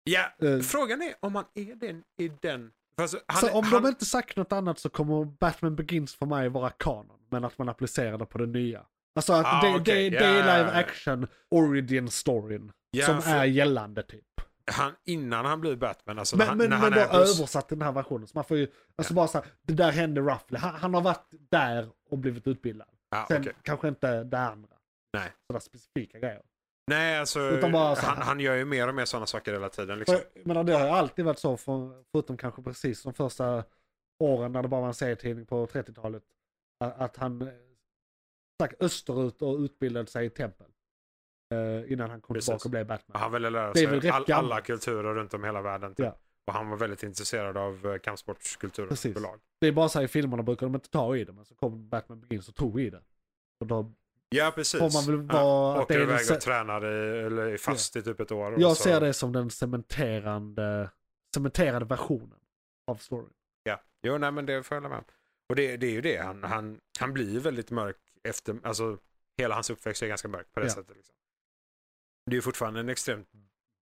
[SPEAKER 4] Ja,
[SPEAKER 3] eh,
[SPEAKER 4] frågan är om han är den i den... För alltså, han,
[SPEAKER 3] så om
[SPEAKER 4] han,
[SPEAKER 3] de inte sagt något annat så kommer Batman Begins för mig vara kanon. Men att man applicerar det på det nya. Alltså att
[SPEAKER 4] Ah,
[SPEAKER 3] det,
[SPEAKER 4] okej,
[SPEAKER 3] det,
[SPEAKER 4] ja,
[SPEAKER 3] det är
[SPEAKER 4] ja, ja.
[SPEAKER 3] live action origin storyn.
[SPEAKER 4] Ja,
[SPEAKER 3] som
[SPEAKER 4] för-
[SPEAKER 3] är gällande typ.
[SPEAKER 4] han, innan han blir Batman, alltså när,
[SPEAKER 3] Men,
[SPEAKER 4] han-
[SPEAKER 3] men,
[SPEAKER 4] när
[SPEAKER 3] men
[SPEAKER 4] han
[SPEAKER 3] då
[SPEAKER 4] är Bruce-
[SPEAKER 3] översatt till den här versionen. Så man får ju, alltså bara så här, det där hände Ruffley. Han, han har varit där och blivit utbildad.
[SPEAKER 4] Ja,
[SPEAKER 3] Sen
[SPEAKER 4] okej.
[SPEAKER 3] kanske inte det andra.
[SPEAKER 4] Nej.
[SPEAKER 3] Sådana specifika grejer.
[SPEAKER 4] Nej, alltså
[SPEAKER 3] Utan bara så här-
[SPEAKER 4] han, han gör ju mer och mer sådana saker hela tiden. Liksom.
[SPEAKER 3] För, jag menar, det har ju alltid varit så, för, förutom kanske precis de första åren när det bara var en serietidning på 30-talet. a- Att han eh, stack österut och utbildade sig i tempel. Eh, innan han kom
[SPEAKER 4] Precis.
[SPEAKER 3] tillbaka och blev Batman.
[SPEAKER 4] Han ville lära
[SPEAKER 3] Det är väl
[SPEAKER 4] sig
[SPEAKER 3] rätt
[SPEAKER 4] all,
[SPEAKER 3] gammalt.
[SPEAKER 4] alla kulturer runt om hela världen. Typ.
[SPEAKER 3] Ja.
[SPEAKER 4] Och han var väldigt intresserad av eh, kampsportskulturen
[SPEAKER 3] Precis.
[SPEAKER 4] överlag.
[SPEAKER 3] Det är bara så här i filmerna brukar de inte ta i det, men så kom Batman Begins och tog i det. Och då
[SPEAKER 4] Ja, precis.
[SPEAKER 3] får man väl
[SPEAKER 4] Ja.
[SPEAKER 3] vara... att det
[SPEAKER 4] Åker
[SPEAKER 3] är den
[SPEAKER 4] iväg
[SPEAKER 3] se-
[SPEAKER 4] och tränar i, eller är fast i typ ett år. och
[SPEAKER 3] jag
[SPEAKER 4] så-
[SPEAKER 3] ser det som den cementerande, cementerade versionen av storyn.
[SPEAKER 4] Ja, jo, nej, men det får jag hålla med om. Och det, det är ju det, han,
[SPEAKER 3] Mm.
[SPEAKER 4] han, han blir ju väldigt mörk efter, alltså hela hans uppväxt är ganska mörk på det
[SPEAKER 3] Ja.
[SPEAKER 4] sättet. Liksom. Det är ju fortfarande en extremt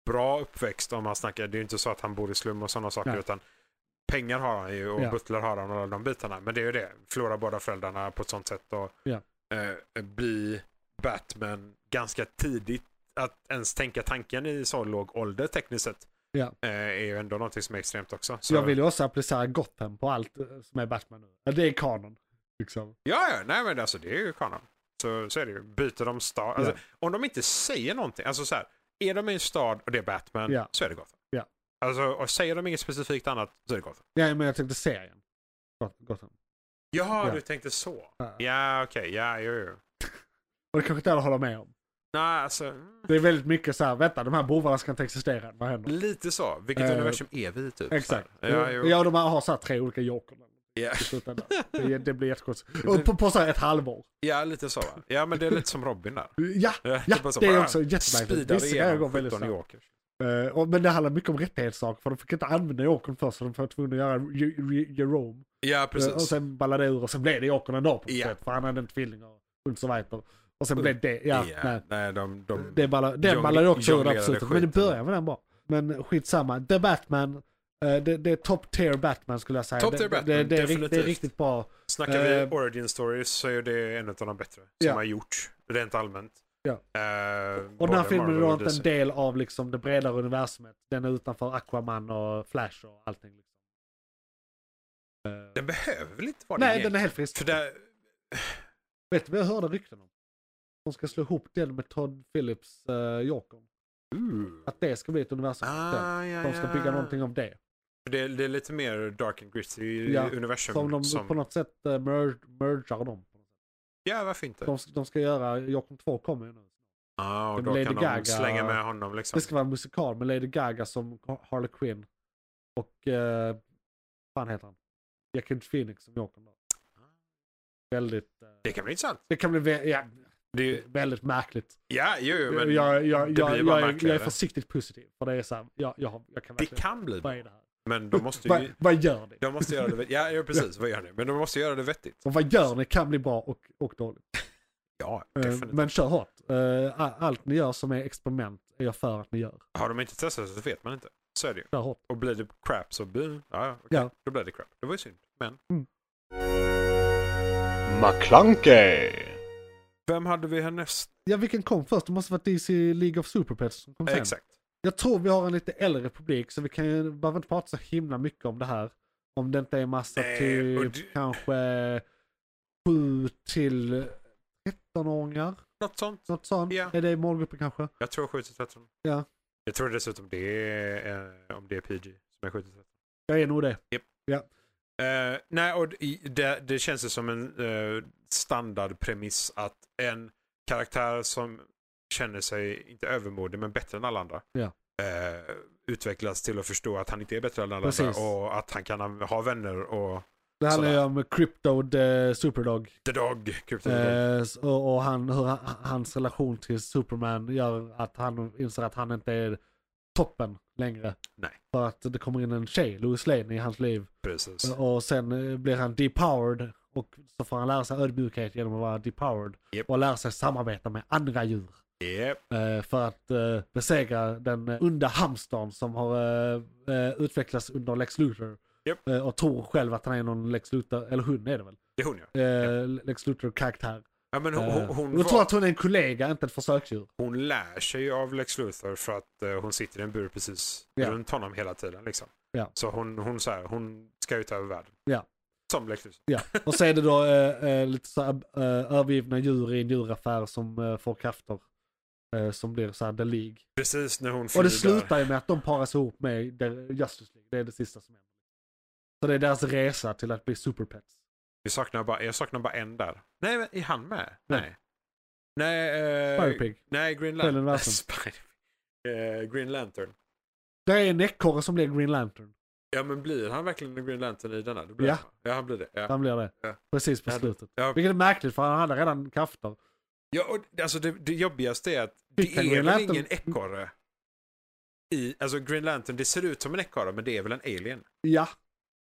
[SPEAKER 4] bra uppväxt om man snackar, det är ju inte så att han bor i slum och sådana saker
[SPEAKER 3] Nej.
[SPEAKER 4] utan pengar har han ju och
[SPEAKER 3] Ja.
[SPEAKER 4] butler har han och alla de bitarna. Men det är ju det, förlora båda föräldrarna på ett sånt sätt och
[SPEAKER 3] Ja.
[SPEAKER 4] eh, bli Batman ganska tidigt. Att ens tänka tanken i så låg ålder tekniskt sett
[SPEAKER 3] Ja.
[SPEAKER 4] eh, är ju ändå någonting som är extremt också.
[SPEAKER 3] Så
[SPEAKER 4] Så-
[SPEAKER 3] jag vill ju också applicera Gotham på allt eh, som är Batman nu. Ja, Det är kanon. Liksom.
[SPEAKER 4] Ja, ja, nej men alltså det är ju kanon. Så, så är det ju. Byter de stad. Alltså, Om de inte säger någonting, alltså så här, är de i en stad och det är Batman,
[SPEAKER 3] Ja.
[SPEAKER 4] så är det Gotham.
[SPEAKER 3] Ja.
[SPEAKER 4] Alltså, och säger de inget specifikt annat, så är det Gotham.
[SPEAKER 3] Nej men jag tänkte serien. Got- Gotham.
[SPEAKER 4] Jaha,
[SPEAKER 3] Ja.
[SPEAKER 4] du tänkte så.
[SPEAKER 3] Ja.
[SPEAKER 4] Ja, okej, ja, jo, jo.
[SPEAKER 3] Och det kanske inte alla håller med om.
[SPEAKER 4] Nej, alltså, mm,
[SPEAKER 3] Det är väldigt mycket så här, vänta de här bovarna ska inte existera, vad händer?
[SPEAKER 4] lite så. Vilket
[SPEAKER 3] Eh,
[SPEAKER 4] universum är vi i, typ?
[SPEAKER 3] Exakt.
[SPEAKER 4] Så här. Ja, jo.
[SPEAKER 3] Ja, de här har så här tre olika joker
[SPEAKER 4] Ja.
[SPEAKER 3] i slutändan. Det, det
[SPEAKER 4] <laughs>
[SPEAKER 3] blir jättekonstigt. Och på, på så här ett halvår.
[SPEAKER 4] ja, lite så va? Ja, men det är lite som Robin där.
[SPEAKER 3] Ja,
[SPEAKER 4] <laughs> är bara så,
[SPEAKER 3] det är
[SPEAKER 4] Typ alltså bara
[SPEAKER 3] också jättemärkligt.
[SPEAKER 4] speedar
[SPEAKER 3] Vissa grejer går
[SPEAKER 4] igenom
[SPEAKER 3] väldigt
[SPEAKER 4] 17
[SPEAKER 3] snabbt.
[SPEAKER 4] Yorkers.
[SPEAKER 3] Eh, och, men det handlar mycket om rättighetssaker för de fick inte använda jokern först så de var tvungna att göra Ju- Ju- Jerome.
[SPEAKER 4] Ja,
[SPEAKER 3] Eh, Och
[SPEAKER 4] precis.
[SPEAKER 3] sen ballade det ur och sen blev det jokern ändå på något
[SPEAKER 4] Ja. Mm.
[SPEAKER 3] sätt för han hade en tvilling. Och, Ulf Survivor. Och sen blev det, ja, nej.
[SPEAKER 4] nej, de... de
[SPEAKER 3] Det ballar, den
[SPEAKER 4] Jong-
[SPEAKER 3] ballar ju också ur
[SPEAKER 4] jonglerade
[SPEAKER 3] absolut. Men det
[SPEAKER 4] skiten.
[SPEAKER 3] börjar med den bara. Men skitsamma. The Batman. eh, Det, det är top tier Batman skulle jag säga.
[SPEAKER 4] Top tier
[SPEAKER 3] det,
[SPEAKER 4] Batman,
[SPEAKER 3] det, det, är, rikt- det är
[SPEAKER 4] definitivt.
[SPEAKER 3] riktigt bra.
[SPEAKER 4] Snackar vi
[SPEAKER 3] Eh,
[SPEAKER 4] origin stories så är det en av de bättre som
[SPEAKER 3] Ja.
[SPEAKER 4] har gjorts rent allmänt.
[SPEAKER 3] Ja.
[SPEAKER 4] Eh,
[SPEAKER 3] Och den här
[SPEAKER 4] både
[SPEAKER 3] filmen är
[SPEAKER 4] Marvel
[SPEAKER 3] då
[SPEAKER 4] och
[SPEAKER 3] inte
[SPEAKER 4] DC.
[SPEAKER 3] en del av liksom det bredare universumet. Den är utanför Aquaman och Flash och allting. Liksom. Eh,
[SPEAKER 4] Den behöver väl inte vara det
[SPEAKER 3] Nej,
[SPEAKER 4] egentligen?
[SPEAKER 3] den är helt frisk.
[SPEAKER 4] För där,
[SPEAKER 3] Vet du vad jag hörde rykten om? De ska slå ihop den med Todd Phillips uh, Joker. Att det ska bli ett universum. för
[SPEAKER 4] Ah, ja,
[SPEAKER 3] den. De ska
[SPEAKER 4] ja.
[SPEAKER 3] bygga någonting av det.
[SPEAKER 4] Det, det är lite mer dark and gritty
[SPEAKER 3] Ja,
[SPEAKER 4] universum.
[SPEAKER 3] Som de på något sätt uh, merg- mergar dem.
[SPEAKER 4] Ja, varför inte?
[SPEAKER 3] De, ska- de ska göra, Joker 2 kommer ju nu.
[SPEAKER 4] Ja, och
[SPEAKER 3] som
[SPEAKER 4] då
[SPEAKER 3] Lady
[SPEAKER 4] kan de
[SPEAKER 3] Gaga-
[SPEAKER 4] slänga med honom liksom.
[SPEAKER 3] Det ska vara en musikal med Lady Gaga som Har- Harley Quinn. Och, eh, vad fan heter han? Jackie Phoenix som Jokern då. Väldigt, eh,
[SPEAKER 4] Det kan bli intressant.
[SPEAKER 3] det kan bli vä- ja,
[SPEAKER 4] Det är ju-
[SPEAKER 3] väldigt märkligt.
[SPEAKER 4] ja, jo, jo, men
[SPEAKER 3] jag, jag, jag,
[SPEAKER 4] det blir bara
[SPEAKER 3] jag, jag, är- jag är
[SPEAKER 4] märkligare.
[SPEAKER 3] försiktigt positiv. För det är så här, jag, jag, jag kan
[SPEAKER 4] det
[SPEAKER 3] verkligen-
[SPEAKER 4] kan bli
[SPEAKER 3] Vad
[SPEAKER 4] bra.
[SPEAKER 3] är det här?
[SPEAKER 4] Men de måste
[SPEAKER 3] Vad,
[SPEAKER 4] ju...
[SPEAKER 3] vad gör ni?
[SPEAKER 4] De måste göra det vettigt. Ja, ja, precis. Vad gör ni? Men de måste göra det vettigt.
[SPEAKER 3] Och vad gör ni kan bli bra och, och dåligt.
[SPEAKER 4] Ja,
[SPEAKER 3] Eh,
[SPEAKER 4] definitivt.
[SPEAKER 3] men kör hårt. Eh, a- allt ni gör som är experiment är jag för att ni gör.
[SPEAKER 4] Har de inte testat så vet man inte. Så är det ju.
[SPEAKER 3] Kör hårt.
[SPEAKER 4] Och blir det crap så blir ja, ja, okej.
[SPEAKER 3] Ja. Mm.
[SPEAKER 4] Då blir det crap. Det var ju synd. Men
[SPEAKER 5] McClunkey.
[SPEAKER 4] vem hade vi härnäst?
[SPEAKER 3] Ja, vilken kom först? Det måste varit DC League of Super Pets som kom sen.
[SPEAKER 4] Exakt.
[SPEAKER 3] Jag tror vi har en lite äldre publik så vi kan ju, behöver inte prata så himla mycket om det här. Om det inte är massa
[SPEAKER 4] Nej, och
[SPEAKER 3] typ
[SPEAKER 4] du-
[SPEAKER 3] kanske 7 till 13-åringar.
[SPEAKER 4] Något sånt.
[SPEAKER 3] Något sånt.
[SPEAKER 4] Ja.
[SPEAKER 3] Är det målgruppen kanske?
[SPEAKER 4] Jag tror 7 till 13.
[SPEAKER 3] Ja.
[SPEAKER 4] Jag tror dessutom det är, eh, om det är PG som är 7 till 13.
[SPEAKER 3] Jag är nog det.
[SPEAKER 4] Eh, nej, och i- det, det känns ju som en eh, standardpremiss att en karaktär som känner sig, inte övermodig, men bättre än alla andra.
[SPEAKER 3] Ja.
[SPEAKER 4] eh, utvecklas till att förstå att han inte är bättre än alla
[SPEAKER 3] Precis.
[SPEAKER 4] andra och att han kan ha- ha vänner och
[SPEAKER 3] Det handlar ju
[SPEAKER 4] Sådär.
[SPEAKER 3] om Cryptod eh, Superdog.
[SPEAKER 4] the dog. kryptonit.
[SPEAKER 3] Eh, s- och och han, hur han, hans relation till Superman gör att han inser att han inte är toppen längre.
[SPEAKER 4] Nej.
[SPEAKER 3] För att det kommer in en tjej, Louis Lane, i hans liv.
[SPEAKER 4] Precis.
[SPEAKER 3] Och sen eh, blir han depowered. Och så får han lära sig ödmjukhet genom att vara depowered.
[SPEAKER 4] Japp.
[SPEAKER 3] Och lära sig samarbeta med andra djur.
[SPEAKER 4] Yep.
[SPEAKER 3] eh, För att eh, besegra den eh, onda hamstern som har eh, eh, utvecklats under Lex Luthor.
[SPEAKER 4] Japp.
[SPEAKER 3] Eh, Och tror själv att han är någon Lex Luthor, eller hon är det väl?
[SPEAKER 4] Det är hon ja.
[SPEAKER 3] Eh, Lex Luthor-karaktär.
[SPEAKER 4] ja men hon,
[SPEAKER 3] Eh,
[SPEAKER 4] hon,
[SPEAKER 3] Jag
[SPEAKER 4] hon,
[SPEAKER 3] tror
[SPEAKER 4] var,
[SPEAKER 3] att hon är en kollega, inte
[SPEAKER 4] <laughs>
[SPEAKER 3] ett försöksdjur.
[SPEAKER 4] hon lär sig ju av Lex Luthor för att eh, hon sitter i en bur precis
[SPEAKER 3] Ja.
[SPEAKER 4] runt honom hela tiden. Liksom.
[SPEAKER 3] Ja.
[SPEAKER 4] Så hon, hon, så här, hon ska ut över världen.
[SPEAKER 3] Ja.
[SPEAKER 4] Som Lex Luthor.
[SPEAKER 3] Ja. Och så är det då eh, eh, lite så här, eh, övergivna djur i en djuraffär som eh, får krafter. Eh, som blir så här The League.
[SPEAKER 4] Precis när hon
[SPEAKER 3] Och
[SPEAKER 4] flyr
[SPEAKER 3] det slutar ju med att de paras ihop med The Justice League. Det är det sista som händer. Så det är deras resa till att bli superpets.
[SPEAKER 4] Vi saknar bara, jag saknar bara en där. Nej, men är han med? Nej. Nej, eh,
[SPEAKER 3] Firepig.
[SPEAKER 4] nej Green
[SPEAKER 3] Helen
[SPEAKER 4] Lantern. <laughs>
[SPEAKER 3] Larsson.
[SPEAKER 4] Spider- eh, Green Lantern.
[SPEAKER 3] Det är en ekorre som blir Green Lantern.
[SPEAKER 4] Ja, men blir han verkligen en Green Lantern i denna? Det blir
[SPEAKER 3] Ja.
[SPEAKER 4] han, va? ja, han blir det. Ja.
[SPEAKER 3] Han blir det.
[SPEAKER 4] Ja.
[SPEAKER 3] Precis på
[SPEAKER 4] Ja, det-
[SPEAKER 3] slutet.
[SPEAKER 4] ja.
[SPEAKER 3] Vilket är märkligt för han hade redan krafter.
[SPEAKER 4] Ja, och, det- alltså det, det jobbigaste är att det
[SPEAKER 3] Fick han
[SPEAKER 4] är väl
[SPEAKER 3] Green Lantern?
[SPEAKER 4] ingen ekorre. I, alltså Green Lantern, det ser ut som en ekorre, men det är väl en alien?
[SPEAKER 3] Ja,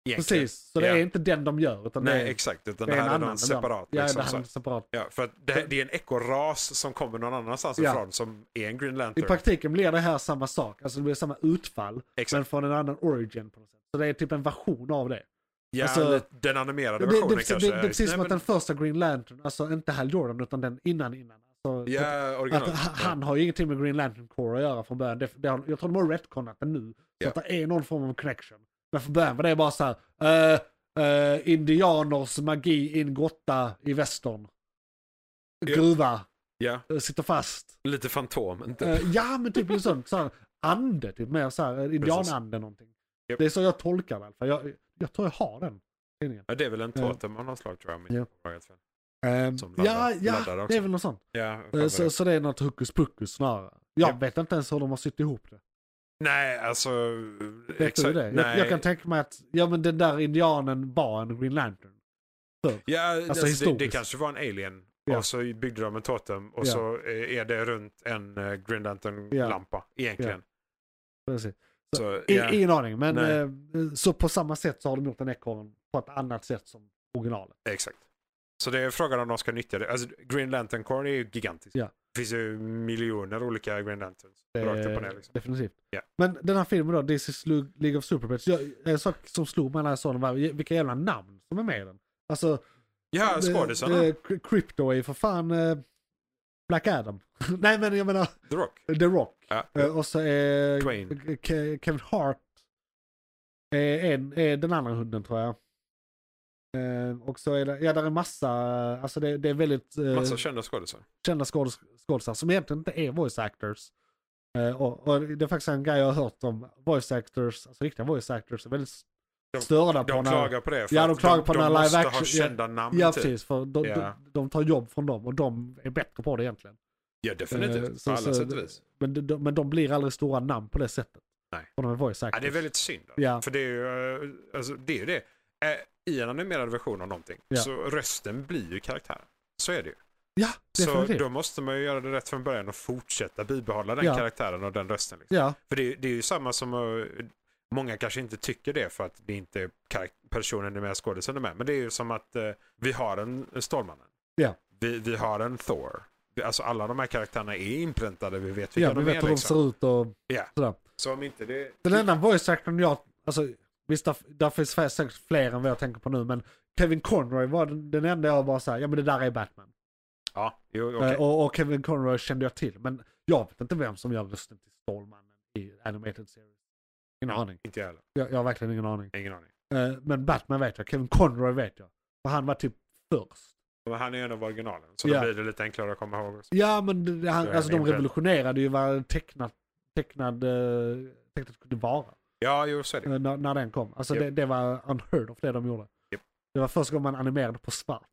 [SPEAKER 4] Egentligen.
[SPEAKER 3] precis. Så det
[SPEAKER 4] Ja.
[SPEAKER 3] är inte den de gör. Utan det
[SPEAKER 4] Nej,
[SPEAKER 3] är,
[SPEAKER 4] exakt. Utan
[SPEAKER 3] det
[SPEAKER 4] det
[SPEAKER 3] är en
[SPEAKER 4] här är
[SPEAKER 3] annan.
[SPEAKER 4] någon separat.
[SPEAKER 3] ja,
[SPEAKER 4] liksom,
[SPEAKER 3] det
[SPEAKER 4] så
[SPEAKER 3] här är
[SPEAKER 4] här.
[SPEAKER 3] en separat.
[SPEAKER 4] ja, för att det, här- det är en ekorras som kommer någon annanstans
[SPEAKER 3] Ja.
[SPEAKER 4] ifrån som är en Green
[SPEAKER 3] I
[SPEAKER 4] Lantern.
[SPEAKER 3] praktiken blir det här samma sak. Alltså det blir samma utfall. Men
[SPEAKER 4] Exakt.
[SPEAKER 3] från en annan origin på något sätt. Så det är typ en version av det.
[SPEAKER 4] Ja,
[SPEAKER 3] alltså-
[SPEAKER 4] lite den animerade
[SPEAKER 3] Det,
[SPEAKER 4] versionen
[SPEAKER 3] det, det, det,
[SPEAKER 4] kanske.
[SPEAKER 3] det är precis som
[SPEAKER 4] Nej,
[SPEAKER 3] att den första Green Lantern, alltså inte Hal Jordan utan den innan innan. Alltså,
[SPEAKER 4] Ja,
[SPEAKER 3] Att
[SPEAKER 4] original.
[SPEAKER 3] han- han har ju ingenting med Green Lantern Corps att göra från början. Det, det har, jag tror de har retconat den nu. Så
[SPEAKER 4] Ja.
[SPEAKER 3] att det är någon form av connection. Men från början var det bara så här. eh, eh, indianers magi i en grotta i västern.
[SPEAKER 4] Ja.
[SPEAKER 3] Gruva,
[SPEAKER 4] Ja,
[SPEAKER 3] eh, sitter fast.
[SPEAKER 4] lite fantom. Inte.
[SPEAKER 3] Eh, ja men typ lite sånt. Så här, ande, typ mer så här, eh, indianande någonting.
[SPEAKER 4] Japp.
[SPEAKER 3] Det är så jag tolkar det i alla fall. Jag, jag tror jag har den. tidningen.
[SPEAKER 4] ja, det är väl en
[SPEAKER 3] Eh.
[SPEAKER 4] totem av något slag tror jag. om
[SPEAKER 3] Ja.
[SPEAKER 4] inte jag har helt fel.
[SPEAKER 3] Eh,
[SPEAKER 4] Som
[SPEAKER 3] ja,
[SPEAKER 4] laddar- laddar
[SPEAKER 3] ja
[SPEAKER 4] också.
[SPEAKER 3] det är väl något sånt.
[SPEAKER 4] Ja,
[SPEAKER 3] Eh,
[SPEAKER 4] fan vad det-
[SPEAKER 3] Så, så det är något hokus pokus snarare. Jag
[SPEAKER 4] Japp.
[SPEAKER 3] vet inte ens hur de har sytt ihop det.
[SPEAKER 4] Nej, alltså...
[SPEAKER 3] Vet du det? Jag,
[SPEAKER 4] Nej.
[SPEAKER 3] jag kan tänka mig att ja, men den där indianen var en Green Lantern.
[SPEAKER 4] ja, alltså, det, det
[SPEAKER 3] historiskt.
[SPEAKER 4] kanske var en alien.
[SPEAKER 3] Ja.
[SPEAKER 4] Och så byggde de en totem och
[SPEAKER 3] Ja.
[SPEAKER 4] så eh, är det runt en eh, Green
[SPEAKER 3] Ja.
[SPEAKER 4] Lantern-lampa egentligen.
[SPEAKER 3] Precis. Så,
[SPEAKER 4] Så,
[SPEAKER 3] I,
[SPEAKER 4] ja,
[SPEAKER 3] Ingen aning, men
[SPEAKER 4] Nej.
[SPEAKER 3] eh, så på samma sätt så har de gjort en ekorren på ett annat sätt som originalet.
[SPEAKER 4] exakt. Så det är frågan om de ska nyttja det. Alltså, Green Lantern Corn är ju gigantisk.
[SPEAKER 3] Ja.
[SPEAKER 4] Det finns ju miljoner olika Green Lanterns.
[SPEAKER 3] Det-
[SPEAKER 4] Rakt upp och ner liksom.
[SPEAKER 3] Definitivt.
[SPEAKER 4] Ja.
[SPEAKER 3] Men den här filmen då, DC's Lu- League of Superpets. jag- En sak som slog mig när jag såg den var vilka jävla namn som är med i den. Alltså,
[SPEAKER 4] Ja,
[SPEAKER 3] eh,
[SPEAKER 4] skådisarna.
[SPEAKER 3] eh, Cry- Crypto är ju för fan eh, Black Adam. <laughs> Nej men jag menar
[SPEAKER 4] The Rock.
[SPEAKER 3] The Rock.
[SPEAKER 4] Ja.
[SPEAKER 3] Eh, Och så är
[SPEAKER 4] Dwayne.
[SPEAKER 3] Ke- Kevin Hart är, en, är den andra hunden tror jag. Eh, Och så är det, ja där är massa, alltså det, det är väldigt eh,
[SPEAKER 4] Massa kända skådisar.
[SPEAKER 3] kända skådes- skådisar som egentligen inte är voice actors. Eh, och, och det är faktiskt en grej jag har hört om voice actors, alltså riktiga voice actors är väldigt
[SPEAKER 4] De-
[SPEAKER 3] störda på eh,
[SPEAKER 4] De klagar på det. För
[SPEAKER 3] Ja, de
[SPEAKER 4] att
[SPEAKER 3] klagar på
[SPEAKER 4] de,
[SPEAKER 3] den här
[SPEAKER 4] de måste
[SPEAKER 3] live
[SPEAKER 4] ha
[SPEAKER 3] action- ja.
[SPEAKER 4] kända namn.
[SPEAKER 3] Ja
[SPEAKER 4] typ.
[SPEAKER 3] precis, för de,
[SPEAKER 4] Ja.
[SPEAKER 3] de, de tar jobb från dem och de är bättre på det egentligen.
[SPEAKER 4] ja
[SPEAKER 3] Eh,
[SPEAKER 4] definitivt.
[SPEAKER 3] så-
[SPEAKER 4] på alla
[SPEAKER 3] så-
[SPEAKER 4] sätt och vis.
[SPEAKER 3] Men de, de, men de blir aldrig stora namn på det sättet.
[SPEAKER 4] Nej.
[SPEAKER 3] För de är voice actors.
[SPEAKER 4] Ja, det är väldigt synd. alltså.
[SPEAKER 3] Ja.
[SPEAKER 4] För det är ju eh, alltså, det. Är ju det. Eh, I en animerad version av någonting
[SPEAKER 3] Ja.
[SPEAKER 4] så rösten blir ju karaktären. Så är det ju.
[SPEAKER 3] Ja,
[SPEAKER 4] Så
[SPEAKER 3] definitivt.
[SPEAKER 4] då måste man ju göra det rätt från början och fortsätta bibehålla den
[SPEAKER 3] Ja.
[SPEAKER 4] karaktären och den rösten. Liksom.
[SPEAKER 3] Ja,
[SPEAKER 4] För det, är- det är ju samma som, eh, många kanske inte tycker det för att det inte är karak- personen är med, skådisen är med. Men det är ju som att eh, vi har en en Stålmannen.
[SPEAKER 3] Ja.
[SPEAKER 4] Vi, vi har en Thor. Vi- Alltså alla de här karaktärerna är inpräntade, vi vet vilka
[SPEAKER 3] ja vi
[SPEAKER 4] de
[SPEAKER 3] vet
[SPEAKER 4] är.
[SPEAKER 3] hur de
[SPEAKER 4] Liksom.
[SPEAKER 3] ser ut och
[SPEAKER 4] Ja.
[SPEAKER 3] sådär.
[SPEAKER 4] Så om inte det...
[SPEAKER 3] Den enda voice actorn jag, alltså visst där, där finns säkert fler än vad jag tänker på nu men Kevin Conroy var den, den enda jag bara såhär, ja men det där är Batman.
[SPEAKER 4] Ja, jo, okej.
[SPEAKER 3] Eh, Och, och Kevin Conroy kände jag till men jag vet inte vem som gör rösten till Stålmannen i Animated Series. Ingen aning.
[SPEAKER 4] Inte jag heller.
[SPEAKER 3] Jag, jag har verkligen ingen aning.
[SPEAKER 4] Ingen aning.
[SPEAKER 3] Eh, Men Batman vet jag, Kevin Conroy vet jag. För han var typ först.
[SPEAKER 4] Men han är ju en av originalen, så
[SPEAKER 3] Ja.
[SPEAKER 4] då blir det lite enklare att komma ihåg. Också.
[SPEAKER 3] Ja men det- det- han,
[SPEAKER 4] Det är
[SPEAKER 3] alltså de
[SPEAKER 4] min vän.
[SPEAKER 3] revolutionerade ju vad tecknad, tecknad, eh, tecknat kunde vara.
[SPEAKER 4] Ja, jo, så är det.
[SPEAKER 3] eh, när, när den kom. Alltså
[SPEAKER 4] Japp.
[SPEAKER 3] det, det var unheard of det de gjorde.
[SPEAKER 4] Japp.
[SPEAKER 3] Det var första gången man animerade på svart.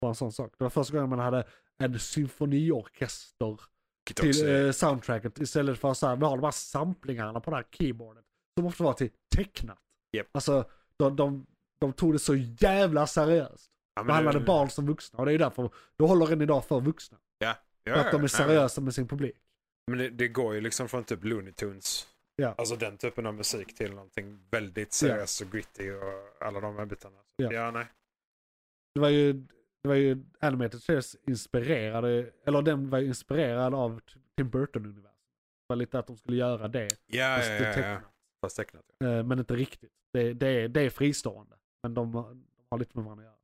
[SPEAKER 3] Bara en sån sak. Det var första gången man hade en symfoniorkester
[SPEAKER 4] Vilket också
[SPEAKER 3] till
[SPEAKER 4] är-
[SPEAKER 3] eh, soundtracket istället för så här, vi har de här samplingarna på det här keyboardet. Som ofta var till tecknat.
[SPEAKER 4] Japp.
[SPEAKER 3] Alltså de, de, de tog det så jävla seriöst.
[SPEAKER 4] Ja, men
[SPEAKER 3] Behandlade
[SPEAKER 4] det-
[SPEAKER 3] barn som vuxna och det är ju därför de håller än idag för vuxna.
[SPEAKER 4] Ja,
[SPEAKER 3] För
[SPEAKER 4] ja,
[SPEAKER 3] att de är
[SPEAKER 4] nej, men-
[SPEAKER 3] seriösa med sin publik.
[SPEAKER 4] Men det, det går ju liksom från typ Looney Tunes,
[SPEAKER 3] Ja.
[SPEAKER 4] alltså den typen av musik till någonting väldigt seriöst och gritty och alla de här bitarna. Så,
[SPEAKER 3] Ja.
[SPEAKER 4] ja. nej.
[SPEAKER 3] Det var ju, det var ju Animated Series inspirerade, eller den var ju inspirerad av T- Tim Burton-universum. Det var lite att de skulle göra det.
[SPEAKER 4] Ja,
[SPEAKER 3] fast
[SPEAKER 4] ja,
[SPEAKER 3] det
[SPEAKER 4] ja, ja.
[SPEAKER 3] tecknat.
[SPEAKER 4] Fast tecknat. Ja.
[SPEAKER 3] Eh, Men inte riktigt. Det, det, är- det är fristående. Men de, har- de har lite med varandra att göra.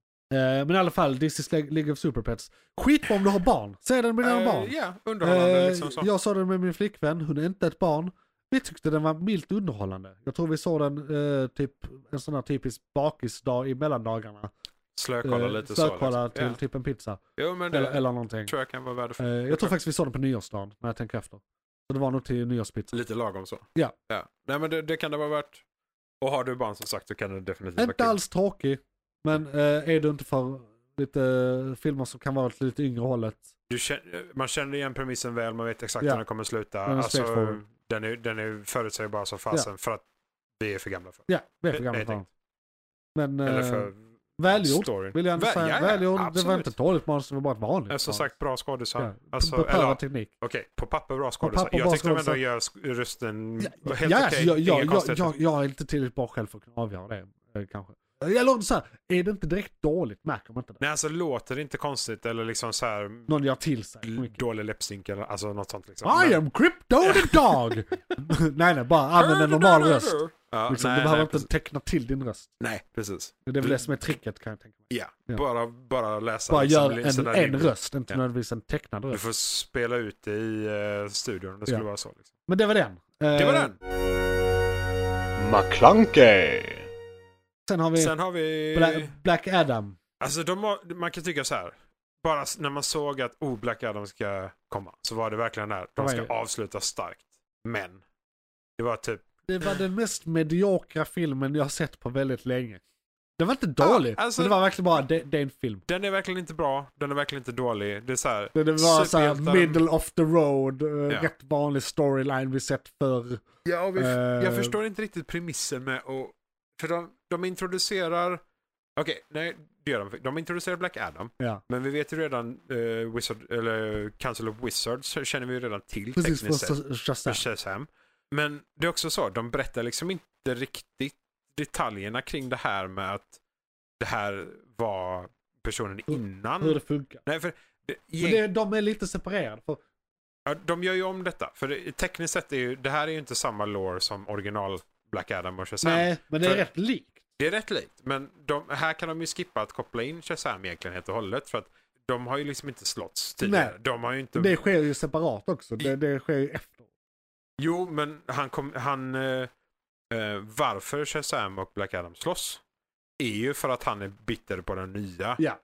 [SPEAKER 3] Eh, Men i alla fall, This is Le- League of Superpets. Skitbra om du har barn. Se den med dina
[SPEAKER 4] Eh,
[SPEAKER 3] barn.
[SPEAKER 4] ja, underhållande
[SPEAKER 3] Eh,
[SPEAKER 4] liksom. Så.
[SPEAKER 3] Jag såg den med min flickvän, hon är inte ett barn. Vi tyckte den var milt underhållande. Jag tror vi såg den eh, typ, en sån här typisk bakisdag i mellandagarna.
[SPEAKER 4] Slökolla
[SPEAKER 3] Eh,
[SPEAKER 4] lite så.
[SPEAKER 3] Stödkolla till
[SPEAKER 4] Liksom. Ja.
[SPEAKER 3] typ en pizza.
[SPEAKER 4] Jo, men det
[SPEAKER 3] Eller, eller någonting.
[SPEAKER 4] tror jag kan vara värdefullt.
[SPEAKER 3] Eh, jag tror faktiskt vi såg den på nyårsdagen när jag tänker efter. Så det var nog till nyårspizza.
[SPEAKER 4] Lite lagom så.
[SPEAKER 3] Ja.
[SPEAKER 4] ja. Nej, men det, det kan det vara värt. Och har du barn som sagt så kan det definitivt vara
[SPEAKER 3] Inte
[SPEAKER 4] kul.
[SPEAKER 3] alls tråkig. Men eh, är du inte för lite filmer som kan vara åt lite yngre hållet.
[SPEAKER 4] du känner, man känner igen premissen väl, man vet exakt
[SPEAKER 3] Ja.
[SPEAKER 4] hur den kommer sluta.
[SPEAKER 3] Den är
[SPEAKER 4] alltså,
[SPEAKER 3] straightforward.
[SPEAKER 4] den, är, den är förutsägbar som fasen för att vi är för gamla för.
[SPEAKER 3] Ja, vi är för gamla
[SPEAKER 4] Nej,
[SPEAKER 3] för
[SPEAKER 4] tänk-
[SPEAKER 3] den. Men
[SPEAKER 4] Eller
[SPEAKER 3] eh,
[SPEAKER 4] för
[SPEAKER 3] välgjord
[SPEAKER 4] storyn.
[SPEAKER 3] vill jag ändå
[SPEAKER 4] Väl-
[SPEAKER 3] säga.
[SPEAKER 4] ja, ja,
[SPEAKER 3] välgjord. Det var
[SPEAKER 4] absolut.
[SPEAKER 3] inte ett dåligt manus, det var bara ett vanligt
[SPEAKER 4] Ja, som
[SPEAKER 3] manus.
[SPEAKER 4] sagt, bra skådisar.
[SPEAKER 3] Ja,
[SPEAKER 4] Alltså,
[SPEAKER 3] beprövad
[SPEAKER 4] eller, okej,
[SPEAKER 3] teknik.
[SPEAKER 4] på papper bra skådisar.
[SPEAKER 3] papper bra
[SPEAKER 4] Jag tyckte de ändå
[SPEAKER 3] skådisar.
[SPEAKER 4] gör sk- rösten
[SPEAKER 3] Ja,
[SPEAKER 4] helt
[SPEAKER 3] ja,
[SPEAKER 4] okej.
[SPEAKER 3] jag,
[SPEAKER 4] Inga
[SPEAKER 3] jag, jag,
[SPEAKER 4] konstigheter.
[SPEAKER 3] jag, jag är inte tillräckligt bra själv för att kunna avgöra det. eh, Kanske. Eller så här, är det inte direkt dåligt märker man inte det.
[SPEAKER 4] Nej, alltså låter det inte konstigt eller liksom så här
[SPEAKER 3] Någon gör till sig.
[SPEAKER 4] Mm.
[SPEAKER 3] för mycket.
[SPEAKER 4] dålig läppstink eller alltså något sånt liksom.
[SPEAKER 3] I
[SPEAKER 4] Men-
[SPEAKER 3] am Crypto the Dog! <laughs> nej, nej, bara använd en normal röst.
[SPEAKER 4] Ja,
[SPEAKER 3] Liksom,
[SPEAKER 4] nej,
[SPEAKER 3] du behöver
[SPEAKER 4] nej,
[SPEAKER 3] inte
[SPEAKER 4] precis.
[SPEAKER 3] teckna till din röst.
[SPEAKER 4] Nej, precis.
[SPEAKER 3] Det är väl det som är tricket kan jag tänka mig.
[SPEAKER 4] Ja,
[SPEAKER 3] Ja.
[SPEAKER 4] Bara, bara läsa.
[SPEAKER 3] Bara
[SPEAKER 4] liksom,
[SPEAKER 3] gör
[SPEAKER 4] li-
[SPEAKER 3] en,
[SPEAKER 4] sådär
[SPEAKER 3] en
[SPEAKER 4] rimligt.
[SPEAKER 3] röst, inte
[SPEAKER 4] Ja.
[SPEAKER 3] nödvändigtvis en tecknad
[SPEAKER 4] Du
[SPEAKER 3] röst.
[SPEAKER 4] får spela ut det i eh, studion om det skulle
[SPEAKER 3] Ja.
[SPEAKER 4] vara så. Liksom.
[SPEAKER 3] Men det var den. Eh,
[SPEAKER 4] Det var den.
[SPEAKER 5] McClunkey,
[SPEAKER 3] Sen har vi
[SPEAKER 4] Sen har vi...
[SPEAKER 3] Bla- Black Adam.
[SPEAKER 4] Alltså de har, man kan tycka så här. Bara s- när man såg att oh, Black Adam ska komma så var det verkligen där. De
[SPEAKER 3] Oj.
[SPEAKER 4] ska avsluta starkt. Men det var typ...
[SPEAKER 3] Det var den mest mediokra filmen jag har sett på väldigt länge. Den var inte dålig,
[SPEAKER 4] alltså-
[SPEAKER 3] men det var verkligen bara, det, det är en film.
[SPEAKER 4] Den är verkligen inte bra. Den är verkligen inte dålig. Det är så här.
[SPEAKER 3] Det, det var såhär
[SPEAKER 4] superhjältar-
[SPEAKER 3] middle of the road, eh, rätt vanlig storyline vi sett förr.
[SPEAKER 4] Ja, och vi,
[SPEAKER 3] Eh.
[SPEAKER 4] Jag förstår inte riktigt premissen med att... För de, de introducerar... Okej, nej, det gör de. De introducerar Black Adam.
[SPEAKER 3] Ja.
[SPEAKER 4] Men vi vet ju redan eh, Wizard, eller Council of Wizards så känner vi ju redan till
[SPEAKER 3] Precis
[SPEAKER 4] tekniskt sett.
[SPEAKER 3] från Shazam.
[SPEAKER 4] för Shazam. Men det är också så, de berättar liksom inte riktigt detaljerna kring det här med att det här var personen
[SPEAKER 3] Hur-
[SPEAKER 4] innan.
[SPEAKER 3] hur det funkar.
[SPEAKER 4] Nej, för det,
[SPEAKER 3] Men
[SPEAKER 4] gäng,
[SPEAKER 3] det, de är lite separerade. För,
[SPEAKER 4] ja, de gör ju om detta. För det, tekniskt sett är ju, det här är ju inte samma lore som original Black Adam och Shazam.
[SPEAKER 3] nej, men det är
[SPEAKER 4] för-
[SPEAKER 3] rätt likt.
[SPEAKER 4] Det är rätt likt, men de, här kan de ju skippa att koppla in Shazam egentligen helt och hållet. För att de har ju liksom inte slåtts tidigare.
[SPEAKER 3] Nej.
[SPEAKER 4] De har ju inte...
[SPEAKER 3] Det sker ju separat också. Det, det sker ju efter.
[SPEAKER 4] Jo, men han kom, han, eh, eh, varför Shazam och Black Adam slåss är ju för att han är bitter på den nya
[SPEAKER 3] Ja.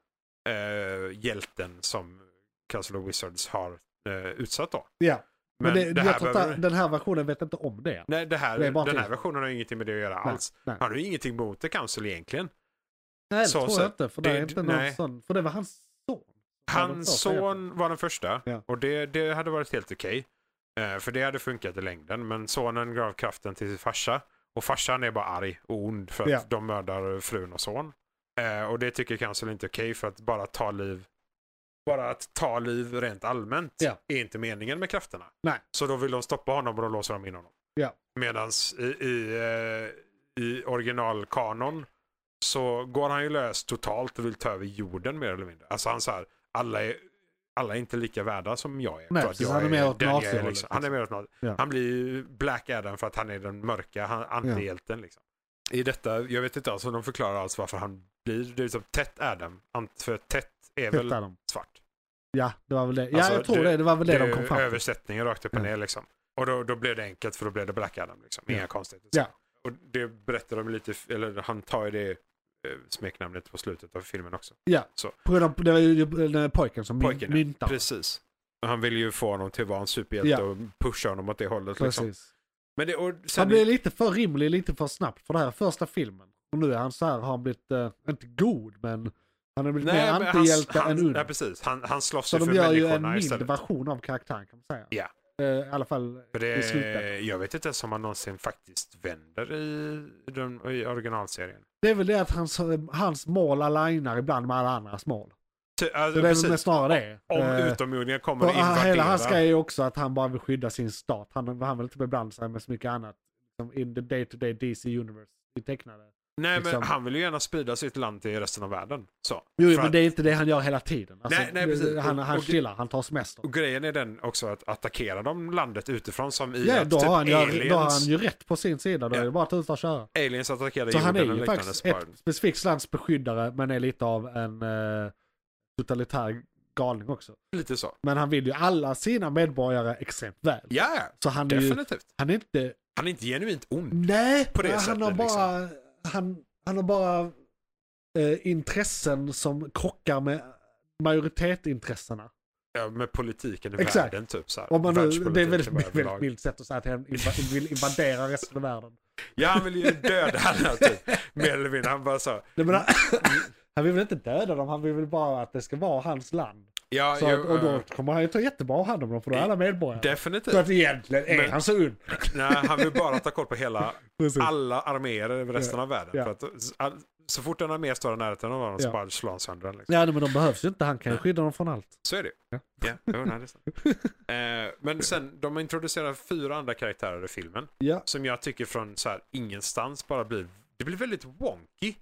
[SPEAKER 4] eh, hjälten som Castle of Wizards har eh, utsatt då.
[SPEAKER 3] Ja.
[SPEAKER 4] Men,
[SPEAKER 3] Men, det,
[SPEAKER 4] det,
[SPEAKER 3] jag
[SPEAKER 4] här
[SPEAKER 3] tror
[SPEAKER 4] behöver...
[SPEAKER 3] att den här versionen vet inte om det.
[SPEAKER 4] Nej, det här,
[SPEAKER 3] det är bara
[SPEAKER 4] den
[SPEAKER 3] till.
[SPEAKER 4] här versionen har ju ingenting med det att göra
[SPEAKER 3] Nej,
[SPEAKER 4] alls.
[SPEAKER 3] nej.
[SPEAKER 4] Han har ju ingenting mot The Council egentligen.
[SPEAKER 3] Nej, det
[SPEAKER 4] Så-
[SPEAKER 3] tror
[SPEAKER 4] så-
[SPEAKER 3] jag inte. För det,
[SPEAKER 4] det-
[SPEAKER 3] är inte
[SPEAKER 4] nej.
[SPEAKER 3] någon sån, för det var hans son. Det var
[SPEAKER 4] Hans
[SPEAKER 3] så, så
[SPEAKER 4] son var den första
[SPEAKER 3] Ja.
[SPEAKER 4] och det, det hade varit helt okej. Eh, För det hade funkat i längden. Men sonen gav kraften till sin farsa. Och farsan är bara arg och ond för att
[SPEAKER 3] Ja.
[SPEAKER 4] de mördar frun och son. Eh, Och det tycker Council inte är okej för att bara ta liv. Bara att ta liv rent allmänt
[SPEAKER 3] Ja.
[SPEAKER 4] är inte meningen med krafterna.
[SPEAKER 3] Nej.
[SPEAKER 4] Så då vill de stoppa honom och då låser de in honom.
[SPEAKER 3] Ja.
[SPEAKER 4] Medan i, i, eh, i originalkanon så går han ju lös totalt och vill ta över jorden mer eller mindre. Alltså han så här, alla är, alla är inte lika värda som jag är.
[SPEAKER 3] Nej,
[SPEAKER 4] För att
[SPEAKER 3] precis.
[SPEAKER 4] jag
[SPEAKER 3] Han är mer åt
[SPEAKER 4] den jag
[SPEAKER 3] nazihållet,
[SPEAKER 4] liksom. Han är mer åt nazi.
[SPEAKER 3] Ja.
[SPEAKER 4] Han blir ju Black Adam för att han är den mörka han, antihjälten. Liksom. I detta, jag vet inte alls om de förklarar alls varför han blir, det är som Tett Adam. Ant- För Tett är väl
[SPEAKER 3] Tittar de.
[SPEAKER 4] svart.
[SPEAKER 3] Ja, det var väl det. Ja,
[SPEAKER 4] Alltså,
[SPEAKER 3] jag tror
[SPEAKER 4] det-
[SPEAKER 3] det. Det var väl det,
[SPEAKER 4] Det
[SPEAKER 3] de kom
[SPEAKER 4] är
[SPEAKER 3] fram till.
[SPEAKER 4] översättningen rakt upp och
[SPEAKER 3] Ja.
[SPEAKER 4] ner liksom. Och då, då blev det enkelt för då blev det Black Adam. Liksom. Inga
[SPEAKER 3] Ja.
[SPEAKER 4] konstigheter.
[SPEAKER 3] Ja.
[SPEAKER 4] Och det berättar de lite, eller han tar ju det eh, smeknamnet på slutet av filmen också.
[SPEAKER 3] På grund av, det var ju den där pojken som
[SPEAKER 4] Pojken,
[SPEAKER 3] pojken,
[SPEAKER 4] ja.
[SPEAKER 3] myntade.
[SPEAKER 4] Precis. Han vill ju få honom till att vara en superhjälte
[SPEAKER 3] Ja.
[SPEAKER 4] och pusha honom åt det hållet. Liksom.
[SPEAKER 3] Precis.
[SPEAKER 4] Men det, och sen,
[SPEAKER 3] Han blev lite för rimlig, lite för snabbt för det här första filmen. Och nu är han så här, har han blivit, eh, inte god, men han har blivit mer
[SPEAKER 4] nej, men han,
[SPEAKER 3] antihjälte
[SPEAKER 4] han,
[SPEAKER 3] än ond.
[SPEAKER 4] nej, precis. Han, han slåss
[SPEAKER 3] Så
[SPEAKER 4] ju för
[SPEAKER 3] de gör ju en
[SPEAKER 4] människorna
[SPEAKER 3] mild
[SPEAKER 4] istället.
[SPEAKER 3] version av karaktären kan man säga.
[SPEAKER 4] Ja.
[SPEAKER 3] Eh, I alla fall
[SPEAKER 4] För
[SPEAKER 3] i slutändan.
[SPEAKER 4] det, jag vet inte ens om han någonsin faktiskt vänder i, den, i originalserien.
[SPEAKER 3] Det är väl det att hans, hans mål alignar ibland med alla andras mål.
[SPEAKER 4] Ty, alltså,
[SPEAKER 3] Så det är väl
[SPEAKER 4] precis.
[SPEAKER 3] snarare det.
[SPEAKER 4] Om
[SPEAKER 3] Eh,
[SPEAKER 4] utomjordingar kommer
[SPEAKER 3] för
[SPEAKER 4] och
[SPEAKER 3] han-
[SPEAKER 4] invaderar.
[SPEAKER 3] hela hans grej är ju också att han bara vill skydda sin stat. Han, han vill inte beblanda sig med så mycket annat. Som in the day to day DC universe. I tecknade.
[SPEAKER 4] Nej, men
[SPEAKER 3] liksom.
[SPEAKER 4] han vill ju gärna sprida sitt land till resten av världen. Så.
[SPEAKER 3] Jo,
[SPEAKER 4] För
[SPEAKER 3] men
[SPEAKER 4] att-
[SPEAKER 3] det är inte det han gör hela tiden. Alltså,
[SPEAKER 4] Nej, nej,
[SPEAKER 3] det-
[SPEAKER 4] precis.
[SPEAKER 3] Han, han
[SPEAKER 4] Och- och-
[SPEAKER 3] chillar, han tar semester.
[SPEAKER 4] Och grejen är den också att attackera de landet utifrån som i
[SPEAKER 3] Ja,
[SPEAKER 4] att typ
[SPEAKER 3] då, har han, ju-
[SPEAKER 4] aliens,
[SPEAKER 3] då har han ju rätt på sin sida. Då
[SPEAKER 4] Ja.
[SPEAKER 3] är det bara att tuta och köra.
[SPEAKER 4] aliens attackerar
[SPEAKER 3] Så han är
[SPEAKER 4] jorden och
[SPEAKER 3] ju
[SPEAKER 4] liknande.
[SPEAKER 3] faktiskt
[SPEAKER 4] så bara-
[SPEAKER 3] ett specifikt lands beskyddare men är lite av en eh, totalitär galning också.
[SPEAKER 4] Lite så.
[SPEAKER 3] Men han vill ju alla sina medborgare extremt väl.
[SPEAKER 4] Ja, ja,
[SPEAKER 3] Så han är ju,
[SPEAKER 4] definitivt.
[SPEAKER 3] han är inte,
[SPEAKER 4] Han är inte genuint ond.
[SPEAKER 3] nej,
[SPEAKER 4] På det
[SPEAKER 3] han, har
[SPEAKER 4] sättet, liksom.
[SPEAKER 3] bara, han, han har bara eh, intressen som krockar med majoritetsintressena.
[SPEAKER 4] Ja, med politiken i
[SPEAKER 3] Exakt.
[SPEAKER 4] världen typ så här.
[SPEAKER 3] Om man nu, det är
[SPEAKER 4] Världspolitiken
[SPEAKER 3] väldigt,
[SPEAKER 4] bara
[SPEAKER 3] väldigt,
[SPEAKER 4] överlag.
[SPEAKER 3] milt sätt att säga att han inv- vill invadera resten av världen.
[SPEAKER 4] Ja, han vill ju döda alla typ. Mer eller mindre. Han bara så.
[SPEAKER 3] Nej,
[SPEAKER 4] <laughs>
[SPEAKER 3] men han, han vill väl inte döda dem, han vill väl bara att det ska vara hans land.
[SPEAKER 4] Ja,
[SPEAKER 3] <laughs> Så
[SPEAKER 4] jag,
[SPEAKER 3] att, och då kommer han ju ta jättebra hand om dem för då är alla medborgare.
[SPEAKER 4] definitivt.
[SPEAKER 3] Så att egentligen är
[SPEAKER 4] Men-
[SPEAKER 3] han så ung.
[SPEAKER 4] Nej, han vill bara ta koll på hela,
[SPEAKER 3] Precis.
[SPEAKER 4] alla arméer över resten av världen.
[SPEAKER 3] Ja.
[SPEAKER 4] För att, all, så fort en armé står i närheten av honom så
[SPEAKER 3] Ja.
[SPEAKER 4] bara slår han sönder den. Liksom.
[SPEAKER 3] Ja nej, men de behövs ju inte, han kan ju skydda dem från allt.
[SPEAKER 4] Så är det ju.
[SPEAKER 3] Ja.
[SPEAKER 4] Ja, jo, nej, det är
[SPEAKER 3] <laughs>
[SPEAKER 4] sant. eh, men sen, de introducerar fyra andra karaktärer i filmen.
[SPEAKER 3] Ja.
[SPEAKER 4] Som jag tycker från så här, ingenstans bara blir, det blir väldigt wonky.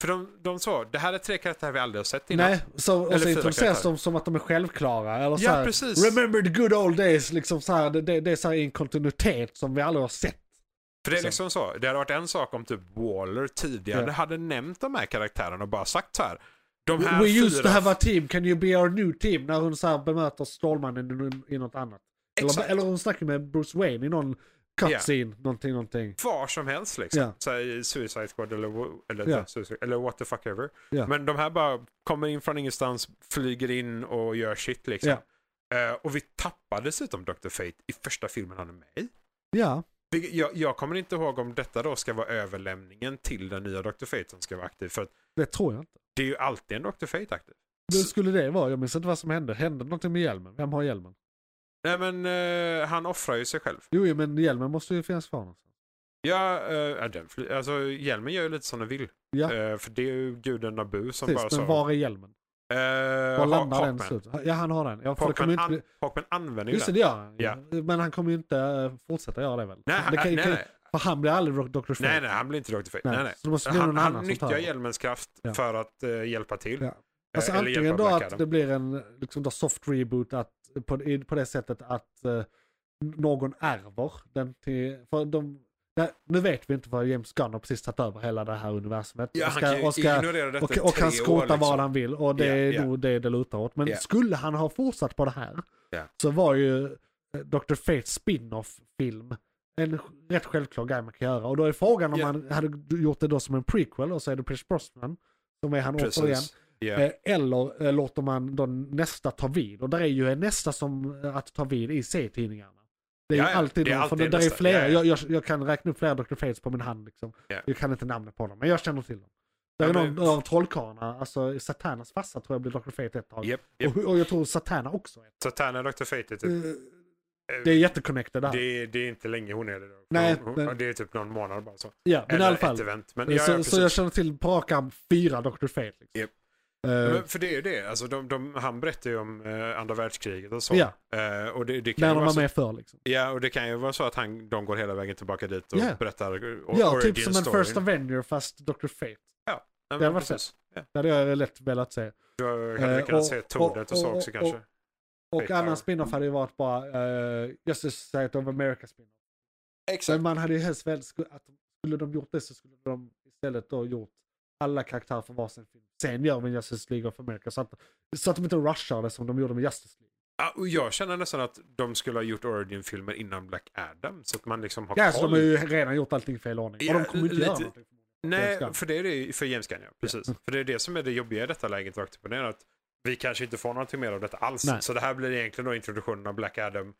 [SPEAKER 4] För de, de sa, det här är tre karaktärer vi aldrig har sett innan.
[SPEAKER 3] Nej, så,
[SPEAKER 4] Eller
[SPEAKER 3] och så
[SPEAKER 4] fyra
[SPEAKER 3] introduceras
[SPEAKER 4] karaktärer.
[SPEAKER 3] de som att de är självklara. Eller så
[SPEAKER 4] Ja,
[SPEAKER 3] här,
[SPEAKER 4] precis.
[SPEAKER 3] Remember the good old days, liksom så här, det- det, det är så här i en kontinuitet som vi aldrig har sett.
[SPEAKER 4] För det är liksom så, det hade varit en sak om typ Waller tidigare
[SPEAKER 3] Ja.
[SPEAKER 4] hade nämnt de här karaktärerna och bara sagt så här. De här
[SPEAKER 3] We used to
[SPEAKER 4] fyra,
[SPEAKER 3] have a team, can you be our new team? När hon så här bemöter Stålmannen i, i något annat. Eller,
[SPEAKER 4] Exakt.
[SPEAKER 3] eller hon snackar med Bruce Wayne i någon cutscene, någonting, någonting.
[SPEAKER 4] var som helst liksom.
[SPEAKER 3] Ja.
[SPEAKER 4] Så här, i Suicide Squad eller, wo- eller,
[SPEAKER 3] Ja.
[SPEAKER 4] Suicide- eller what the fuck ever.
[SPEAKER 3] Ja.
[SPEAKER 4] Men de här bara kommer in från ingenstans, flyger in och gör shit liksom.
[SPEAKER 3] Ja.
[SPEAKER 4] Eh, och vi tappar dessutom Dr. Fate i första filmen han är med i.
[SPEAKER 3] Ja,
[SPEAKER 4] Vilket- Jag, jag kommer inte ihåg om detta då ska vara överlämningen till den nya Dr. Fate som ska vara aktiv. För att
[SPEAKER 3] det tror jag inte.
[SPEAKER 4] det är ju alltid en Dr. Fate aktiv.
[SPEAKER 3] Det skulle det vara, jag minns inte vad som hände. Hände någonting med hjälmen? Vem har hjälmen?
[SPEAKER 4] Nej men eh, han offrar ju sig själv.
[SPEAKER 3] Jo, jo, men hjälmen måste ju finnas kvar någonstans.
[SPEAKER 4] Ja, eh, ja, den fly- alltså hjälmen gör ju lite som den vill.
[SPEAKER 3] Ja.
[SPEAKER 4] Eh, för det är ju guden Nabu som
[SPEAKER 3] Precis,
[SPEAKER 4] bara
[SPEAKER 3] men
[SPEAKER 4] så.
[SPEAKER 3] var är hjälmen?
[SPEAKER 4] Eh,
[SPEAKER 3] Var
[SPEAKER 4] Hawk-
[SPEAKER 3] landar den
[SPEAKER 4] Hawkman.
[SPEAKER 3] slut? Ja, han har den. Ja, för det
[SPEAKER 4] Hawkman,
[SPEAKER 3] kommer ju inte...
[SPEAKER 4] an-
[SPEAKER 3] bli-
[SPEAKER 4] Hawkman använder ju
[SPEAKER 3] Just det,
[SPEAKER 4] den.
[SPEAKER 3] det gör han.
[SPEAKER 4] Ja.
[SPEAKER 3] Men han kommer ju inte eh, fortsätta göra det väl?
[SPEAKER 4] Nej,
[SPEAKER 3] det
[SPEAKER 4] han,
[SPEAKER 3] kan,
[SPEAKER 4] nej,
[SPEAKER 3] kan,
[SPEAKER 4] nej.
[SPEAKER 3] För han blir aldrig Dr. Fate.
[SPEAKER 4] nej, nej, han blir inte Dr. Fate. Nej, nej.
[SPEAKER 3] Så det måste bli någon
[SPEAKER 4] Han,
[SPEAKER 3] annan
[SPEAKER 4] han
[SPEAKER 3] som
[SPEAKER 4] nyttjar
[SPEAKER 3] tar över.
[SPEAKER 4] hjälmens kraft
[SPEAKER 3] Ja.
[SPEAKER 4] för att eh, hjälpa till.
[SPEAKER 3] Ja. Alltså
[SPEAKER 4] eller
[SPEAKER 3] antingen
[SPEAKER 4] hjälpa
[SPEAKER 3] då
[SPEAKER 4] Black
[SPEAKER 3] att
[SPEAKER 4] Adam.
[SPEAKER 3] det blir en liksom då soft reboot att, på, i- på det sättet att eh, någon ärver den till... För de, nej, nu vet vi inte vad James Gunn har precis tagit över hela det här universumet.
[SPEAKER 4] Ja,
[SPEAKER 3] och
[SPEAKER 4] han kan ju ignorera detta
[SPEAKER 3] och,
[SPEAKER 4] i
[SPEAKER 3] och
[SPEAKER 4] tre
[SPEAKER 3] kan
[SPEAKER 4] år,
[SPEAKER 3] skrota vad
[SPEAKER 4] liksom.
[SPEAKER 3] han vill och det
[SPEAKER 4] Ja,
[SPEAKER 3] är
[SPEAKER 4] ja.
[SPEAKER 3] nog det det lutar åt. Men
[SPEAKER 4] Ja.
[SPEAKER 3] skulle han ha fortsatt på det här
[SPEAKER 4] Ja.
[SPEAKER 3] så var ju eh, Dr. Fates spin-off film en sj- rätt självklar grej man kan göra. Och då är frågan om
[SPEAKER 4] Ja.
[SPEAKER 3] han hade gjort det då som en prequel och så är det Pierce Brosnan som är han återigen.
[SPEAKER 4] Precis. Ja.
[SPEAKER 3] Eh, Eller eh, låter man då nästa ta vid? Och där är ju en nästa som eh, att ta vid i C-tidningarna. Det är
[SPEAKER 4] Ja,
[SPEAKER 3] ju
[SPEAKER 4] ja.
[SPEAKER 3] alltid,
[SPEAKER 4] Det är
[SPEAKER 3] någon, för
[SPEAKER 4] alltid
[SPEAKER 3] där är
[SPEAKER 4] nästa.
[SPEAKER 3] flera.
[SPEAKER 4] Ja, ja.
[SPEAKER 3] Jag, jag, jag kan räkna upp flera Dr. Fates på min hand liksom.
[SPEAKER 4] Ja.
[SPEAKER 3] Jag kan inte namnet på dem, men jag känner till dem. Där
[SPEAKER 4] Ja,
[SPEAKER 3] är
[SPEAKER 4] men-
[SPEAKER 3] någon av trollkarlarna, alltså Satanas farsa tror jag blir Dr. Fate ett tag.
[SPEAKER 4] Japp, japp.
[SPEAKER 3] Och, och jag tror Satana också. är
[SPEAKER 4] Satana och Dr. Fate är typ...
[SPEAKER 3] Eh, Det är jätteconnected där.
[SPEAKER 4] Det, det är inte länge hon är det. Då.
[SPEAKER 3] Nej,
[SPEAKER 4] hon,
[SPEAKER 3] men-
[SPEAKER 4] hon, det är typ någon månad bara så.
[SPEAKER 3] ja, men i
[SPEAKER 4] Eller
[SPEAKER 3] alla fall. Eh,
[SPEAKER 4] ett event. Men, ja, ja,
[SPEAKER 3] så,
[SPEAKER 4] precis.
[SPEAKER 3] så jag känner till på rak arm fyra Dr. Fate. Liksom.
[SPEAKER 4] Japp.
[SPEAKER 3] Eh,
[SPEAKER 4] Men För det är ju det. Alltså, de, de, han berättar ju om eh, andra världskriget och så.
[SPEAKER 3] Ja.
[SPEAKER 4] Eh, och det, det kan
[SPEAKER 3] när
[SPEAKER 4] ju
[SPEAKER 3] de
[SPEAKER 4] vara
[SPEAKER 3] var
[SPEAKER 4] så,
[SPEAKER 3] med för liksom.
[SPEAKER 4] ja, och det kan ju vara så att han, de går hela vägen tillbaka dit och
[SPEAKER 3] Ja.
[SPEAKER 4] berättar eh, o-
[SPEAKER 3] Ja,
[SPEAKER 4] origin
[SPEAKER 3] typ som en
[SPEAKER 4] storyn.
[SPEAKER 3] First Avenger fast Dr. Fate.
[SPEAKER 4] Ja, nej,
[SPEAKER 3] Det
[SPEAKER 4] men
[SPEAKER 3] var
[SPEAKER 4] precis. Ja.
[SPEAKER 3] Det hade jag lätt velat se.
[SPEAKER 4] Du har- hade
[SPEAKER 3] Eh,
[SPEAKER 4] kunnat
[SPEAKER 3] och-
[SPEAKER 4] se Tordet och så
[SPEAKER 3] och-
[SPEAKER 4] också
[SPEAKER 3] och-
[SPEAKER 4] kanske.
[SPEAKER 3] och- Och
[SPEAKER 4] Fate Power.
[SPEAKER 3] annan spin-off hade ju varit bara uh, Justice Society of America spin-off. Men man hade ju helst väl, sku- att skulle de gjort det så skulle de istället då gjort alla karaktärer för varsin film. Sen gör vi en Justice League of America så att, så att de inte rushar det som de gjorde med Justice League.
[SPEAKER 4] Ja, och jag känner nästan att de skulle ha gjort origin-filmer innan Black Adam. Så att man liksom har
[SPEAKER 3] Ja, så
[SPEAKER 4] koll.
[SPEAKER 3] de har ju redan gjort allting i fel ordning. Och de kommer inte
[SPEAKER 4] Ja,
[SPEAKER 3] göra
[SPEAKER 4] lite-
[SPEAKER 3] någonting. James
[SPEAKER 4] Nej,
[SPEAKER 3] Gunn.
[SPEAKER 4] för det är det för James Gunn, ja. Precis. För det är det som är det jobbiga i detta läget rakt upp och ner. Att vi kanske inte får någonting mer av detta alls.
[SPEAKER 3] Nej.
[SPEAKER 4] Så det här blir egentligen då introduktionen av Black Adam,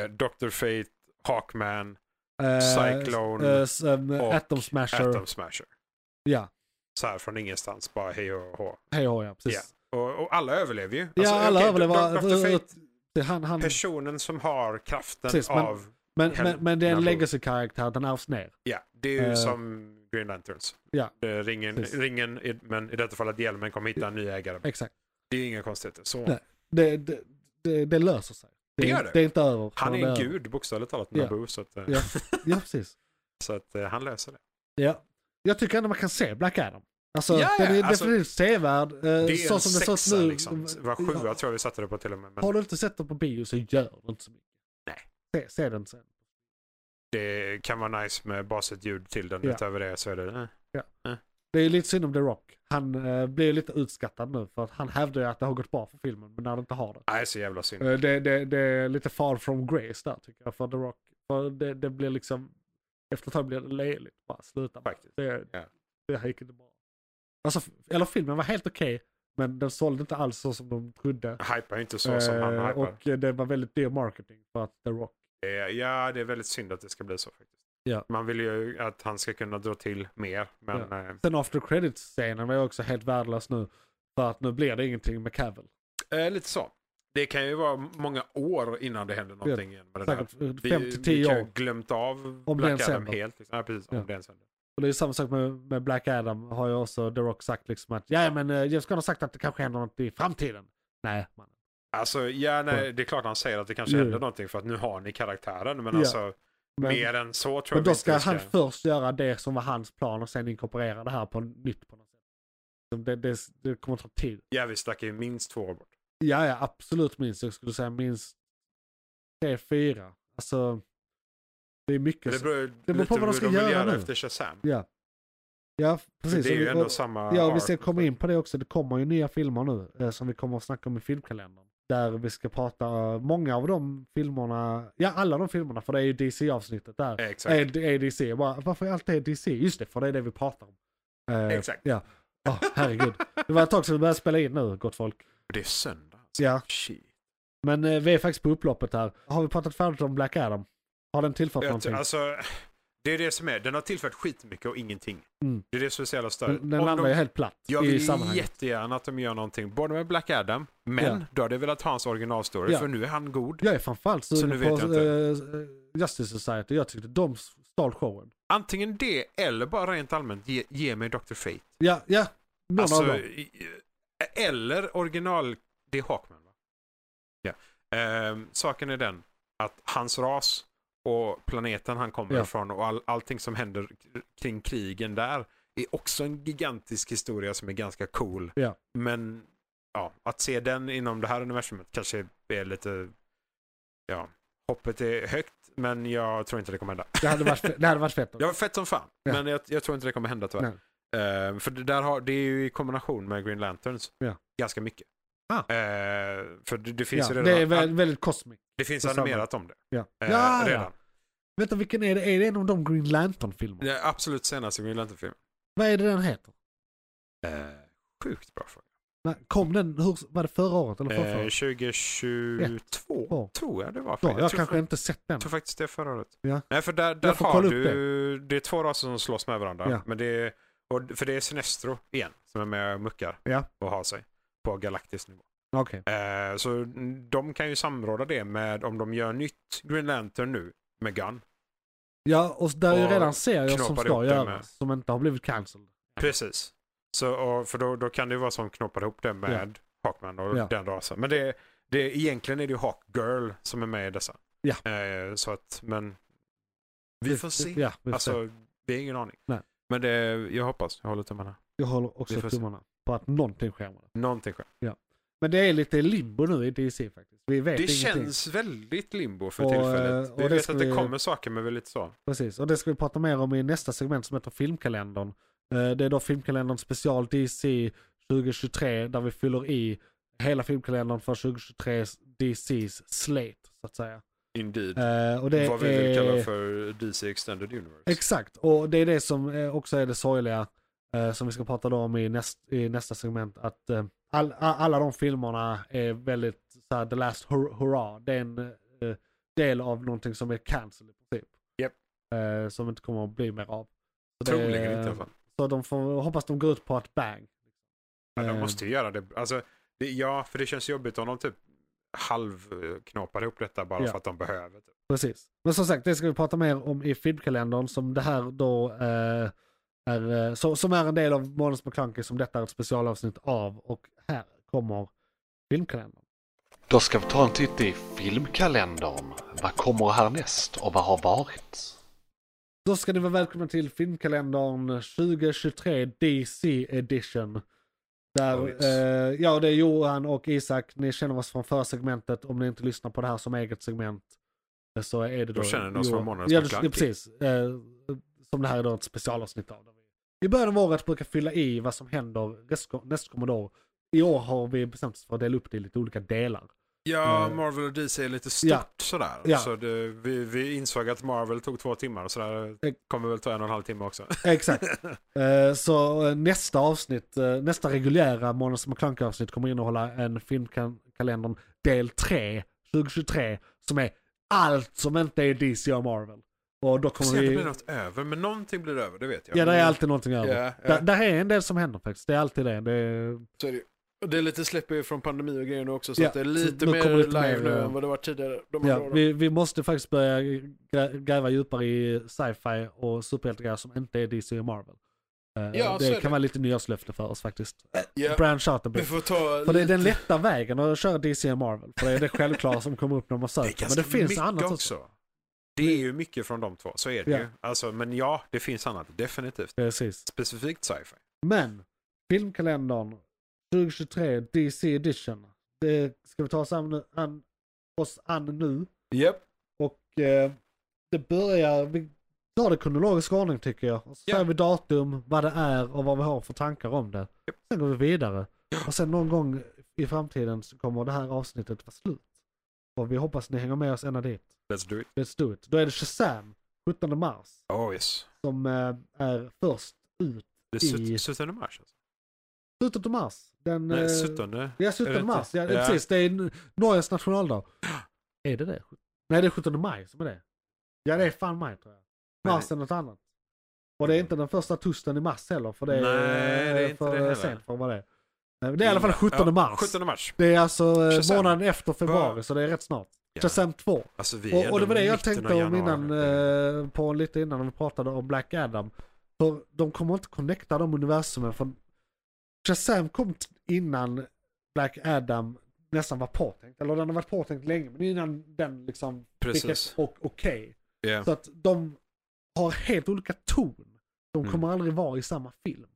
[SPEAKER 4] eh, Dr. Fate, Hawkman,
[SPEAKER 3] Eh,
[SPEAKER 4] Cyclone
[SPEAKER 3] eh, s- en
[SPEAKER 4] och
[SPEAKER 3] Atom Smasher.
[SPEAKER 4] Atom Smasher.
[SPEAKER 3] Ja,
[SPEAKER 4] Så här från ingenstans, bara hej och hå.
[SPEAKER 3] hej och hå, ja, precis.
[SPEAKER 4] Ja. Och, och alla överlever ju. Alltså,
[SPEAKER 3] Ja, alla
[SPEAKER 4] okej,
[SPEAKER 3] överlever.
[SPEAKER 4] Do- Dr. Fate,
[SPEAKER 3] Det- Han, han,
[SPEAKER 4] personen som har kraften
[SPEAKER 3] Precis, men-
[SPEAKER 4] av...
[SPEAKER 3] men,
[SPEAKER 4] Hell-
[SPEAKER 3] men, men det är en
[SPEAKER 4] Number-
[SPEAKER 3] legacy-karaktär, den ärvs ner.
[SPEAKER 4] Ja, det är ju
[SPEAKER 3] Eh,
[SPEAKER 4] som Green Lanterns.
[SPEAKER 3] ja,
[SPEAKER 4] Det är ringen,
[SPEAKER 3] precis.
[SPEAKER 4] ringen, i- men i detta fallet hjälmen, kommer hitta en ny ägare.
[SPEAKER 3] Exakt.
[SPEAKER 4] Det är ju inga konstigheter. Så.
[SPEAKER 3] Nej. Det, det, det, det löser sig.
[SPEAKER 4] Det
[SPEAKER 3] är-
[SPEAKER 4] gör det.
[SPEAKER 3] det är inte över.
[SPEAKER 4] Han
[SPEAKER 3] Men
[SPEAKER 4] är en
[SPEAKER 3] det
[SPEAKER 4] gud bokstavligt talat,
[SPEAKER 3] Ja.
[SPEAKER 4] Naboo, så att, eh,
[SPEAKER 3] Ja. Ja, precis.
[SPEAKER 4] <laughs> så att eh, han löser det.
[SPEAKER 3] Ja. Jag tycker ändå man kan se Black Adam. Alltså,
[SPEAKER 4] Ja, ja,
[SPEAKER 3] den är
[SPEAKER 4] alltså,
[SPEAKER 3] definitivt sevärd. eh,
[SPEAKER 4] Det är
[SPEAKER 3] så
[SPEAKER 4] en
[SPEAKER 3] som det
[SPEAKER 4] sexa,
[SPEAKER 3] ser ut nu.
[SPEAKER 4] liksom. Var sjua tror jag vi satte det på till och med. Men
[SPEAKER 3] Har du inte sett den på bio så gör det inte så mycket.
[SPEAKER 4] Nej.
[SPEAKER 3] Se, se den sen.
[SPEAKER 4] det kan vara nice med baset ljud till den.
[SPEAKER 3] Ja.
[SPEAKER 4] Utöver det så är det... Eh.
[SPEAKER 3] Det är lite synd om The Rock. Han eh, blir ju lite utskattad nu för att han hävdar ju att det har gått bra för filmen men när det inte har det.
[SPEAKER 4] Nej, så jävla synd.
[SPEAKER 3] Eh, Det, det, det är lite far from grace där tycker jag för The Rock. För det, det blir liksom, efter ett tag blir det löjligt. Bara sluta.
[SPEAKER 4] Faktiskt.
[SPEAKER 3] Det,
[SPEAKER 4] Ja.
[SPEAKER 3] det här gick inte bra. Alltså, f- eller filmen var helt okej, men den sålde inte alls så som de trodde.
[SPEAKER 4] Hypar ju inte så som han
[SPEAKER 3] Eh,
[SPEAKER 4] hypar.
[SPEAKER 3] och eh, det var väldigt dyr marketing för att The Rock.
[SPEAKER 4] Eh, Ja, det är väldigt synd att det ska bli så faktiskt.
[SPEAKER 3] Ja.
[SPEAKER 4] Man vill ju att han ska kunna dra till mer, men eh,
[SPEAKER 3] Sen after credits-scenen var ju också helt värdelös nu. För att nu blir det ingenting med Cavill.
[SPEAKER 4] eh, lite så. Det kan ju vara många år innan det händer någonting igen med det där.
[SPEAKER 3] Säkert
[SPEAKER 4] Vi,
[SPEAKER 3] 5-10
[SPEAKER 4] vi kan ju
[SPEAKER 3] år.
[SPEAKER 4] ha glömt av
[SPEAKER 3] Om det
[SPEAKER 4] Black
[SPEAKER 3] ens
[SPEAKER 4] Adam
[SPEAKER 3] händer.
[SPEAKER 4] helt. Liksom. Ja, precis.
[SPEAKER 3] Ja.
[SPEAKER 4] Om det ens händer.
[SPEAKER 3] Och det är samma sak med, med Black Adam. Har ju också The Rock sagt liksom att ja men eh, James Gunn har sagt att det kanske händer något i framtiden. Nej, man.
[SPEAKER 4] Alltså, ja, nej, det är klart han säger att det kanske
[SPEAKER 3] Ja.
[SPEAKER 4] händer någonting för att nu har ni karaktären. Men
[SPEAKER 3] Ja.
[SPEAKER 4] alltså,
[SPEAKER 3] Men,
[SPEAKER 4] mer än så tror
[SPEAKER 3] men
[SPEAKER 4] jag
[SPEAKER 3] då
[SPEAKER 4] vi
[SPEAKER 3] ska
[SPEAKER 4] inte
[SPEAKER 3] han först göra det som var hans plan och sen inkorporera det här på nytt på något sätt. Liksom Det, det, det kommer ta tid.
[SPEAKER 4] Ja, vi snackar ju minst två år bort.
[SPEAKER 3] Ja, ja, absolut minst. Jag skulle säga minst tre, fyra. Alltså, det är mycket.
[SPEAKER 4] Men det
[SPEAKER 3] så-
[SPEAKER 4] beror, ju
[SPEAKER 3] beror
[SPEAKER 4] lite
[SPEAKER 3] på vad de ska
[SPEAKER 4] hur vill
[SPEAKER 3] göra nu.
[SPEAKER 4] efter Shazam.
[SPEAKER 3] Ja. Ja, precis.
[SPEAKER 4] Det är
[SPEAKER 3] Och
[SPEAKER 4] ju
[SPEAKER 3] vi-
[SPEAKER 4] ändå
[SPEAKER 3] och-
[SPEAKER 4] samma
[SPEAKER 3] Ja,
[SPEAKER 4] arc.
[SPEAKER 3] vi ska komma in på det också. Det kommer ju nya filmer nu eh, som vi kommer att snacka om i filmkalendern. Där vi ska prata, eh, många av de filmerna, ja alla de filmerna, för det är ju DC-avsnittet där.
[SPEAKER 4] Exakt.
[SPEAKER 3] Är, är DC, Jag bara, varför är allt det DC? Just det, för det är det vi pratar om. Eh,
[SPEAKER 4] Exakt.
[SPEAKER 3] Ja, oh, herregud. Det var ett tag sedan vi började spela in nu, gott folk.
[SPEAKER 4] Det är söndag. alltså.
[SPEAKER 3] Ja,
[SPEAKER 4] Shit.
[SPEAKER 3] men eh, vi är faktiskt på upploppet här. Har vi pratat färdigt om Black Adam? Har den tillfört
[SPEAKER 4] Jag,
[SPEAKER 3] någonting?
[SPEAKER 4] tror- alltså, det är det som är. Den har tillfört skitmycket och ingenting.
[SPEAKER 3] Mm.
[SPEAKER 4] Det är det som är så jävla störigt.
[SPEAKER 3] den den
[SPEAKER 4] Om
[SPEAKER 3] landar
[SPEAKER 4] de-
[SPEAKER 3] ju helt platt
[SPEAKER 4] jag
[SPEAKER 3] i
[SPEAKER 4] vill
[SPEAKER 3] sammanhanget.
[SPEAKER 4] jättegärna att de gör någonting, både med Black Adam, men
[SPEAKER 3] Ja.
[SPEAKER 4] då hade jag velat ha hans originalstory,
[SPEAKER 3] Ja.
[SPEAKER 4] för nu är han god.
[SPEAKER 3] Jag är framförallt
[SPEAKER 4] Så nu
[SPEAKER 3] sugen
[SPEAKER 4] vet
[SPEAKER 3] på
[SPEAKER 4] jag
[SPEAKER 3] eh, Justice Society. Jag tyckte de stal showen.
[SPEAKER 4] Antingen det, eller bara rent allmänt, ge, ge mig Dr. Fate.
[SPEAKER 3] Ja, ja. Någon av
[SPEAKER 4] Alltså,
[SPEAKER 3] dem.
[SPEAKER 4] i- eller original... Det är Hawkman va? Ja. Ehm, saken är den att hans ras och planeten han kommer
[SPEAKER 3] Ja.
[SPEAKER 4] ifrån och all, allting som händer k- kring krigen där är också en gigantisk historia som är ganska cool.
[SPEAKER 3] Ja.
[SPEAKER 4] Men ja, att se den inom det här universumet kanske är lite... Ja, hoppet är högt men jag tror inte det kommer hända.
[SPEAKER 3] Det hade varit, fe- det hade varit
[SPEAKER 4] <laughs>
[SPEAKER 3] fett.
[SPEAKER 4] Jag var fett som fan,
[SPEAKER 3] Ja.
[SPEAKER 4] men jag, jag tror inte det kommer hända tyvärr. Eh, för det, där har, det är ju i kombination med Green Lanterns
[SPEAKER 3] Ja.
[SPEAKER 4] ganska mycket.
[SPEAKER 3] Ah.
[SPEAKER 4] Eh, för det, det finns
[SPEAKER 3] Ja,
[SPEAKER 4] ju redan,
[SPEAKER 3] det är väl, väldigt kosmiskt.
[SPEAKER 4] det finns
[SPEAKER 3] detsamma.
[SPEAKER 4] animerat om det.
[SPEAKER 3] Ja.
[SPEAKER 4] eh,
[SPEAKER 3] ja, ja.
[SPEAKER 4] redan.
[SPEAKER 3] Vänta, vilken är det? Är det en av de Green Lantern-filmerna?
[SPEAKER 4] Det är absolut senaste Green Lantern-filmen.
[SPEAKER 3] Vad är det den heter?
[SPEAKER 4] Eh, sjukt bra fråga.
[SPEAKER 3] När, kom den, hur, var det förra året eller förra
[SPEAKER 4] Eh,
[SPEAKER 3] året?
[SPEAKER 4] 2022
[SPEAKER 3] Ja.
[SPEAKER 4] tror jag det var.
[SPEAKER 3] Då,
[SPEAKER 4] Jag
[SPEAKER 3] jag
[SPEAKER 4] tror
[SPEAKER 3] kanske
[SPEAKER 4] fa-
[SPEAKER 3] inte sett den.
[SPEAKER 4] Jag tror faktiskt det är förra året.
[SPEAKER 3] Ja.
[SPEAKER 4] Nej, för där, där
[SPEAKER 3] Jag får
[SPEAKER 4] har
[SPEAKER 3] kolla upp
[SPEAKER 4] du... Det. är två raser som slåss med varandra.
[SPEAKER 3] Ja.
[SPEAKER 4] Men det är, och, för det är Sinestro igen, som är med och muckar
[SPEAKER 3] Ja.
[SPEAKER 4] och har sig på galaktisk nivå.
[SPEAKER 3] Okej.
[SPEAKER 4] Eh, så de kan ju samråda det med om de gör nytt Green Lantern nu med Gun.
[SPEAKER 3] Ja, och där är ju
[SPEAKER 4] Och
[SPEAKER 3] redan serier som
[SPEAKER 4] knoppade
[SPEAKER 3] ska
[SPEAKER 4] ihop den med-
[SPEAKER 3] göras, som inte har blivit cancelled.
[SPEAKER 4] Precis. Så, och, för då, då kan det ju vara som knoppar ihop det med Hawkman och
[SPEAKER 3] Ja.
[SPEAKER 4] den rasen. Men det, det, egentligen är det ju Hawkgirl som är med i dessa.
[SPEAKER 3] Ja.
[SPEAKER 4] Eh, så att, men vi får se.
[SPEAKER 3] Ja, vi får se.
[SPEAKER 4] Alltså, vi har ingen aning.
[SPEAKER 3] Nej.
[SPEAKER 4] Men det, jag hoppas, jag håller tummarna.
[SPEAKER 3] Jag håller
[SPEAKER 4] vi
[SPEAKER 3] också
[SPEAKER 4] får se.
[SPEAKER 3] tummarna på att någonting sker med det.
[SPEAKER 4] Någonting sker.
[SPEAKER 3] Men det är lite limbo nu i DC faktiskt. Vi vet
[SPEAKER 4] Det
[SPEAKER 3] ingenting.
[SPEAKER 4] känns väldigt limbo för
[SPEAKER 3] Och,
[SPEAKER 4] tillfället.
[SPEAKER 3] eh,
[SPEAKER 4] Vi
[SPEAKER 3] och det
[SPEAKER 4] vet
[SPEAKER 3] ska
[SPEAKER 4] att det
[SPEAKER 3] vi-
[SPEAKER 4] kommer saker men väl lite så.
[SPEAKER 3] Precis, och det ska vi prata mer om i nästa segment som heter Filmkalendern. Eh, Det är då Filmkalendern special DC 2023 där vi fyller i hela filmkalendern för 2023 DC's slate, så att säga.
[SPEAKER 4] Indeed.
[SPEAKER 3] Eh, Och det
[SPEAKER 4] Vad vi
[SPEAKER 3] är...
[SPEAKER 4] vill kalla för DC Extended Universe.
[SPEAKER 3] Exakt, och det är det som eh, också är det sorgliga eh, som vi ska prata då om i, näst, i nästa segment. Att eh, all, a- alla de filmerna är väldigt så här, the last hur- hurrah. Det är en eh, del av någonting som är cancel i princip.
[SPEAKER 4] Japp.
[SPEAKER 3] Eh, som inte kommer att bli mer av. Så det-
[SPEAKER 4] Troligen inte i alla fall.
[SPEAKER 3] Så de får hoppas de går ut på att bang.
[SPEAKER 4] Men de
[SPEAKER 3] Eh,
[SPEAKER 4] måste ju göra det. Alltså, det. Ja, för det känns jobbigt om de typ halvknåpar ihop detta bara
[SPEAKER 3] Ja.
[SPEAKER 4] för att de behöver. Typ.
[SPEAKER 3] Precis. Men som sagt, det ska vi prata mer om i filmkalendern som det här då eh, är, eh, så, som är en del av Månens McClunky som detta är ett specialavsnitt av och här kommer filmkalendern.
[SPEAKER 5] Då ska vi ta en titt i filmkalendern. Vad kommer härnäst och vad har varit?
[SPEAKER 3] Då ska ni vara välkomna till filmkalendern 2023 DC edition. Där,
[SPEAKER 4] Oh, yes.
[SPEAKER 3] eh, ja, det är Johan och Isak, ni känner oss från förra segmentet. Om ni inte lyssnar på det här som eget segment eh, så är det då...
[SPEAKER 4] Då känner ni oss
[SPEAKER 3] Johan-
[SPEAKER 4] från Månadens
[SPEAKER 3] ja,
[SPEAKER 4] McClunky.
[SPEAKER 3] ja, precis. Eh, som det här är då ett specialavsnitt av. I början av året brukar vi fylla i vad som händer restko- nästkommande år. I år har vi bestämt oss för att dela upp det i lite
[SPEAKER 4] <laughs>
[SPEAKER 3] olika delar.
[SPEAKER 4] Ja,
[SPEAKER 3] Eh.
[SPEAKER 4] Marvel och DC är lite stort
[SPEAKER 3] Ja.
[SPEAKER 4] sådär.
[SPEAKER 3] Ja.
[SPEAKER 4] Så det, vi, vi insåg att Marvel tog två timmar och sådär
[SPEAKER 3] Eh.
[SPEAKER 4] kommer väl ta en och en halv timme också. <laughs>
[SPEAKER 3] Exakt. Eh, Så eh, nästa avsnitt, eh, nästa reguljära Månads McClunky avsnitt kommer innehålla en filmkalendern del 3, 2023, som är allt som inte är DC och Marvel. Och då
[SPEAKER 4] Kommer
[SPEAKER 3] kommer
[SPEAKER 4] vi... Det
[SPEAKER 3] vi...
[SPEAKER 4] blir något över, men någonting blir över, det vet jag.
[SPEAKER 3] Ja, det är alltid någonting över.
[SPEAKER 4] Ja, ja.
[SPEAKER 3] Där, där är en del som händer faktiskt. Det är alltid det. det är...
[SPEAKER 4] Så är det, ju. Och det är lite släpp er från pandemi och grejer nu också, så
[SPEAKER 3] Ja,
[SPEAKER 4] att det är
[SPEAKER 3] så
[SPEAKER 4] lite
[SPEAKER 3] nu
[SPEAKER 4] mer
[SPEAKER 3] kommer det lite
[SPEAKER 4] live nu
[SPEAKER 3] mer, ja.
[SPEAKER 4] än vad det var tidigare. De har
[SPEAKER 3] Ja,
[SPEAKER 4] bra då.
[SPEAKER 3] vi, vi måste faktiskt börja grä- gräva djupare i sci-fi och superhjältegrejer som inte är DC och Marvel. Eh,
[SPEAKER 4] Ja, så är
[SPEAKER 3] det kan
[SPEAKER 4] det.
[SPEAKER 3] vara lite nyårslöfte för oss faktiskt.
[SPEAKER 4] Ja,
[SPEAKER 3] Branch out a
[SPEAKER 4] vi
[SPEAKER 3] bit.
[SPEAKER 4] får ta
[SPEAKER 3] För det är
[SPEAKER 4] lite-
[SPEAKER 3] den lätta vägen att köra DC och Marvel. För det är det självklara som kommer upp när man
[SPEAKER 4] Det är
[SPEAKER 3] söker. Men
[SPEAKER 4] ganska
[SPEAKER 3] det finns
[SPEAKER 4] mycket
[SPEAKER 3] annat också.
[SPEAKER 4] också. Det är ju mycket från de två, så är det
[SPEAKER 3] Ja.
[SPEAKER 4] ju. Alltså, men ja, det finns annat, definitivt.
[SPEAKER 3] Precis.
[SPEAKER 4] Specifikt sci-fi.
[SPEAKER 3] Men, filmkalendern 2023 DC edition. Det ska vi ta oss an, an, oss an nu.
[SPEAKER 4] Yep.
[SPEAKER 3] Och eh, det börjar, vi tar det i kronologisk ordning tycker jag. Och så
[SPEAKER 4] Ja.
[SPEAKER 3] säger vi datum, vad det är och vad vi har för tankar om det. Sen går vi vidare. Och sen någon gång i framtiden så kommer det här avsnittet vara slut. Och vi hoppas ni hänger med oss ända dit.
[SPEAKER 4] Let's do it.
[SPEAKER 3] Let's do it. Då är det Shazam, 17 mars,
[SPEAKER 4] Oh yes.
[SPEAKER 3] som eh, är först ut.
[SPEAKER 4] Det är
[SPEAKER 3] I-
[SPEAKER 4] sut- 17 mars alltså.
[SPEAKER 3] Slutet av mars. Den, eh,
[SPEAKER 4] Nej, 17.
[SPEAKER 3] Ja,
[SPEAKER 4] Är det
[SPEAKER 3] 17
[SPEAKER 4] inte?
[SPEAKER 3] mars. Ja,
[SPEAKER 4] Ja.
[SPEAKER 3] precis. Det är n-
[SPEAKER 4] <gasps>
[SPEAKER 3] Norges nationaldag. Är det det? Nej, det är 17 maj som är det. Ja, det är fan maj tror jag. Mars är något annat. Och det är inte den första torsdagen i mars heller, för det är,
[SPEAKER 4] Nej, det är inte
[SPEAKER 3] för
[SPEAKER 4] det heller.
[SPEAKER 3] sent för vad det är. Nej, Det är i alla fall 17
[SPEAKER 4] Ja,
[SPEAKER 3] mars.
[SPEAKER 4] 17 mars.
[SPEAKER 3] Det är alltså eh,
[SPEAKER 4] Shazam.
[SPEAKER 3] månaden efter februari,
[SPEAKER 4] Vad-
[SPEAKER 3] så det är rätt snart.
[SPEAKER 4] Ja.
[SPEAKER 3] Shazam 2.
[SPEAKER 4] Alltså, vi är
[SPEAKER 3] Och,
[SPEAKER 4] ändå
[SPEAKER 3] och det var det jag
[SPEAKER 4] mitten av
[SPEAKER 3] tänkte om
[SPEAKER 4] januari.
[SPEAKER 3] innan, eh, på lite innan när vi pratade om Black Adam. För de kommer inte connecta de universumen. För Shazam kom t- innan Black Adam nästan var påtänkt. Eller den har varit påtänkt länge, men innan den liksom fick ett
[SPEAKER 4] Precis.
[SPEAKER 3] och okej.
[SPEAKER 4] Ja.
[SPEAKER 3] Så att de har helt olika ton. De kommer aldrig vara i samma film.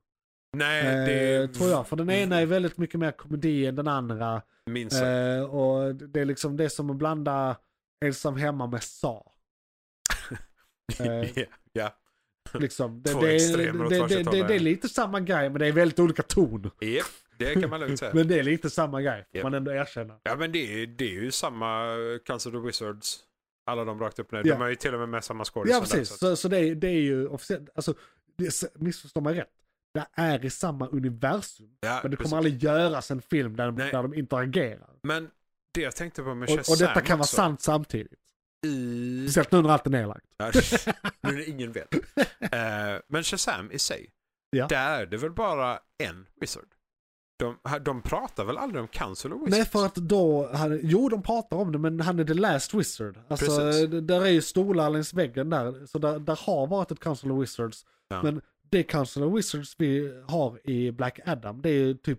[SPEAKER 4] Nej,
[SPEAKER 3] eh,
[SPEAKER 4] Mm. det Mm.
[SPEAKER 3] tror jag. För den ena är väldigt mycket mer komedi än den andra.
[SPEAKER 4] minns jag.
[SPEAKER 3] Eh, och det är liksom det är som att blanda Ensam Hemma med Sa. Eh,
[SPEAKER 4] <laughs> Ja, ja.
[SPEAKER 3] liksom. det,
[SPEAKER 4] Två
[SPEAKER 3] det, är-
[SPEAKER 4] extremer åt
[SPEAKER 3] det,
[SPEAKER 4] varsitt
[SPEAKER 3] det,
[SPEAKER 4] håll
[SPEAKER 3] det,
[SPEAKER 4] där.
[SPEAKER 3] det är lite samma grej men det är väldigt olika ton.
[SPEAKER 4] Japp, det kan man lugnt säga.
[SPEAKER 3] <laughs> Men det är lite samma grej, får
[SPEAKER 4] Japp.
[SPEAKER 3] man ändå erkänna.
[SPEAKER 4] Ja men det är, det är ju samma eh, Council of the Wizards. Alla de rakt upp och ner.
[SPEAKER 3] Ja.
[SPEAKER 4] De är ju till och med med samma skådisar.
[SPEAKER 3] Ja
[SPEAKER 4] där,
[SPEAKER 3] precis,
[SPEAKER 4] så att-
[SPEAKER 3] så, så det, är- det är ju officiellt, alltså det, s- missförstå mig rätt. Det är i samma universum,
[SPEAKER 4] Ja,
[SPEAKER 3] men det
[SPEAKER 4] precis.
[SPEAKER 3] kommer aldrig göras en film där, de-
[SPEAKER 4] Nej.
[SPEAKER 3] där de interagerar.
[SPEAKER 4] Men det jag tänkte på med
[SPEAKER 3] Och, och detta
[SPEAKER 4] Shazam
[SPEAKER 3] kan vara
[SPEAKER 4] också,
[SPEAKER 3] sant samtidigt.
[SPEAKER 4] I...
[SPEAKER 3] Speciellt nu när allt är nedlagt.
[SPEAKER 4] Ja,
[SPEAKER 3] <laughs>
[SPEAKER 4] nu när ingen vet. Eh, men Shazam i sig.
[SPEAKER 3] Ja.
[SPEAKER 4] Där är det väl bara en wizard. De, de pratar väl aldrig om Council of Wizards?
[SPEAKER 3] Nej för att då, hade, jo de pratar om det men han är the last wizard. Alltså
[SPEAKER 4] Precis.
[SPEAKER 3] d- där är ju stolar längs väggen där. Så där, där har varit ett council of wizards.
[SPEAKER 4] Ja.
[SPEAKER 3] Men det council of wizards vi har i Black Adam det är ju typ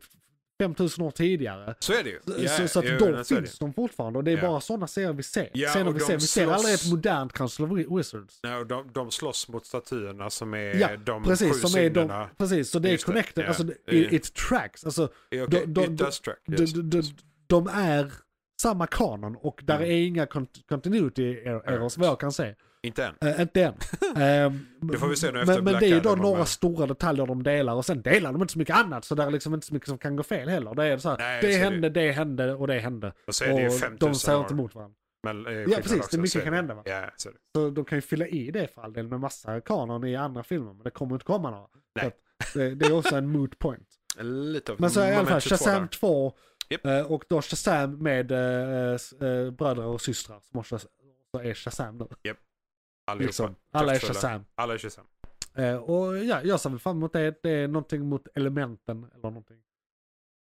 [SPEAKER 3] 5000 år tidigare.
[SPEAKER 4] Så är det ju.
[SPEAKER 3] Så,
[SPEAKER 4] Ja,
[SPEAKER 3] så, så att
[SPEAKER 4] jo,
[SPEAKER 3] då
[SPEAKER 4] men så är det ju.
[SPEAKER 3] finns de fortfarande och det är
[SPEAKER 4] Ja.
[SPEAKER 3] bara sådana serier vi ser.
[SPEAKER 4] Ja,
[SPEAKER 3] Serier
[SPEAKER 4] och
[SPEAKER 3] vi,
[SPEAKER 4] de
[SPEAKER 3] ser. vi ser
[SPEAKER 4] slåss-
[SPEAKER 3] aldrig ett modernt council of Wi- wizards.
[SPEAKER 4] Nej, och de, de slåss mot statyerna som är
[SPEAKER 3] Ja,
[SPEAKER 4] Eh, de
[SPEAKER 3] precis.
[SPEAKER 4] sju
[SPEAKER 3] Som är de,
[SPEAKER 4] synderna.
[SPEAKER 3] precis, så det är
[SPEAKER 4] Just det,
[SPEAKER 3] connected.
[SPEAKER 4] ja.
[SPEAKER 3] Alltså, det-
[SPEAKER 4] Det är-
[SPEAKER 3] it tracks. Alltså,
[SPEAKER 4] Eh, okej,
[SPEAKER 3] de- de-
[SPEAKER 4] it does track.
[SPEAKER 3] de,
[SPEAKER 4] Yes.
[SPEAKER 3] de, de, de är samma kanon och där
[SPEAKER 4] Mm.
[SPEAKER 3] är inga cont- continuity er- errors vad jag kan se.
[SPEAKER 4] Inte än.
[SPEAKER 3] Eh, inte
[SPEAKER 4] <laughs>
[SPEAKER 3] än. Ehm,
[SPEAKER 4] Det får vi se nu efter
[SPEAKER 3] men, men
[SPEAKER 4] Black
[SPEAKER 3] det är ju då
[SPEAKER 4] Adam,
[SPEAKER 3] några
[SPEAKER 4] men-
[SPEAKER 3] stora detaljer de delar och sen delar de inte så mycket annat så där är liksom inte så mycket som kan gå fel heller. Det är så här,
[SPEAKER 4] Nej,
[SPEAKER 3] det
[SPEAKER 4] så är det.
[SPEAKER 3] hände, det hände och det hände.
[SPEAKER 4] Och så är det ju
[SPEAKER 3] och
[SPEAKER 4] 5000
[SPEAKER 3] de säger inte
[SPEAKER 4] år.
[SPEAKER 3] emot varandra.
[SPEAKER 4] Men, eh,
[SPEAKER 3] Ja
[SPEAKER 4] skillnad också,
[SPEAKER 3] precis, det är
[SPEAKER 4] så
[SPEAKER 3] mycket
[SPEAKER 4] är
[SPEAKER 3] kan
[SPEAKER 4] det.
[SPEAKER 3] hända va.
[SPEAKER 4] Ja, så är det.
[SPEAKER 3] Så de kan ju fylla i det för all del med massa kanon i andra filmer men det kommer inte komma några.
[SPEAKER 4] Nej.
[SPEAKER 3] Så att det, det är också en moot point.
[SPEAKER 4] Lite av
[SPEAKER 3] Men så i alla fall
[SPEAKER 4] moment 22
[SPEAKER 3] Shazam
[SPEAKER 4] där.
[SPEAKER 3] 2
[SPEAKER 4] Japp.
[SPEAKER 3] eh, och då Shazam med eh, s- eh, bröder och systrar som också också är Shazam nu.
[SPEAKER 4] Allihopa.
[SPEAKER 3] Liksom. Alla är
[SPEAKER 4] Kraftfulla.
[SPEAKER 3] Shazam.
[SPEAKER 4] Alla är Shazam.
[SPEAKER 3] Eh, och ja, jag ser väl fram emot det. Det är någonting mot elementen eller någonting. Eh,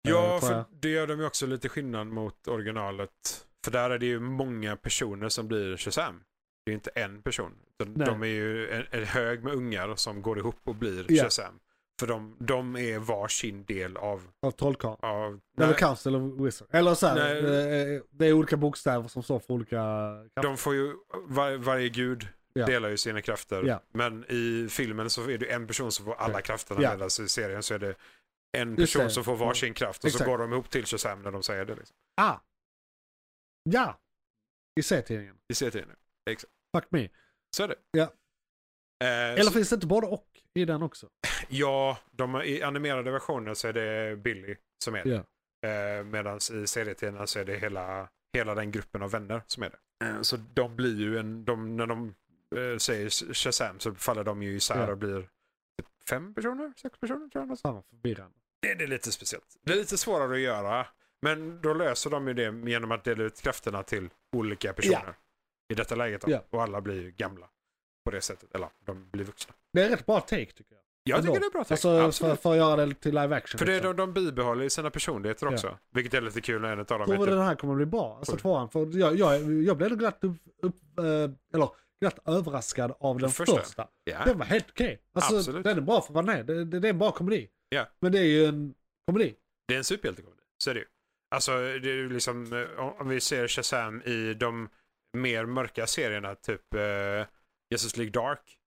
[SPEAKER 4] Ja,
[SPEAKER 3] tror jag.
[SPEAKER 4] för det gör de ju också lite skillnad mot originalet. För där är det ju många personer som blir Shazam. Det är ju inte en person. utan
[SPEAKER 3] Nej.
[SPEAKER 4] De är ju en, en hög med ungar som går ihop och blir
[SPEAKER 3] Ja.
[SPEAKER 4] Shazam. För de, de är varsin del av...
[SPEAKER 3] Av trollkarlen.
[SPEAKER 4] av
[SPEAKER 3] Eller
[SPEAKER 4] nej,
[SPEAKER 3] Council of Wizards. Eller så här,
[SPEAKER 4] Nej.
[SPEAKER 3] eh, det är olika bokstäver som står för olika krafter.
[SPEAKER 4] de får ju... Var, varje gud
[SPEAKER 3] Ja.
[SPEAKER 4] delar ju sina krafter.
[SPEAKER 3] Ja.
[SPEAKER 4] Men i filmen så är det en person som får alla
[SPEAKER 3] Ja.
[SPEAKER 4] krafterna.
[SPEAKER 3] Ja.
[SPEAKER 4] Medan i serien så är det en
[SPEAKER 3] Just
[SPEAKER 4] person
[SPEAKER 3] det. Mm.
[SPEAKER 4] som får varsin kraft. Och
[SPEAKER 3] Exakt.
[SPEAKER 4] så går de ihop till Shazam när de säger det. Liksom.
[SPEAKER 3] Ah! Ja! I serietidningen.
[SPEAKER 4] I serien nu.
[SPEAKER 3] Fuck me.
[SPEAKER 4] Så är det.
[SPEAKER 3] Ja.
[SPEAKER 4] Eh,
[SPEAKER 3] Eller
[SPEAKER 4] så-
[SPEAKER 3] finns det inte både och i den också?
[SPEAKER 4] Ja, de, i animerade versionen så är det Billy som är det.
[SPEAKER 3] Ja.
[SPEAKER 4] Eh, Medan i serietidningarna så är det hela, hela den gruppen av vänner som är det. Eh, så de blir ju en, de, när de eh, säger Sh- Shazam så faller de ju isär
[SPEAKER 3] Ja.
[SPEAKER 4] och blir typ fem personer, sex personer tror jag. något sånt.
[SPEAKER 3] Fan vad förvirrande.
[SPEAKER 4] Det, det är lite speciellt. Det är lite svårare att göra. Men då löser de ju det genom att dela ut krafterna till olika personer. I detta läget då.
[SPEAKER 3] Ja.
[SPEAKER 4] Och alla blir ju gamla. På det sättet. Eller de blir vuxna.
[SPEAKER 3] Det är rätt bra take tycker jag.
[SPEAKER 4] Jag
[SPEAKER 3] Ändå.
[SPEAKER 4] tycker det är bra. tänkt.
[SPEAKER 3] Alltså
[SPEAKER 4] Absolut.
[SPEAKER 3] för, för att göra det till live action.
[SPEAKER 4] För det,
[SPEAKER 3] liksom.
[SPEAKER 4] de, de bibehåller ju sina personligheter också. Vilket är lite kul när en av dem
[SPEAKER 3] Tror
[SPEAKER 4] är
[SPEAKER 3] du
[SPEAKER 4] typ,
[SPEAKER 3] den här kommer bli bra? Alltså
[SPEAKER 4] Oj.
[SPEAKER 3] tvåan. För jag, jag, jag blev glatt, upp, upp, eh, eller, glatt överraskad av den
[SPEAKER 4] Första.
[SPEAKER 3] första.
[SPEAKER 4] ja,
[SPEAKER 3] Den var helt okej. Alltså
[SPEAKER 4] Absolut.
[SPEAKER 3] den är bra för vad den är. Det, det, det är en bra komedi.
[SPEAKER 4] Ja.
[SPEAKER 3] Men det är ju en komedi.
[SPEAKER 4] det är en superhjältekomedi. Så är det ju. Alltså, det är ju liksom, eh, om- om vi ser Shazam i de mer mörka serierna, typ eh, Jesus League Dark.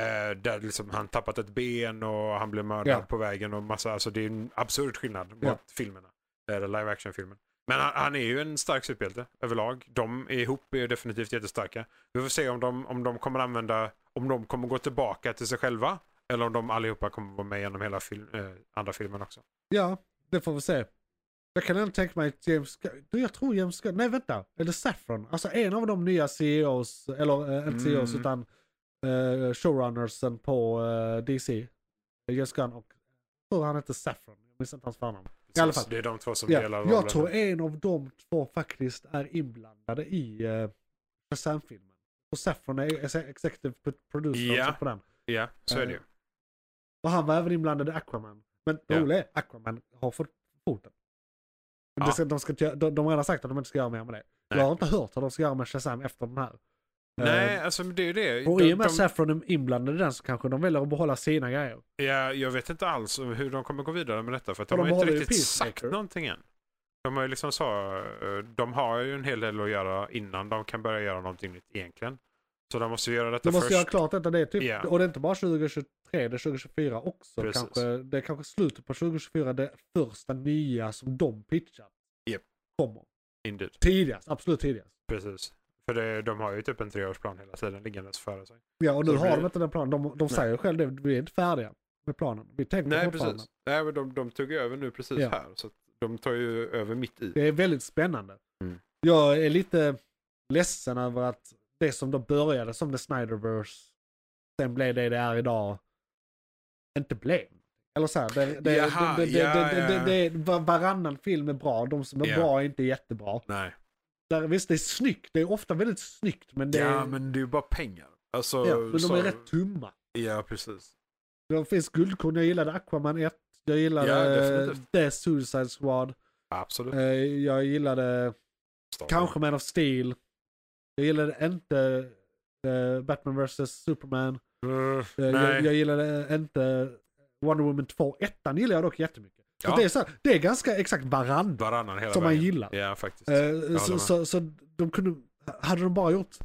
[SPEAKER 4] Eh, där liksom han tappat ett ben och han blev mördad
[SPEAKER 3] Ja.
[SPEAKER 4] på vägen och massa, alltså det är en absurd skillnad mot
[SPEAKER 3] Ja.
[SPEAKER 4] filmerna. eh, Eller live action-filmen. Men han, han är ju en stark superhjälte överlag. De ihop är ju definitivt jättestarka. Vi får se om de, om de kommer använda, om de kommer gå tillbaka till sig själva. Eller om de allihopa kommer vara med genom hela film, eh, andra filmen också.
[SPEAKER 3] Ja, det får vi se. Jag kan ändå tänka mig att James Gunn, du, jag tror James Gunn, nej vänta, eller Saffron, alltså en av de nya CEOs, eller eh, inte CEOs
[SPEAKER 4] Mm.
[SPEAKER 3] utan eh, showrunnersen på eh, DC, James Gunn och, jag tror han heter Saffron, jag minns inte hans förnamn. I alla fall.
[SPEAKER 4] Så Det är de två som
[SPEAKER 3] Ja,
[SPEAKER 4] delar
[SPEAKER 3] jag tror en av de två faktiskt är inblandade i eh, Shazam-filmen. Och Saffron är ex- executive producer
[SPEAKER 4] Ja.
[SPEAKER 3] också på den.
[SPEAKER 4] Ja, så är det ju.
[SPEAKER 3] Eh, Och han var även inblandad i Aquaman. Men det
[SPEAKER 4] Ja.
[SPEAKER 3] roliga är Aquaman har fått foten.
[SPEAKER 4] Ja.
[SPEAKER 3] Men Det ska, de, ska, inte göra- de, de har redan sagt att de inte ska göra mer med det.
[SPEAKER 4] Nej.
[SPEAKER 3] Jag har inte hört vad de ska göra med Shazam efter den här.
[SPEAKER 4] Nej, alltså men det är ju det.
[SPEAKER 3] Eh, och
[SPEAKER 4] De-
[SPEAKER 3] i och med att
[SPEAKER 4] de-
[SPEAKER 3] Saffron är inblandad i den så kanske de väljer att behålla sina grejer.
[SPEAKER 4] Ja, jag vet inte alls hur de kommer gå vidare med detta. För att
[SPEAKER 3] För
[SPEAKER 4] de,
[SPEAKER 3] de
[SPEAKER 4] har
[SPEAKER 3] håller
[SPEAKER 4] inte
[SPEAKER 3] ju
[SPEAKER 4] riktigt sagt
[SPEAKER 3] Peacemaker.
[SPEAKER 4] någonting än. De har ju liksom så, eh, de har ju en hel del att göra innan de kan börja göra någonting nytt egentligen. Så de måste vi göra detta
[SPEAKER 3] Du måste
[SPEAKER 4] först.
[SPEAKER 3] göra klart detta. Det är typ,
[SPEAKER 4] Ja.
[SPEAKER 3] Och det är inte bara 2023, det är 2024 också.
[SPEAKER 4] Precis.
[SPEAKER 3] Kanske, det är kanske slutet på 2024, det första nya som de pitchat
[SPEAKER 4] Japp.
[SPEAKER 3] kommer.
[SPEAKER 4] Indeed.
[SPEAKER 3] Tidigast, absolut tidigast.
[SPEAKER 4] Precis. För det, de har ju typ en treårsplan hela tiden liggandes före sig.
[SPEAKER 3] Ja, och
[SPEAKER 4] Så
[SPEAKER 3] nu
[SPEAKER 4] det
[SPEAKER 3] har de
[SPEAKER 4] blir-
[SPEAKER 3] inte den planen. De, de säger själv det, vi är inte färdiga med planen. Vi tänker
[SPEAKER 4] Nej,
[SPEAKER 3] fortfarande.
[SPEAKER 4] precis. Nej, men de, de tog ju över nu precis
[SPEAKER 3] Ja.
[SPEAKER 4] här. Så att de tar ju över mitt i.
[SPEAKER 3] Det är väldigt spännande.
[SPEAKER 4] Mm.
[SPEAKER 3] Jag är lite ledsen över att det som då började som The Snyderverse, sen blev det det är idag, inte blev. Eller så här, det, det,
[SPEAKER 4] Jaha,
[SPEAKER 3] det, det,
[SPEAKER 4] ja,
[SPEAKER 3] det, det,
[SPEAKER 4] ja.
[SPEAKER 3] det, det, var- varannan film är bra, de som är
[SPEAKER 4] Ja.
[SPEAKER 3] bra är inte jättebra.
[SPEAKER 4] Nej.
[SPEAKER 3] Där, visst, det är snyggt, det är ofta väldigt snyggt, men det
[SPEAKER 4] Ja,
[SPEAKER 3] är,
[SPEAKER 4] men det är ju bara pengar. Alltså,
[SPEAKER 3] ja, men de
[SPEAKER 4] så-
[SPEAKER 3] är rätt tumma.
[SPEAKER 4] Ja, precis.
[SPEAKER 3] De finns guldkorn, jag gillade Aquaman 1, jag
[SPEAKER 4] Ja,
[SPEAKER 3] gillade eh,
[SPEAKER 4] definitivt.
[SPEAKER 3] The Suicide Squad,
[SPEAKER 4] Absolut.
[SPEAKER 3] eh, jag gillade Kanske Man of Steel. Jag gillade inte eh, Batman vs. Superman.
[SPEAKER 4] Mm,
[SPEAKER 3] Eh,
[SPEAKER 4] nej.
[SPEAKER 3] jag, jag gillade eh, inte Wonder Woman 2. Ettan gillar jag dock jättemycket. Så
[SPEAKER 4] Ja.
[SPEAKER 3] det, är så här, det är ganska exakt varandra.
[SPEAKER 4] Varannan hela
[SPEAKER 3] Som man
[SPEAKER 4] vägen.
[SPEAKER 3] gillar.
[SPEAKER 4] Ja, faktiskt.
[SPEAKER 3] Eh,
[SPEAKER 4] håller
[SPEAKER 3] så,
[SPEAKER 4] med.
[SPEAKER 3] så, så de kunde, hade de bara gjort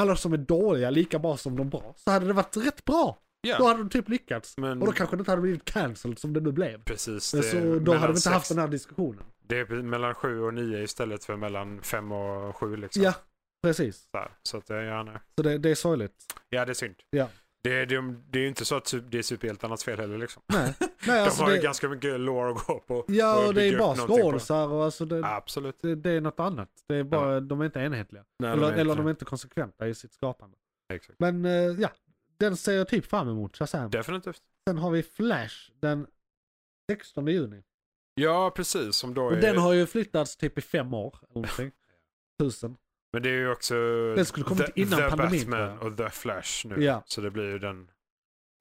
[SPEAKER 3] alla som är dåliga lika bra som de bra så hade det varit rätt bra.
[SPEAKER 4] Ja.
[SPEAKER 3] Då hade de typ lyckats.
[SPEAKER 4] Men-
[SPEAKER 3] Och då kanske det inte hade blivit cancelled som det nu blev.
[SPEAKER 4] Precis.
[SPEAKER 3] så då hade
[SPEAKER 4] mellan
[SPEAKER 3] vi inte
[SPEAKER 4] sex-
[SPEAKER 3] haft den här diskussionen.
[SPEAKER 4] Det är mellan sju och nio istället för mellan fem och sju. Liksom.
[SPEAKER 3] Ja, precis.
[SPEAKER 4] Så, här. så att, det- ja, nej.
[SPEAKER 3] Så det, det är sorgligt.
[SPEAKER 4] ja, det är synd.
[SPEAKER 3] Ja.
[SPEAKER 4] Det, det, det är ju inte så att su- det är superhjältarnas fel heller. Liksom.
[SPEAKER 3] Nej. Nej,
[SPEAKER 4] De
[SPEAKER 3] alltså
[SPEAKER 4] har ju
[SPEAKER 3] det-
[SPEAKER 4] ganska mycket lore att gå på.
[SPEAKER 3] Ja, och det är
[SPEAKER 4] bygga
[SPEAKER 3] bara
[SPEAKER 4] upp någonting på.
[SPEAKER 3] skådisar och alltså det,
[SPEAKER 4] Absolut.
[SPEAKER 3] det, det är något annat. Det är bara, De är inte enhetliga.
[SPEAKER 4] Nej,
[SPEAKER 3] eller,
[SPEAKER 4] de är
[SPEAKER 3] eller
[SPEAKER 4] inte
[SPEAKER 3] de
[SPEAKER 4] det.
[SPEAKER 3] är inte konsekventa i sitt skapande.
[SPEAKER 4] Exakt.
[SPEAKER 3] Men eh, ja, den ser jag typ fram emot. Shazam.
[SPEAKER 4] Definitivt.
[SPEAKER 3] Sen har vi Flash den 16 juni.
[SPEAKER 4] Ja, precis. Som då
[SPEAKER 3] Och
[SPEAKER 4] är,
[SPEAKER 3] den har ju flyttats typ i fem år. Eller någonting. Tusen.
[SPEAKER 4] Men det är ju också
[SPEAKER 3] Den skulle kommit
[SPEAKER 4] The,
[SPEAKER 3] innan
[SPEAKER 4] the
[SPEAKER 3] pandemin, tror
[SPEAKER 4] Batman
[SPEAKER 3] jag.
[SPEAKER 4] och The Flash nu.
[SPEAKER 3] Ja.
[SPEAKER 4] Så det blir ju den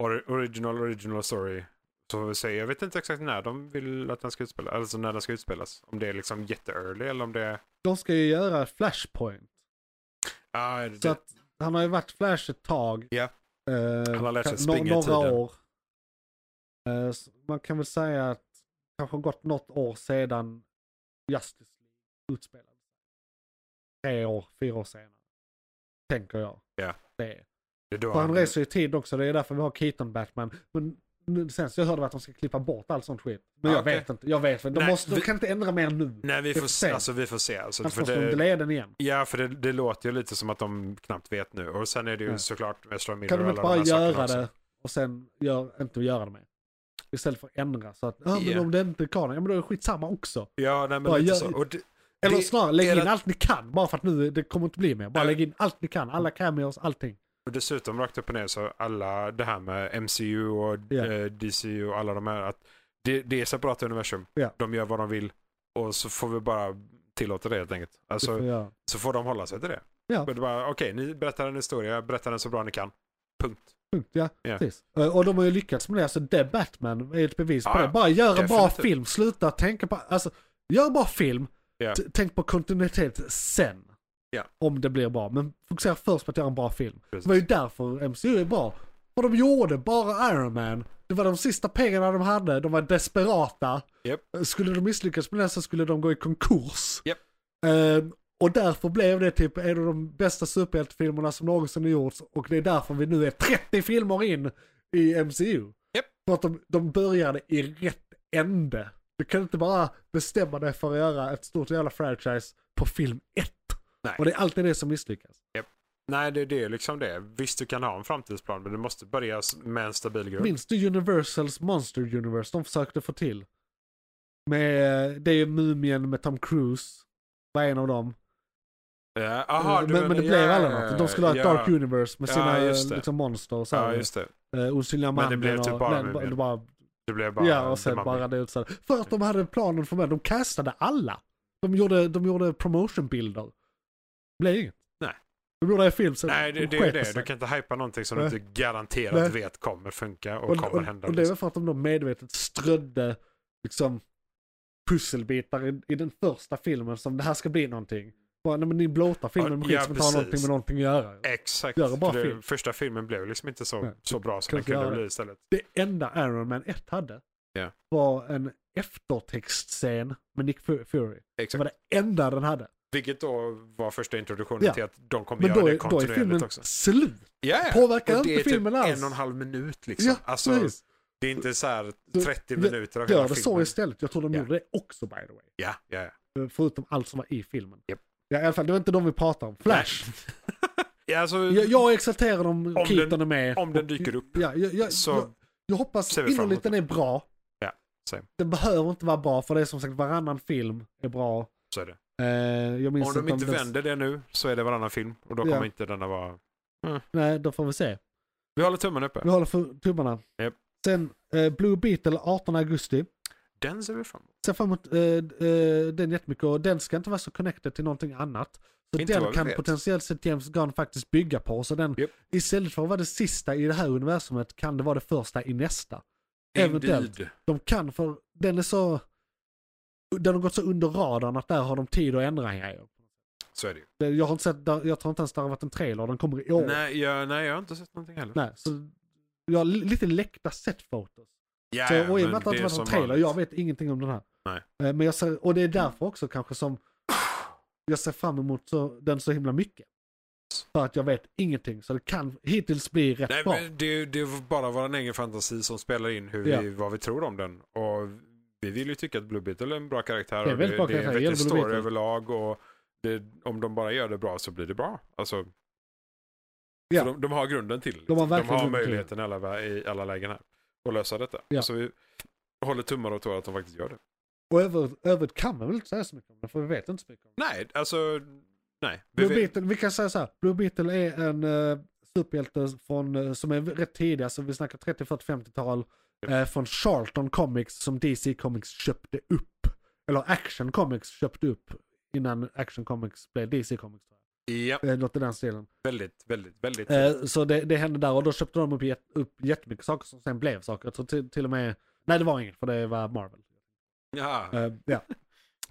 [SPEAKER 4] ori- original, original story. Så får vi se. Jag vet inte exakt när de vill att den ska utspelas. Alltså när den ska utspelas. Om det är liksom jätte-early eller om det är...
[SPEAKER 3] De ska ju göra Flashpoint.
[SPEAKER 4] Ah, det,
[SPEAKER 3] Så att han har ju varit Flash ett tag.
[SPEAKER 4] Ja.
[SPEAKER 3] Eh,
[SPEAKER 4] Han har lärt sig
[SPEAKER 3] kan- no-
[SPEAKER 4] springa i
[SPEAKER 3] Några
[SPEAKER 4] tiden.
[SPEAKER 3] år. Eh, s- man kan väl säga att det kanske har gått något år sedan Justice League utspelades. Tre år, fyra år senare. Tänker jag.
[SPEAKER 4] Ja.
[SPEAKER 3] Det är.
[SPEAKER 4] det är då
[SPEAKER 3] För han reser ju i tid också, det är därför vi har Keaton Batman. Men nu- sen så hörde vi att de ska klippa bort all sånt skit. Men
[SPEAKER 4] Ja,
[SPEAKER 3] jag
[SPEAKER 4] okej.
[SPEAKER 3] vet inte, jag vet inte. De,
[SPEAKER 4] Nej,
[SPEAKER 3] måste, de
[SPEAKER 4] vi-
[SPEAKER 3] kan inte ändra mer nu.
[SPEAKER 4] Nej, vi
[SPEAKER 3] det
[SPEAKER 4] får,
[SPEAKER 3] är för sent.
[SPEAKER 4] se. Alltså, vi får se. Alltså,
[SPEAKER 3] Annars
[SPEAKER 4] för
[SPEAKER 3] måste de
[SPEAKER 4] det,
[SPEAKER 3] delaya den igen.
[SPEAKER 4] ja, för det, det låter ju lite som att de knappt vet nu. Och sen är det ju
[SPEAKER 3] Ja.
[SPEAKER 4] såklart Ezra Miller
[SPEAKER 3] Kan de
[SPEAKER 4] och
[SPEAKER 3] inte
[SPEAKER 4] alla
[SPEAKER 3] bara
[SPEAKER 4] de här sakerna
[SPEAKER 3] göra
[SPEAKER 4] också.
[SPEAKER 3] det och sen gör, inte göra det mer? Istället för att ändra så att, ja men
[SPEAKER 4] Ja.
[SPEAKER 3] om det inte kan, ja men då är det skitsamma också.
[SPEAKER 4] Ja, nej, men
[SPEAKER 3] Bara
[SPEAKER 4] lite
[SPEAKER 3] gör-
[SPEAKER 4] så. Och det,
[SPEAKER 3] Eller
[SPEAKER 4] det-
[SPEAKER 3] snarare, lägg
[SPEAKER 4] är
[SPEAKER 3] in
[SPEAKER 4] det-
[SPEAKER 3] allt ni kan bara för att nu, det kommer inte bli mer. Bara
[SPEAKER 4] Nej.
[SPEAKER 3] lägg in allt ni kan, alla cameos, allting.
[SPEAKER 4] Och dessutom rakt upp och ner så alla det här med MCU och
[SPEAKER 3] Ja.
[SPEAKER 4] eh, DC och alla de här. Att det, det är separata universum.
[SPEAKER 3] Ja.
[SPEAKER 4] De gör vad de vill. Och så får vi bara tillåta det helt enkelt.
[SPEAKER 3] Det får
[SPEAKER 4] Alltså,
[SPEAKER 3] vi göra.
[SPEAKER 4] så får de hålla sig till det.
[SPEAKER 3] Ja.
[SPEAKER 4] Men det är bara, Okej, ni berättar en historia, berättar den så bra ni kan. Punkt.
[SPEAKER 3] Punkt, ja.
[SPEAKER 4] Ja.
[SPEAKER 3] Precis. Eh, Och de har ju lyckats med det, alltså The Batman är ett bevis på
[SPEAKER 4] Ja,
[SPEAKER 3] det. Bara gör en bra
[SPEAKER 4] definitivt.
[SPEAKER 3] film, sluta tänka på, alltså, gör en bra film,
[SPEAKER 4] Ja.
[SPEAKER 3] t- tänk på kontinuitet sen.
[SPEAKER 4] Ja.
[SPEAKER 3] Om det blir bra, men fokusera först på att göra en bra film.
[SPEAKER 4] Precis.
[SPEAKER 3] Det var ju därför MCU är bra. För de gjorde bara Iron Man. Det var de sista pengarna de hade, de var desperata. Eh,
[SPEAKER 4] Japp.
[SPEAKER 3] Skulle de misslyckas med det så skulle de gå i konkurs.
[SPEAKER 4] Japp.
[SPEAKER 3] Ehm, och därför blev det typ en av de bästa superhjältefilmerna som någonsin har gjorts. Och det är därför vi nu är 30 filmer in i MCU.
[SPEAKER 4] Japp.
[SPEAKER 3] För att de, de började i rätt ände. Du kan inte bara bestämma dig för att göra ett stort jävla franchise på film 1.
[SPEAKER 4] Nej.
[SPEAKER 3] Och det är alltid det som misslyckas.
[SPEAKER 4] Nej, det, det är liksom det. Visst, du kan ha en framtidsplan, men du måste börja s- med en stabil grund.
[SPEAKER 3] Minns du Universals Monster Universe de försökte få till? Med, det är ju Mumien med Tom Cruise. Var en av dem. Eh,
[SPEAKER 4] Ja, aha, du
[SPEAKER 3] men, men det
[SPEAKER 4] menar-
[SPEAKER 3] blev
[SPEAKER 4] ja,
[SPEAKER 3] aldrig något. De skulle ha ett
[SPEAKER 4] ja.
[SPEAKER 3] Dark Universe med
[SPEAKER 4] Ja,
[SPEAKER 3] sina eh,
[SPEAKER 4] just det.
[SPEAKER 3] liksom, monster och så.
[SPEAKER 4] Ja,
[SPEAKER 3] här,
[SPEAKER 4] just det.
[SPEAKER 3] eh, Osynliga
[SPEAKER 4] Men
[SPEAKER 3] mannen
[SPEAKER 4] det blev typ
[SPEAKER 3] och,
[SPEAKER 4] bara
[SPEAKER 3] nej,
[SPEAKER 4] Mumien.
[SPEAKER 3] det bara,
[SPEAKER 4] Det blev bara...
[SPEAKER 3] Ja, och
[SPEAKER 4] The
[SPEAKER 3] sen
[SPEAKER 4] Mummy.
[SPEAKER 3] bara det utställda. För att de hade planen för mig. De castade alla. De gjorde, de gjorde promotionbilder. Det blev inget.
[SPEAKER 4] Nej.
[SPEAKER 3] De gjorde en film sen.
[SPEAKER 4] Nej, det,
[SPEAKER 3] de
[SPEAKER 4] det är ju
[SPEAKER 3] sket
[SPEAKER 4] det.
[SPEAKER 3] sig.
[SPEAKER 4] Du kan inte hypa någonting som du
[SPEAKER 3] Nej.
[SPEAKER 4] inte garanterat
[SPEAKER 3] Nej.
[SPEAKER 4] vet kommer funka och,
[SPEAKER 3] Och,
[SPEAKER 4] kommer
[SPEAKER 3] och,
[SPEAKER 4] hända. liksom.
[SPEAKER 3] och det var för att de då medvetet strödde liksom pusselbitar i, i den första filmen som det här ska bli någonting. Bara, nej, men ni blåtar filmen
[SPEAKER 4] Ja,
[SPEAKER 3] med
[SPEAKER 4] ja,
[SPEAKER 3] skit som inte har någonting
[SPEAKER 4] precis.
[SPEAKER 3] med någonting att göra.
[SPEAKER 4] Exakt.
[SPEAKER 3] Göra bra
[SPEAKER 4] För det,
[SPEAKER 3] film.
[SPEAKER 4] Första filmen blev liksom inte så,
[SPEAKER 3] Nej,
[SPEAKER 4] så bra som
[SPEAKER 3] kan
[SPEAKER 4] den
[SPEAKER 3] inte göra
[SPEAKER 4] kunde
[SPEAKER 3] det.
[SPEAKER 4] bli istället.
[SPEAKER 3] Det enda Iron Man 1 hade
[SPEAKER 4] Ja.
[SPEAKER 3] var en eftertextscen med Nick Fu- Fury. Det var
[SPEAKER 4] Exakt.
[SPEAKER 3] det enda den hade.
[SPEAKER 4] Vilket då var första introduktionen
[SPEAKER 3] Ja.
[SPEAKER 4] till att de kommer
[SPEAKER 3] Men
[SPEAKER 4] göra
[SPEAKER 3] då
[SPEAKER 4] det
[SPEAKER 3] är, då är
[SPEAKER 4] kontinuerligt
[SPEAKER 3] filmen
[SPEAKER 4] också.
[SPEAKER 3] slut.
[SPEAKER 4] Ja, ja.
[SPEAKER 3] påverkar
[SPEAKER 4] Och det
[SPEAKER 3] inte
[SPEAKER 4] är typ
[SPEAKER 3] filmen alls.
[SPEAKER 4] en och en halv minut liksom.
[SPEAKER 3] Ja,
[SPEAKER 4] alltså,
[SPEAKER 3] precis.
[SPEAKER 4] det är inte så här 30
[SPEAKER 3] Ja,
[SPEAKER 4] minuter av hela
[SPEAKER 3] Gör det så
[SPEAKER 4] filmen.
[SPEAKER 3] istället. Jag tror de
[SPEAKER 4] Ja.
[SPEAKER 3] gjorde det också by the way.
[SPEAKER 4] Ja, ja, ja.
[SPEAKER 3] Förutom allt som var i filmen.
[SPEAKER 4] Japp.
[SPEAKER 3] Ja, i alla fall, det var inte de vi pratade om. Flash.
[SPEAKER 4] ja alltså,
[SPEAKER 3] Jag, jag är exalterad om,
[SPEAKER 4] Om
[SPEAKER 3] Keaton
[SPEAKER 4] den-
[SPEAKER 3] är med.
[SPEAKER 4] om den dyker upp.
[SPEAKER 3] Ja, jag, jag,
[SPEAKER 4] Så-
[SPEAKER 3] jag, jag hoppas
[SPEAKER 4] ser vi fram
[SPEAKER 3] innerligt den är bra.
[SPEAKER 4] Ja, same.
[SPEAKER 3] Den behöver inte vara bra, för det är som sagt varannan film är bra.
[SPEAKER 4] Så är det.
[SPEAKER 3] Eh, jag minns
[SPEAKER 4] Om de
[SPEAKER 3] om
[SPEAKER 4] inte
[SPEAKER 3] den-
[SPEAKER 4] vänder det nu så är det varannan film och då
[SPEAKER 3] Ja.
[SPEAKER 4] kommer inte denna vara...
[SPEAKER 3] Nej, då får vi se.
[SPEAKER 4] Vi håller tummen uppe.
[SPEAKER 3] Vi håller för tummarna.
[SPEAKER 4] Japp.
[SPEAKER 3] Sen eh, Blue Beetle 18 augusti.
[SPEAKER 4] Den ser vi fram emot.
[SPEAKER 3] Ser fram emot eh, eh, den jättemycket och den ska inte vara så connected till någonting annat. Så
[SPEAKER 4] Inte vad
[SPEAKER 3] den
[SPEAKER 4] vi
[SPEAKER 3] kan
[SPEAKER 4] vet.
[SPEAKER 3] potentiellt sett James Gunn faktiskt bygga på. Så den,
[SPEAKER 4] Japp.
[SPEAKER 3] istället för att vara det sista i det här universumet kan det vara det första i nästa. Eventuellt.
[SPEAKER 4] Indeed.
[SPEAKER 3] De kan för den är så... Den har gått så under radarn att där har de tid att ändra grejer.
[SPEAKER 4] Så är det ju.
[SPEAKER 3] Det- Jag har inte sett, där- jag tror inte ens det har varit en trailer, den kommer i år.
[SPEAKER 4] Nej, jag, nej, jag har inte sett någonting heller.
[SPEAKER 3] Nej, så jag har li- lite läckta sett fotos.
[SPEAKER 4] Ja,
[SPEAKER 3] Så,
[SPEAKER 4] ja,
[SPEAKER 3] och i och
[SPEAKER 4] men
[SPEAKER 3] med att det inte
[SPEAKER 4] är
[SPEAKER 3] varit någon
[SPEAKER 4] som
[SPEAKER 3] trailer,
[SPEAKER 4] vanligt.
[SPEAKER 3] jag vet ingenting om den här.
[SPEAKER 4] Nej.
[SPEAKER 3] Eh, Men jag ser, och det är därför också kanske som jag ser fram emot så, den så himla mycket. För att jag vet ingenting, så det kan hittills bli rätt
[SPEAKER 4] Nej,
[SPEAKER 3] bra.
[SPEAKER 4] men det, det är bara vår egen fantasi som spelar in hur
[SPEAKER 3] Ja.
[SPEAKER 4] vi, vad vi tror om den. Och vi vill ju tycka att Blue Beetle är en bra karaktär.
[SPEAKER 3] Det är
[SPEAKER 4] och
[SPEAKER 3] väldigt bra
[SPEAKER 4] det, det är
[SPEAKER 3] karaktär,
[SPEAKER 4] en
[SPEAKER 3] jag
[SPEAKER 4] vettig
[SPEAKER 3] gillar Blue
[SPEAKER 4] story
[SPEAKER 3] Beetle.
[SPEAKER 4] överlag. Och det, om de bara gör det bra så blir det bra. Alltså,
[SPEAKER 3] Ja.
[SPEAKER 4] för de, de har grunden till det.
[SPEAKER 3] De har
[SPEAKER 4] de
[SPEAKER 3] verkligen
[SPEAKER 4] har
[SPEAKER 3] grunden till
[SPEAKER 4] möjligheten i alla, vä- i alla lägen här. Att lösa detta.
[SPEAKER 3] Ja.
[SPEAKER 4] Så vi håller tummar och tår att de faktiskt gör det.
[SPEAKER 3] Och över- övrigt kan man väl inte säga så mycket om det, för vi vet inte så mycket om det.
[SPEAKER 4] Nej, alltså... Nej. Vi
[SPEAKER 3] Blue
[SPEAKER 4] vet-
[SPEAKER 3] Beetle, vi kan säga så här. Blue Beetle är en eh, superhjälte från, eh, som är rätt tidig, alltså vi snackar 30, 40, 50-tal. Eh, från Charlton Comics som DC Comics köpte upp. Eller Action Comics köpte upp innan Action Comics blev DC Comics. tror
[SPEAKER 4] Ja,
[SPEAKER 3] jag. Eh, något i den stilen.
[SPEAKER 4] väldigt, väldigt, väldigt.
[SPEAKER 3] Eh, så det, det hände där och då köpte de upp, jätt, upp jättemycket saker som sen blev saker. Jag tror till, till och med, nej det var inget för det var Marvel.
[SPEAKER 4] ja,
[SPEAKER 3] Eh, ja.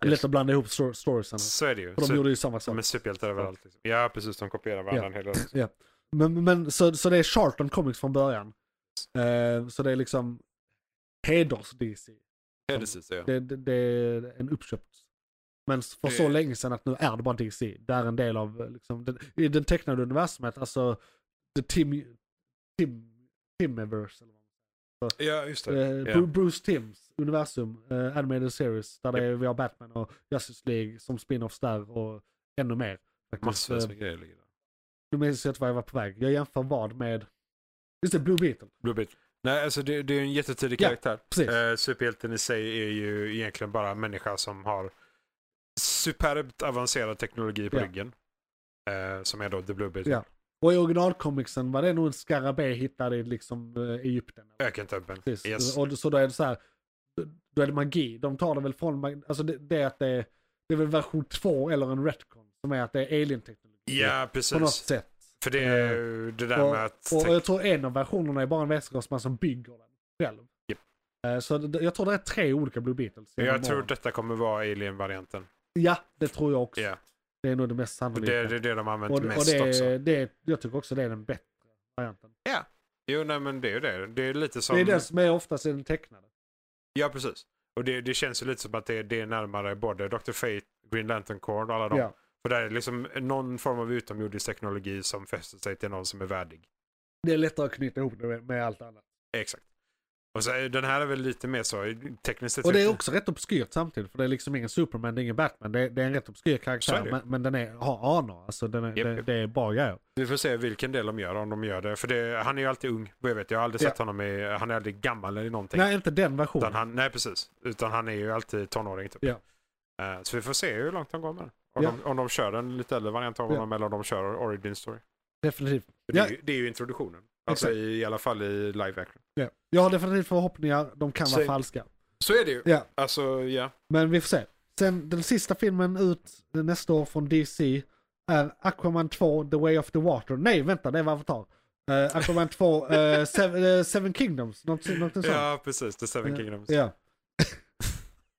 [SPEAKER 3] Lätt att blanda ihop stor- storiesen.
[SPEAKER 4] så är det ju.
[SPEAKER 3] För de
[SPEAKER 4] Så,
[SPEAKER 3] gjorde ju samma sak.
[SPEAKER 4] de är superhjältar överallt. Liksom. Ja, precis. De kopierar varandra hela tiden.
[SPEAKER 3] Ja. Men, men så, så det är Charlton Comics från början. Eh, så det är liksom heders-DC.
[SPEAKER 4] Ja, precis. Ja.
[SPEAKER 3] Det, det, det är en uppköpt. Men för så
[SPEAKER 4] Det-
[SPEAKER 3] länge sedan att nu är det bara DC. Det är en del av eh, liksom, den, i den tecknade universumet, alltså the Tim... Tim... Timiverse. Eller
[SPEAKER 4] Ja, just det.
[SPEAKER 3] vad. Eh,
[SPEAKER 4] Ja.
[SPEAKER 3] Bru- Bruce Tims universum, eh, animated series, där det är, vi har Batman och Justice League som spin-offs där och ännu mer. faktiskt.
[SPEAKER 4] Massvis
[SPEAKER 3] Eh,
[SPEAKER 4] med grejer ligger där.
[SPEAKER 3] Nu minns jag inte var jag var på väg. Jag jämför vad med... Just det, Blue Beetle.
[SPEAKER 4] Blue Beetle. Nej, alltså det, det är en jättetidig
[SPEAKER 3] Ja,
[SPEAKER 4] karaktär.
[SPEAKER 3] precis.
[SPEAKER 4] Eh, superhjälten i sig är ju egentligen bara en människa som har superbt avancerad teknologi på
[SPEAKER 3] Ja.
[SPEAKER 4] ryggen. Eh, som är då The Blue Beetle.
[SPEAKER 3] Ja. Och i originalcomicsen var det nog en skarabé hittad i liksom eh, Egypten.
[SPEAKER 4] Ökentubben.
[SPEAKER 3] Precis.
[SPEAKER 4] Yes.
[SPEAKER 3] Och så då är det så här, då är det magi. De tar det väl från, mag- alltså det, det är att det är, det är väl version 2 eller en retcon som är att det är alien-teknologi.
[SPEAKER 4] Ja,
[SPEAKER 3] På något
[SPEAKER 4] precis.
[SPEAKER 3] sätt.
[SPEAKER 4] För det är ju det där
[SPEAKER 3] Och,
[SPEAKER 4] med att...
[SPEAKER 3] och jag tror en av versionerna är bara en vätgasman som bygger den själv.
[SPEAKER 4] Japp.
[SPEAKER 3] Eh, Så det, jag tror det är tre olika Blue Beetles.
[SPEAKER 4] Men jag
[SPEAKER 3] genom
[SPEAKER 4] tror
[SPEAKER 3] åren.
[SPEAKER 4] detta kommer vara Alien-varianten.
[SPEAKER 3] Ja, det tror jag också.
[SPEAKER 4] Ja.
[SPEAKER 3] Det är nog det
[SPEAKER 4] För
[SPEAKER 3] mest sannolika.
[SPEAKER 4] Det, det är det de har använt
[SPEAKER 3] och, och
[SPEAKER 4] mest också.
[SPEAKER 3] det, det, jag tycker också det är den bättre varianten.
[SPEAKER 4] Jo, nej men det är ju det. Det är lite som...
[SPEAKER 3] Det är den som är oftast i den tecknade.
[SPEAKER 4] Ja, precis. Och det, det känns ju lite som att det, det är närmare både Dr. Fate, Green Lantern Corps och alla de.
[SPEAKER 3] Ja.
[SPEAKER 4] För där är liksom någon form av utomjordisk teknologi som fäster sig till någon som är värdig.
[SPEAKER 3] Det är lättare att knyta ihop det med, med allt annat.
[SPEAKER 4] Exakt. Och så, är- den här är väl lite mer så tekniskt sett.
[SPEAKER 3] Och det är
[SPEAKER 4] lite-
[SPEAKER 3] också rätt obskyrt samtidigt. För det är liksom ingen Superman, det är ingen Batman. Det, det är en rätt obskyr
[SPEAKER 4] Så
[SPEAKER 3] karaktär.
[SPEAKER 4] är det.
[SPEAKER 3] Men, men den är, har anor. Alltså den är,
[SPEAKER 4] Japp,
[SPEAKER 3] det,
[SPEAKER 4] japp.
[SPEAKER 3] det är bra grejer.
[SPEAKER 4] Vi får se vilken del de gör, om de gör det. För det, han är ju alltid ung, vad jag vet. Jag har aldrig
[SPEAKER 3] Ja.
[SPEAKER 4] sett honom i, han är aldrig gammal eller någonting.
[SPEAKER 3] Nej, inte den versionen.
[SPEAKER 4] Utan han, nej, precis. Utan han är ju alltid tonåring typ.
[SPEAKER 3] Ja.
[SPEAKER 4] Eh, Så vi får se hur långt de går med den. Om,
[SPEAKER 3] Ja.
[SPEAKER 4] de, om de kör en lite äldre variant av
[SPEAKER 3] Ja.
[SPEAKER 4] honom eller om de kör origin story.
[SPEAKER 3] Definitivt.
[SPEAKER 4] För Det,
[SPEAKER 3] Ja.
[SPEAKER 4] är, ju, det är ju introduktionen. Alltså
[SPEAKER 3] Exakt.
[SPEAKER 4] i, i alla fall i live action.
[SPEAKER 3] Ja. Jag har definitivt förhoppningar. De kan vara
[SPEAKER 4] Så-
[SPEAKER 3] falska.
[SPEAKER 4] Så är det ju.
[SPEAKER 3] Ja.
[SPEAKER 4] Alltså ja.
[SPEAKER 3] Men vi får se. Sen den sista filmen ut eh, nästa år från DC är Aquaman 2, The Way of the Water. Nej, vänta, det var Avatar. Eh, Aquaman
[SPEAKER 4] <laughs>
[SPEAKER 3] 2, eh, Seven, eh, Seven Kingdoms, något, något sånt.
[SPEAKER 4] Ja precis, The Seven Kingdoms.
[SPEAKER 3] Ja. <laughs>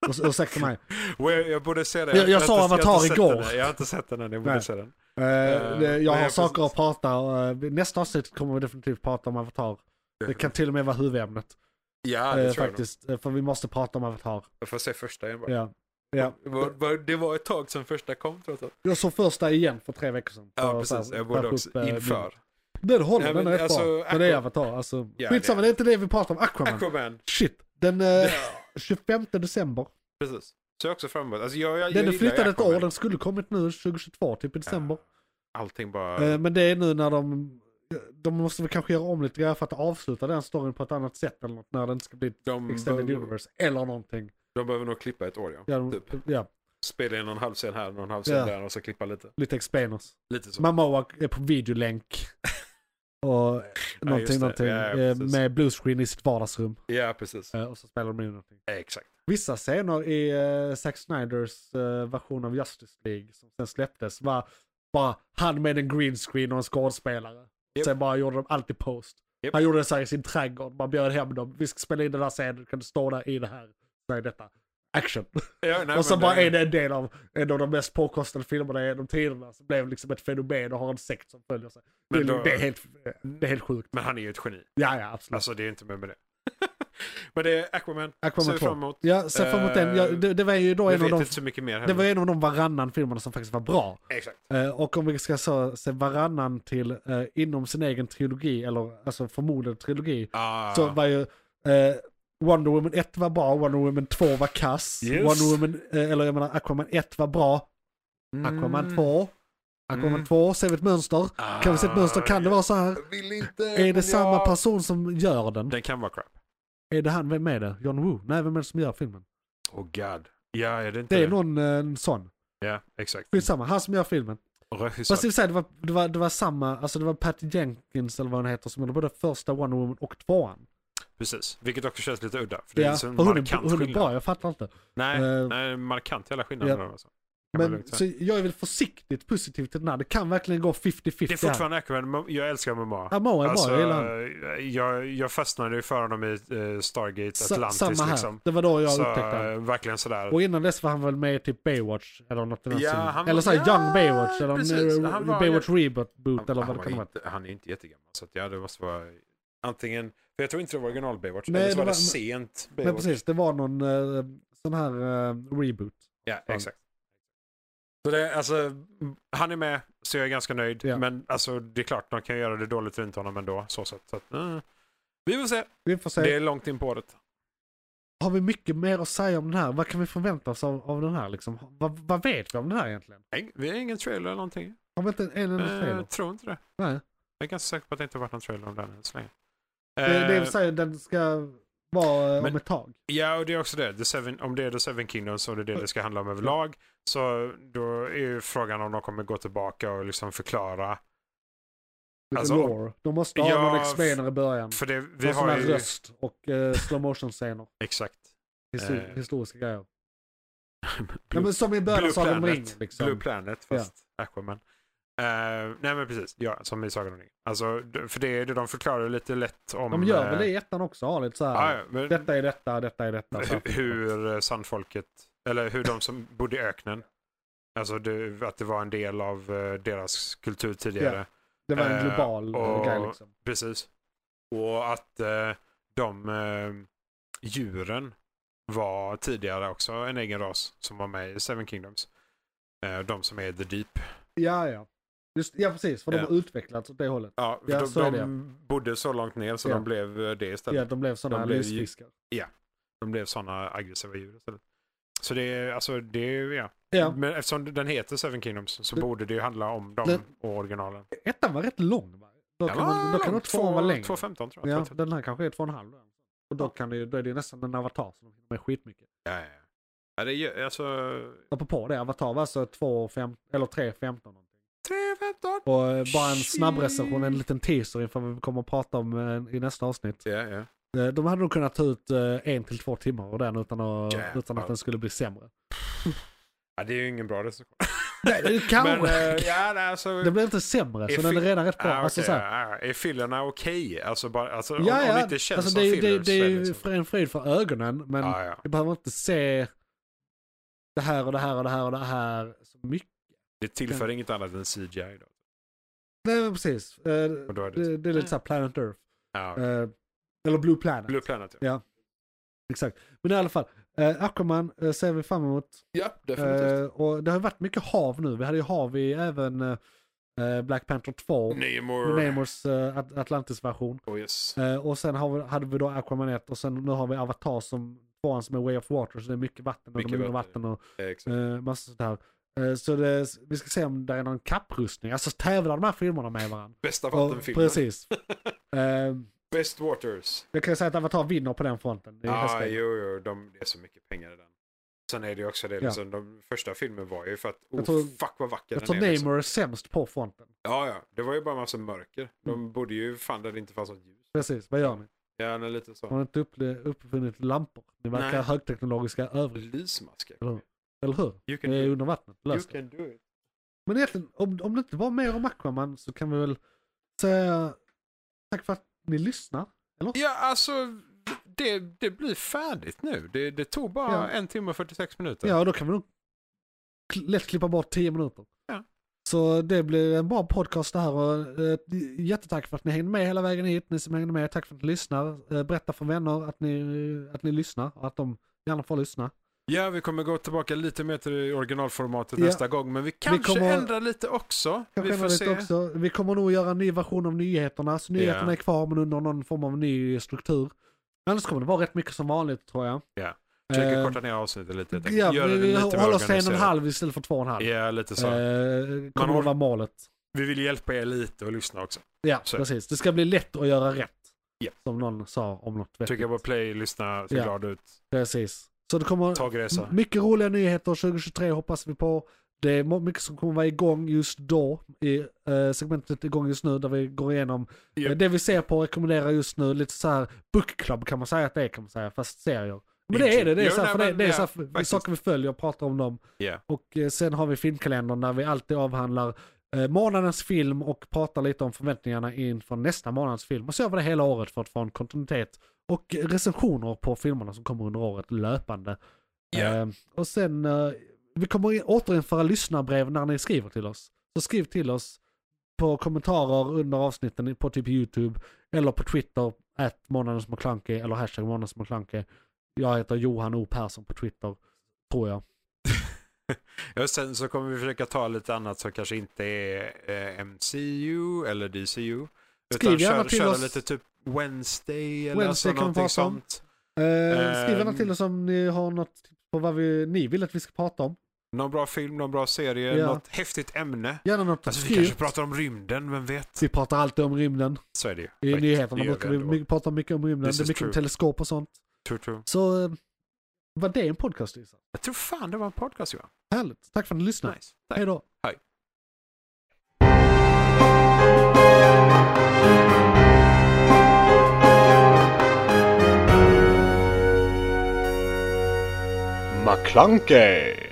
[SPEAKER 3] Urs- Ursäkta mig.
[SPEAKER 4] Och jag, jag borde se det.
[SPEAKER 3] Jag- jag
[SPEAKER 4] har
[SPEAKER 3] sa
[SPEAKER 4] inte- har
[SPEAKER 3] Avatar
[SPEAKER 4] inte sett
[SPEAKER 3] igår.
[SPEAKER 4] den än. Jag har inte sett den än, jag borde
[SPEAKER 3] Nej.
[SPEAKER 4] se den.
[SPEAKER 3] Eh, det- jag har
[SPEAKER 4] jag
[SPEAKER 3] saker
[SPEAKER 4] precis-
[SPEAKER 3] att prata om. Eh, Nästa avsnitt kommer vi definitivt prata om Avatar. Det kan till och med vara huvudämnet.
[SPEAKER 4] Ja, det
[SPEAKER 3] eh,
[SPEAKER 4] tror
[SPEAKER 3] faktiskt. Eh, För vi måste prata om Avatar.
[SPEAKER 4] jag nog. Jag får se första igen bara.
[SPEAKER 3] Ja. Ja.
[SPEAKER 4] Det var- var- Det var ett tag sedan första kom trots allt.
[SPEAKER 3] Jag såg första igen för tre veckor sedan.
[SPEAKER 4] Ja,
[SPEAKER 3] För-
[SPEAKER 4] precis.
[SPEAKER 3] för-
[SPEAKER 4] Jag borde
[SPEAKER 3] för-
[SPEAKER 4] också
[SPEAKER 3] för-
[SPEAKER 4] inför.
[SPEAKER 3] eh, Den håller,
[SPEAKER 4] Nej,
[SPEAKER 3] den är
[SPEAKER 4] men
[SPEAKER 3] rätt
[SPEAKER 4] alltså,
[SPEAKER 3] bra. Men det är Avatar, alltså.
[SPEAKER 4] Ja,
[SPEAKER 3] Skitsamma,
[SPEAKER 4] det-
[SPEAKER 3] det är inte det vi pratar om. Aquaman.
[SPEAKER 4] Aquaman.
[SPEAKER 3] Shit. Den eh, 25 december.
[SPEAKER 4] Precis. Så jag också fram emot. Alltså, jag, jag,
[SPEAKER 3] Den är
[SPEAKER 4] jag gillar
[SPEAKER 3] flyttad ett
[SPEAKER 4] Aquaman.
[SPEAKER 3] år, den skulle kommit nu 2022, typ i december.
[SPEAKER 4] Allting bara...
[SPEAKER 3] Eh, Men det är nu när de... De måste väl kanske göra om lite grejer för att avsluta den storyn på ett annat sätt eller något. När den ska bli ett
[SPEAKER 4] de,
[SPEAKER 3] extended
[SPEAKER 4] de,
[SPEAKER 3] universe eller någonting.
[SPEAKER 4] de behöver nog klippa ett år, ja.
[SPEAKER 3] Ja, de,
[SPEAKER 4] Typ.
[SPEAKER 3] ja
[SPEAKER 4] Spela in någon halv scen här, någon halv scen
[SPEAKER 3] Ja.
[SPEAKER 4] där och så klippa lite.
[SPEAKER 3] lite explainers.
[SPEAKER 4] Lite så.
[SPEAKER 3] Mamoa är på <laughs> videolänk. Och någonting,
[SPEAKER 4] det.
[SPEAKER 3] någonting.
[SPEAKER 4] Ja, ja,
[SPEAKER 3] eh,
[SPEAKER 4] precis.
[SPEAKER 3] med bluescreen i sitt vardagsrum.
[SPEAKER 4] Ja, precis.
[SPEAKER 3] Eh, Och så spelar de in någonting.
[SPEAKER 4] Exakt.
[SPEAKER 3] Vissa scener i eh, Zack Snyders eh, version av Justice League som sen släpptes var bara han med en green screen och en skådespelare.
[SPEAKER 4] Japp.
[SPEAKER 3] Sen bara gjorde de allt i post.
[SPEAKER 4] Japp.
[SPEAKER 3] Han gjorde det så här i sin trädgård, man bjöd hem dem. Vi ska spela in den här scenen, kan du stå där i det här? Nej, detta. Action.
[SPEAKER 4] Ja, nej,
[SPEAKER 3] och så
[SPEAKER 4] men
[SPEAKER 3] bara är det en del av en av de mest påkostade filmerna genom tiderna. Som blev liksom ett fenomen och har en sekt som följer sig.
[SPEAKER 4] Men
[SPEAKER 3] Det,
[SPEAKER 4] då-
[SPEAKER 3] det, är helt, det är helt sjukt.
[SPEAKER 4] Men han är ju ett geni.
[SPEAKER 3] Ja, ja, absolut.
[SPEAKER 4] Alltså det är ju inte med med det. <laughs> men det är Aquaman. Ser
[SPEAKER 3] Aquaman
[SPEAKER 4] vi
[SPEAKER 3] 2.
[SPEAKER 4] fram emot.
[SPEAKER 3] Ja, se fram emot den. Ja, det, det var ju då
[SPEAKER 4] Vi
[SPEAKER 3] en av
[SPEAKER 4] vet
[SPEAKER 3] de
[SPEAKER 4] inte så mycket mer
[SPEAKER 3] Det
[SPEAKER 4] heller.
[SPEAKER 3] var en av de varannan filmerna som faktiskt var bra.
[SPEAKER 4] Exakt.
[SPEAKER 3] Eh, och om vi ska så, se varannan till eh, inom sin egen trilogi, eller alltså förmodligen trilogi,
[SPEAKER 4] Ah,
[SPEAKER 3] så var ju eh, Wonder Woman 1 var bra, Wonder Woman 2 var kass,
[SPEAKER 4] Yes.
[SPEAKER 3] Wonder Woman, eh, eller jag menar Aquaman 1 var bra, Aquaman 2, Aquaman
[SPEAKER 4] Mm.
[SPEAKER 3] 2, ser vi ett mönster? Kan vi se ett mönster? Kan det vara så här?
[SPEAKER 4] Vill inte.
[SPEAKER 3] Är det samma person som gör den?
[SPEAKER 4] Den kan vara crap.
[SPEAKER 3] Är det han, vem är det? John Woo? Nej, vem är det som gör filmen?
[SPEAKER 4] Oh god. Ja, är det inte
[SPEAKER 3] Det är någon eh, sån.
[SPEAKER 4] Ja, exakt.
[SPEAKER 3] Skitsamma, han som gör filmen.
[SPEAKER 4] Regissör.
[SPEAKER 3] Fast i och för sig, det var, det, var, det var samma, alltså det var Patty Jenkins eller vad hon heter som gjorde både första Wonder Woman och tvåan.
[SPEAKER 4] Precis. Vilket också känns lite udda. För det är
[SPEAKER 3] Ja,
[SPEAKER 4] så en
[SPEAKER 3] för hon,
[SPEAKER 4] markant
[SPEAKER 3] är, hon är
[SPEAKER 4] skillnad.
[SPEAKER 3] bra, jag fattar inte.
[SPEAKER 4] Nej,
[SPEAKER 3] Eh,
[SPEAKER 4] nej, markant jävla skillnad.
[SPEAKER 3] ja.
[SPEAKER 4] mellan dem, alltså. Kan man
[SPEAKER 3] Men
[SPEAKER 4] lugnt
[SPEAKER 3] så
[SPEAKER 4] säga.
[SPEAKER 3] jag är väl försiktigt positiv till den här, det kan verkligen gå 50-50
[SPEAKER 4] Det är fortfarande Aquaman. Jag älskar MMA.
[SPEAKER 3] här. Amoa är bra, jag
[SPEAKER 4] Alltså,
[SPEAKER 3] gillar han.
[SPEAKER 4] jag, jag fastnade ju för honom i eh, Stargate
[SPEAKER 3] Sa-
[SPEAKER 4] Atlantis.
[SPEAKER 3] Samma här,
[SPEAKER 4] liksom.
[SPEAKER 3] det var då jag
[SPEAKER 4] så,
[SPEAKER 3] upptäckte han.
[SPEAKER 4] eh, verkligen sådär.
[SPEAKER 3] Och innan dess var han väl med i typ Baywatch eller något i den
[SPEAKER 4] Ja,
[SPEAKER 3] stilen.
[SPEAKER 4] han-
[SPEAKER 3] Eller såhär
[SPEAKER 4] ja,
[SPEAKER 3] Young Baywatch eller
[SPEAKER 4] precis.
[SPEAKER 3] eh,
[SPEAKER 4] Han var-
[SPEAKER 3] Baywatch Reboot
[SPEAKER 4] Han-
[SPEAKER 3] eller vad
[SPEAKER 4] han
[SPEAKER 3] det
[SPEAKER 4] var
[SPEAKER 3] kan vara.
[SPEAKER 4] inte- Han är inte jättegammal. Så att, ja, det måste vara antingen... För jag tror inte det var original Baywatch.
[SPEAKER 3] Nej,
[SPEAKER 4] eller så
[SPEAKER 3] det
[SPEAKER 4] var det
[SPEAKER 3] var-
[SPEAKER 4] sent Baywatch.
[SPEAKER 3] Men precis, det var någon eh, sån här eh, reboot.
[SPEAKER 4] Ja, exakt. Så det, är, alltså, han är med, så jag är ganska nöjd.
[SPEAKER 3] Ja.
[SPEAKER 4] Men alltså, det är klart, de kan göra det dåligt runt honom ändå. Så sätt. Så att, eh. Vi får se.
[SPEAKER 3] Vi får se.
[SPEAKER 4] Det är långt in på året.
[SPEAKER 3] Har vi mycket mer att säga om den här? Vad kan vi förvänta oss av, av den här liksom? Vad, vad vet vi om den här egentligen?
[SPEAKER 4] Nej, Vi har ingen trailer eller någonting.
[SPEAKER 3] Har vi inte en enda trailer?
[SPEAKER 4] Eh, tror inte det.
[SPEAKER 3] Nej.
[SPEAKER 4] Jag är ganska säker på att det inte har varit någon trailer om den än så länge.
[SPEAKER 3] Det, det
[SPEAKER 4] Eh,
[SPEAKER 3] vill säga den ska vara eh, om
[SPEAKER 4] men-
[SPEAKER 3] ett tag.
[SPEAKER 4] Ja, och det är också det. The Seven, om det är The Seven Kingdoms och det är det det ska handla om överlag. Så då är ju frågan om de kommer gå tillbaka och liksom förklara.
[SPEAKER 3] Lite
[SPEAKER 4] Alltså,
[SPEAKER 3] lore. De måste ha
[SPEAKER 4] ja,
[SPEAKER 3] någon explainer i början.
[SPEAKER 4] För det, vi
[SPEAKER 3] Vi sån
[SPEAKER 4] har
[SPEAKER 3] här
[SPEAKER 4] ju...
[SPEAKER 3] röst och uh, slow motion scener.
[SPEAKER 4] Exakt.
[SPEAKER 3] Histor-
[SPEAKER 4] Eh.
[SPEAKER 3] Historiska
[SPEAKER 4] <laughs>
[SPEAKER 3] grejer.
[SPEAKER 4] Blue-
[SPEAKER 3] ja, men som i början av
[SPEAKER 4] Blue
[SPEAKER 3] Sagan om
[SPEAKER 4] Planet.
[SPEAKER 3] ringen. Liksom.
[SPEAKER 4] Blue Planet, fast Aquaman. Eh, nej men precis, ja, som i Sagan om ringen. Alltså, d- för det är det de förklarar lite lätt om...
[SPEAKER 3] De gör
[SPEAKER 4] eh,
[SPEAKER 3] väl det i ettan också, har lite så
[SPEAKER 4] ja,
[SPEAKER 3] här.
[SPEAKER 4] ja, men,
[SPEAKER 3] Detta är detta, detta är detta. så här.
[SPEAKER 4] hur, hur eh, sandfolket, eller hur de som bodde i öknen, alltså det, att det var en del av eh, deras kultur tidigare.
[SPEAKER 3] Det var en
[SPEAKER 4] eh,
[SPEAKER 3] global eh,
[SPEAKER 4] och-
[SPEAKER 3] grej liksom.
[SPEAKER 4] Precis. Och att eh, de eh, djuren var tidigare också en egen ras som var med i Seven Kingdoms. Eh, de som är The Deep.
[SPEAKER 3] Ja, ja. Just, ja, precis. För
[SPEAKER 4] Ja.
[SPEAKER 3] de har utvecklats åt det hållet.
[SPEAKER 4] Ja, för
[SPEAKER 3] Ja,
[SPEAKER 4] de,
[SPEAKER 3] så är det,
[SPEAKER 4] de
[SPEAKER 3] ja.
[SPEAKER 4] bodde så långt ner så
[SPEAKER 3] Ja.
[SPEAKER 4] de blev eh, det istället.
[SPEAKER 3] Ja, de blev sådana
[SPEAKER 4] De blev ju-
[SPEAKER 3] lysfiskar.
[SPEAKER 4] De blev sådana aggressiva djur istället. Så det är, alltså det är, ja.
[SPEAKER 3] Ja.
[SPEAKER 4] Men eftersom den heter Seven Kingdoms så
[SPEAKER 3] Det-
[SPEAKER 4] borde det ju handla om dem
[SPEAKER 3] Det-
[SPEAKER 4] och originalen.
[SPEAKER 3] Ettan var rätt lång va? Då kan,
[SPEAKER 4] Den var
[SPEAKER 3] man, då kan
[SPEAKER 4] lång,
[SPEAKER 3] nog tvåan vara längre.
[SPEAKER 4] 2.15 tror
[SPEAKER 3] Ja,
[SPEAKER 4] jag. 2.13.
[SPEAKER 3] den här kanske är två och en halv. då. Och då, kan det, ju- då är det ju nästan en avatar som de hinner med skitmycket.
[SPEAKER 4] Ja, ja, ja. ja det är ju- alltså
[SPEAKER 3] Apropå det, avatar var alltså 2 och fem- eller 3 15 någonting.
[SPEAKER 4] 3.15.
[SPEAKER 3] Och eh, bara en snabb recension, en liten teaser inför vad vi kommer att prata om eh, i nästa avsnitt.
[SPEAKER 4] Ja, ja.
[SPEAKER 3] Eh, De hade nog kunnat ta ut eh, en till två timmar av den utan att,
[SPEAKER 4] Jävlar.
[SPEAKER 3] utan att den skulle bli sämre.
[SPEAKER 4] ja, det är ju ingen bra recension.
[SPEAKER 3] Nej, <laughs> det
[SPEAKER 4] Men
[SPEAKER 3] kanske.
[SPEAKER 4] eh, ja, nej, alltså.
[SPEAKER 3] Den blev inte sämre,
[SPEAKER 4] Är
[SPEAKER 3] så den är
[SPEAKER 4] fi-
[SPEAKER 3] redan rätt bra.
[SPEAKER 4] Ah,
[SPEAKER 3] alltså,
[SPEAKER 4] okej,
[SPEAKER 3] så här,
[SPEAKER 4] ja, ja. Är fillerna okej? Alltså, bara, alltså, om,
[SPEAKER 3] Ja,
[SPEAKER 4] om
[SPEAKER 3] ja.
[SPEAKER 4] det inte känns
[SPEAKER 3] alltså,
[SPEAKER 4] som
[SPEAKER 3] det, är-
[SPEAKER 4] fillers.
[SPEAKER 3] det, det är
[SPEAKER 4] så
[SPEAKER 3] ju
[SPEAKER 4] liksom-
[SPEAKER 3] för en frid för ögonen, men
[SPEAKER 4] Ja, ja.
[SPEAKER 3] vi behöver inte se det här och det här och det här och det här så mycket.
[SPEAKER 4] Det tillför inget annat än CGI. Då.
[SPEAKER 3] Nej, men precis. Eh,
[SPEAKER 4] Och då är det,
[SPEAKER 3] Det, det är lite såhär Planet Earth.
[SPEAKER 4] ja,
[SPEAKER 3] Eh, Eller Blue Planet.
[SPEAKER 4] Blue Planet. Ja.
[SPEAKER 3] Exakt. Men i alla fall, Eh, Aquaman eh, ser vi fram emot.
[SPEAKER 6] Ja, definitivt.
[SPEAKER 3] Eh, och det har ju varit mycket hav nu. Vi hade ju hav i även eh, Black Panther 2.
[SPEAKER 4] Namor.
[SPEAKER 3] Namors eh, At- Atlantis-version.
[SPEAKER 6] Oh, yes.
[SPEAKER 3] Eh, och sen har vi, hade vi då Aquaman 1 och sen nu har vi Avatar som tvåan som är Way of Water. Så det är mycket vatten och
[SPEAKER 6] Mycket
[SPEAKER 3] de är under
[SPEAKER 6] vatten,
[SPEAKER 3] vatten och
[SPEAKER 6] Exakt.
[SPEAKER 3] eh, massa sånt här. Eh, så det, vi ska se om det är någon kapprustning. Alltså tävlar de här filmerna med varandra?
[SPEAKER 6] Bästa
[SPEAKER 3] Och,
[SPEAKER 6] vattenfilmen. <laughs>
[SPEAKER 3] precis. Eh,
[SPEAKER 6] Best Waters.
[SPEAKER 3] jag kan säga att Avatar vinner på den fronten. Det är
[SPEAKER 4] Ja, ah,
[SPEAKER 3] hästväg.
[SPEAKER 4] jo, jo, de, det är så mycket pengar i den. Sen är det ju också det,
[SPEAKER 3] Ja.
[SPEAKER 4] liksom, de första filmen var ju för att, oh
[SPEAKER 3] Jag tror-
[SPEAKER 4] fuck vad vacker
[SPEAKER 3] jag
[SPEAKER 4] den
[SPEAKER 3] tror
[SPEAKER 4] är. Liksom.
[SPEAKER 3] Namor är sämst på fronten.
[SPEAKER 4] Ja, ja, det var ju bara massa mörker.
[SPEAKER 3] Mm.
[SPEAKER 4] De borde ju, fan där det inte fanns något ljus.
[SPEAKER 3] Precis, vad gör ni?
[SPEAKER 4] Ja, men lite
[SPEAKER 3] Har
[SPEAKER 4] så.
[SPEAKER 3] ni inte upple- uppfunnit lampor? Ni verkar
[SPEAKER 4] Nej.
[SPEAKER 3] högteknologiska övrigt,
[SPEAKER 4] Lysmasker.
[SPEAKER 3] eller hur?
[SPEAKER 4] You can
[SPEAKER 3] Ni är
[SPEAKER 4] do it.
[SPEAKER 3] under vattnet,
[SPEAKER 4] You
[SPEAKER 3] lös det.
[SPEAKER 4] can do it.
[SPEAKER 3] Men egentligen, om, om det inte var mer om Aquaman så kan vi väl säga tack för att ni lyssnar.
[SPEAKER 4] Ja, alltså, det, det blir färdigt nu. Det, det tog bara
[SPEAKER 3] Ja.
[SPEAKER 4] en timme och 46 minuter.
[SPEAKER 3] Ja, och då kan vi nog kl- lätt klippa bort 10 minuter.
[SPEAKER 4] Ja.
[SPEAKER 3] Så det blir en bra podcast det här och eh, jättetack för att ni hängde med hela vägen hit. Ni som hängde med, tack för att ni lyssnar. Eh, berätta för vänner att ni, att ni lyssnar och att de gärna får lyssna.
[SPEAKER 4] Ja, vi kommer gå tillbaka lite mer till originalformatet
[SPEAKER 3] Ja.
[SPEAKER 4] nästa gång, men vi kanske
[SPEAKER 3] kommer-
[SPEAKER 4] ändrar lite också.
[SPEAKER 3] Kanske
[SPEAKER 4] vi
[SPEAKER 3] ändra
[SPEAKER 4] får
[SPEAKER 3] lite
[SPEAKER 4] se.
[SPEAKER 3] Också. Vi kommer nog göra en ny version av nyheterna, så nyheterna
[SPEAKER 4] Ja.
[SPEAKER 3] är kvar men under någon form av ny struktur. Annars kommer det vara rätt mycket som vanligt tror jag.
[SPEAKER 4] Ja. Försöker
[SPEAKER 3] Eh,
[SPEAKER 4] korta ner avsnittet lite. helt enkelt.
[SPEAKER 3] Ja,
[SPEAKER 4] Gör
[SPEAKER 3] vi,
[SPEAKER 4] det
[SPEAKER 3] vi
[SPEAKER 4] lite mer
[SPEAKER 3] håller oss till en och en
[SPEAKER 4] organiserat.
[SPEAKER 3] halv istället för två och en halv.
[SPEAKER 4] Ja, lite så.
[SPEAKER 3] Eh,
[SPEAKER 4] Man
[SPEAKER 3] kommer
[SPEAKER 4] har-
[SPEAKER 3] att vara målet.
[SPEAKER 4] Vi vill hjälpa er lite och lyssna också.
[SPEAKER 3] Ja,
[SPEAKER 4] Så.
[SPEAKER 3] precis. Det ska bli lätt att göra rätt.
[SPEAKER 4] Ja.
[SPEAKER 3] Som någon sa om något vettigt.
[SPEAKER 4] Trycka på play, lyssna, se
[SPEAKER 3] Ja. Mm.
[SPEAKER 4] glad ut,
[SPEAKER 3] Precis. Så det kommer
[SPEAKER 4] tagresa.
[SPEAKER 3] m- mycket roliga nyheter 2023 hoppas vi på. Det är må- mycket som kommer vara igång just då. I eh, segmentet igång just nu där vi går igenom
[SPEAKER 4] Ja.
[SPEAKER 3] eh, det vi ser på och rekommenderar just nu. Lite så här book club kan man säga att det är kan man säga, fast serier. Men det är det. Det är,
[SPEAKER 4] Ja,
[SPEAKER 3] så här,
[SPEAKER 4] nej,
[SPEAKER 3] för det,
[SPEAKER 4] men
[SPEAKER 3] det är
[SPEAKER 4] ja,
[SPEAKER 3] så här, för-
[SPEAKER 4] faktiskt.
[SPEAKER 3] saker vi följer och pratar om dem.
[SPEAKER 4] Ja.
[SPEAKER 3] Och eh, sen har vi filmkalendern där vi alltid avhandlar eh, månadens film och pratar lite om förväntningarna inför nästa månads film. Och så gör vi det hela året för att få en kontinuitet och recensioner på filmerna som kommer under året löpande.
[SPEAKER 4] Ja.
[SPEAKER 3] Eh, och sen, eh, vi kommer i- återinföra lyssnarbrev när ni skriver till oss. Så skriv till oss på kommentarer under avsnitten i- på typ YouTube eller på Twitter, at månadens McKlunky, eller hashtag månadens McKlunky. Jag heter Johan O Persson på Twitter, tror jag.
[SPEAKER 4] Ja, och sen så kommer vi försöka ta lite annat som kanske inte är eh, MCU eller DCU.
[SPEAKER 3] Skriv
[SPEAKER 4] Utan
[SPEAKER 3] gärna
[SPEAKER 4] köra,
[SPEAKER 3] till
[SPEAKER 4] köra
[SPEAKER 3] oss.
[SPEAKER 4] lite typ Wednesday eller
[SPEAKER 3] Wednesday
[SPEAKER 4] alltså
[SPEAKER 3] kan vi
[SPEAKER 4] någonting
[SPEAKER 3] prata om.
[SPEAKER 4] sånt.
[SPEAKER 3] Eh, skriv
[SPEAKER 4] Ehm.
[SPEAKER 3] gärna till oss om ni har något tips på vad vi, ni vill att vi ska prata om.
[SPEAKER 4] Någon bra film, någon bra serie,
[SPEAKER 3] Ja.
[SPEAKER 4] något häftigt ämne.
[SPEAKER 3] Gärna något
[SPEAKER 4] Alltså, vi
[SPEAKER 3] obskyrt.
[SPEAKER 4] kanske pratar om rymden, vem vet?
[SPEAKER 3] Vi pratar alltid om rymden.
[SPEAKER 4] Så är det ju.
[SPEAKER 3] I
[SPEAKER 4] Right.
[SPEAKER 3] nyheterna
[SPEAKER 4] Det gör
[SPEAKER 3] brukar
[SPEAKER 4] vi
[SPEAKER 3] vi
[SPEAKER 4] ändå.
[SPEAKER 3] mycket, prata mycket om rymden.
[SPEAKER 4] This
[SPEAKER 3] det är
[SPEAKER 4] is
[SPEAKER 3] mycket om
[SPEAKER 4] true.
[SPEAKER 3] teleskop och sånt.
[SPEAKER 4] True, true.
[SPEAKER 3] Så eh, var det en podcast Lisa?
[SPEAKER 4] Jag tror fan det var en podcast Johan.
[SPEAKER 3] Härligt. Tack för att ni lyssnade.
[SPEAKER 4] Nice. Tack.
[SPEAKER 3] Hej då.
[SPEAKER 5] McClunkey!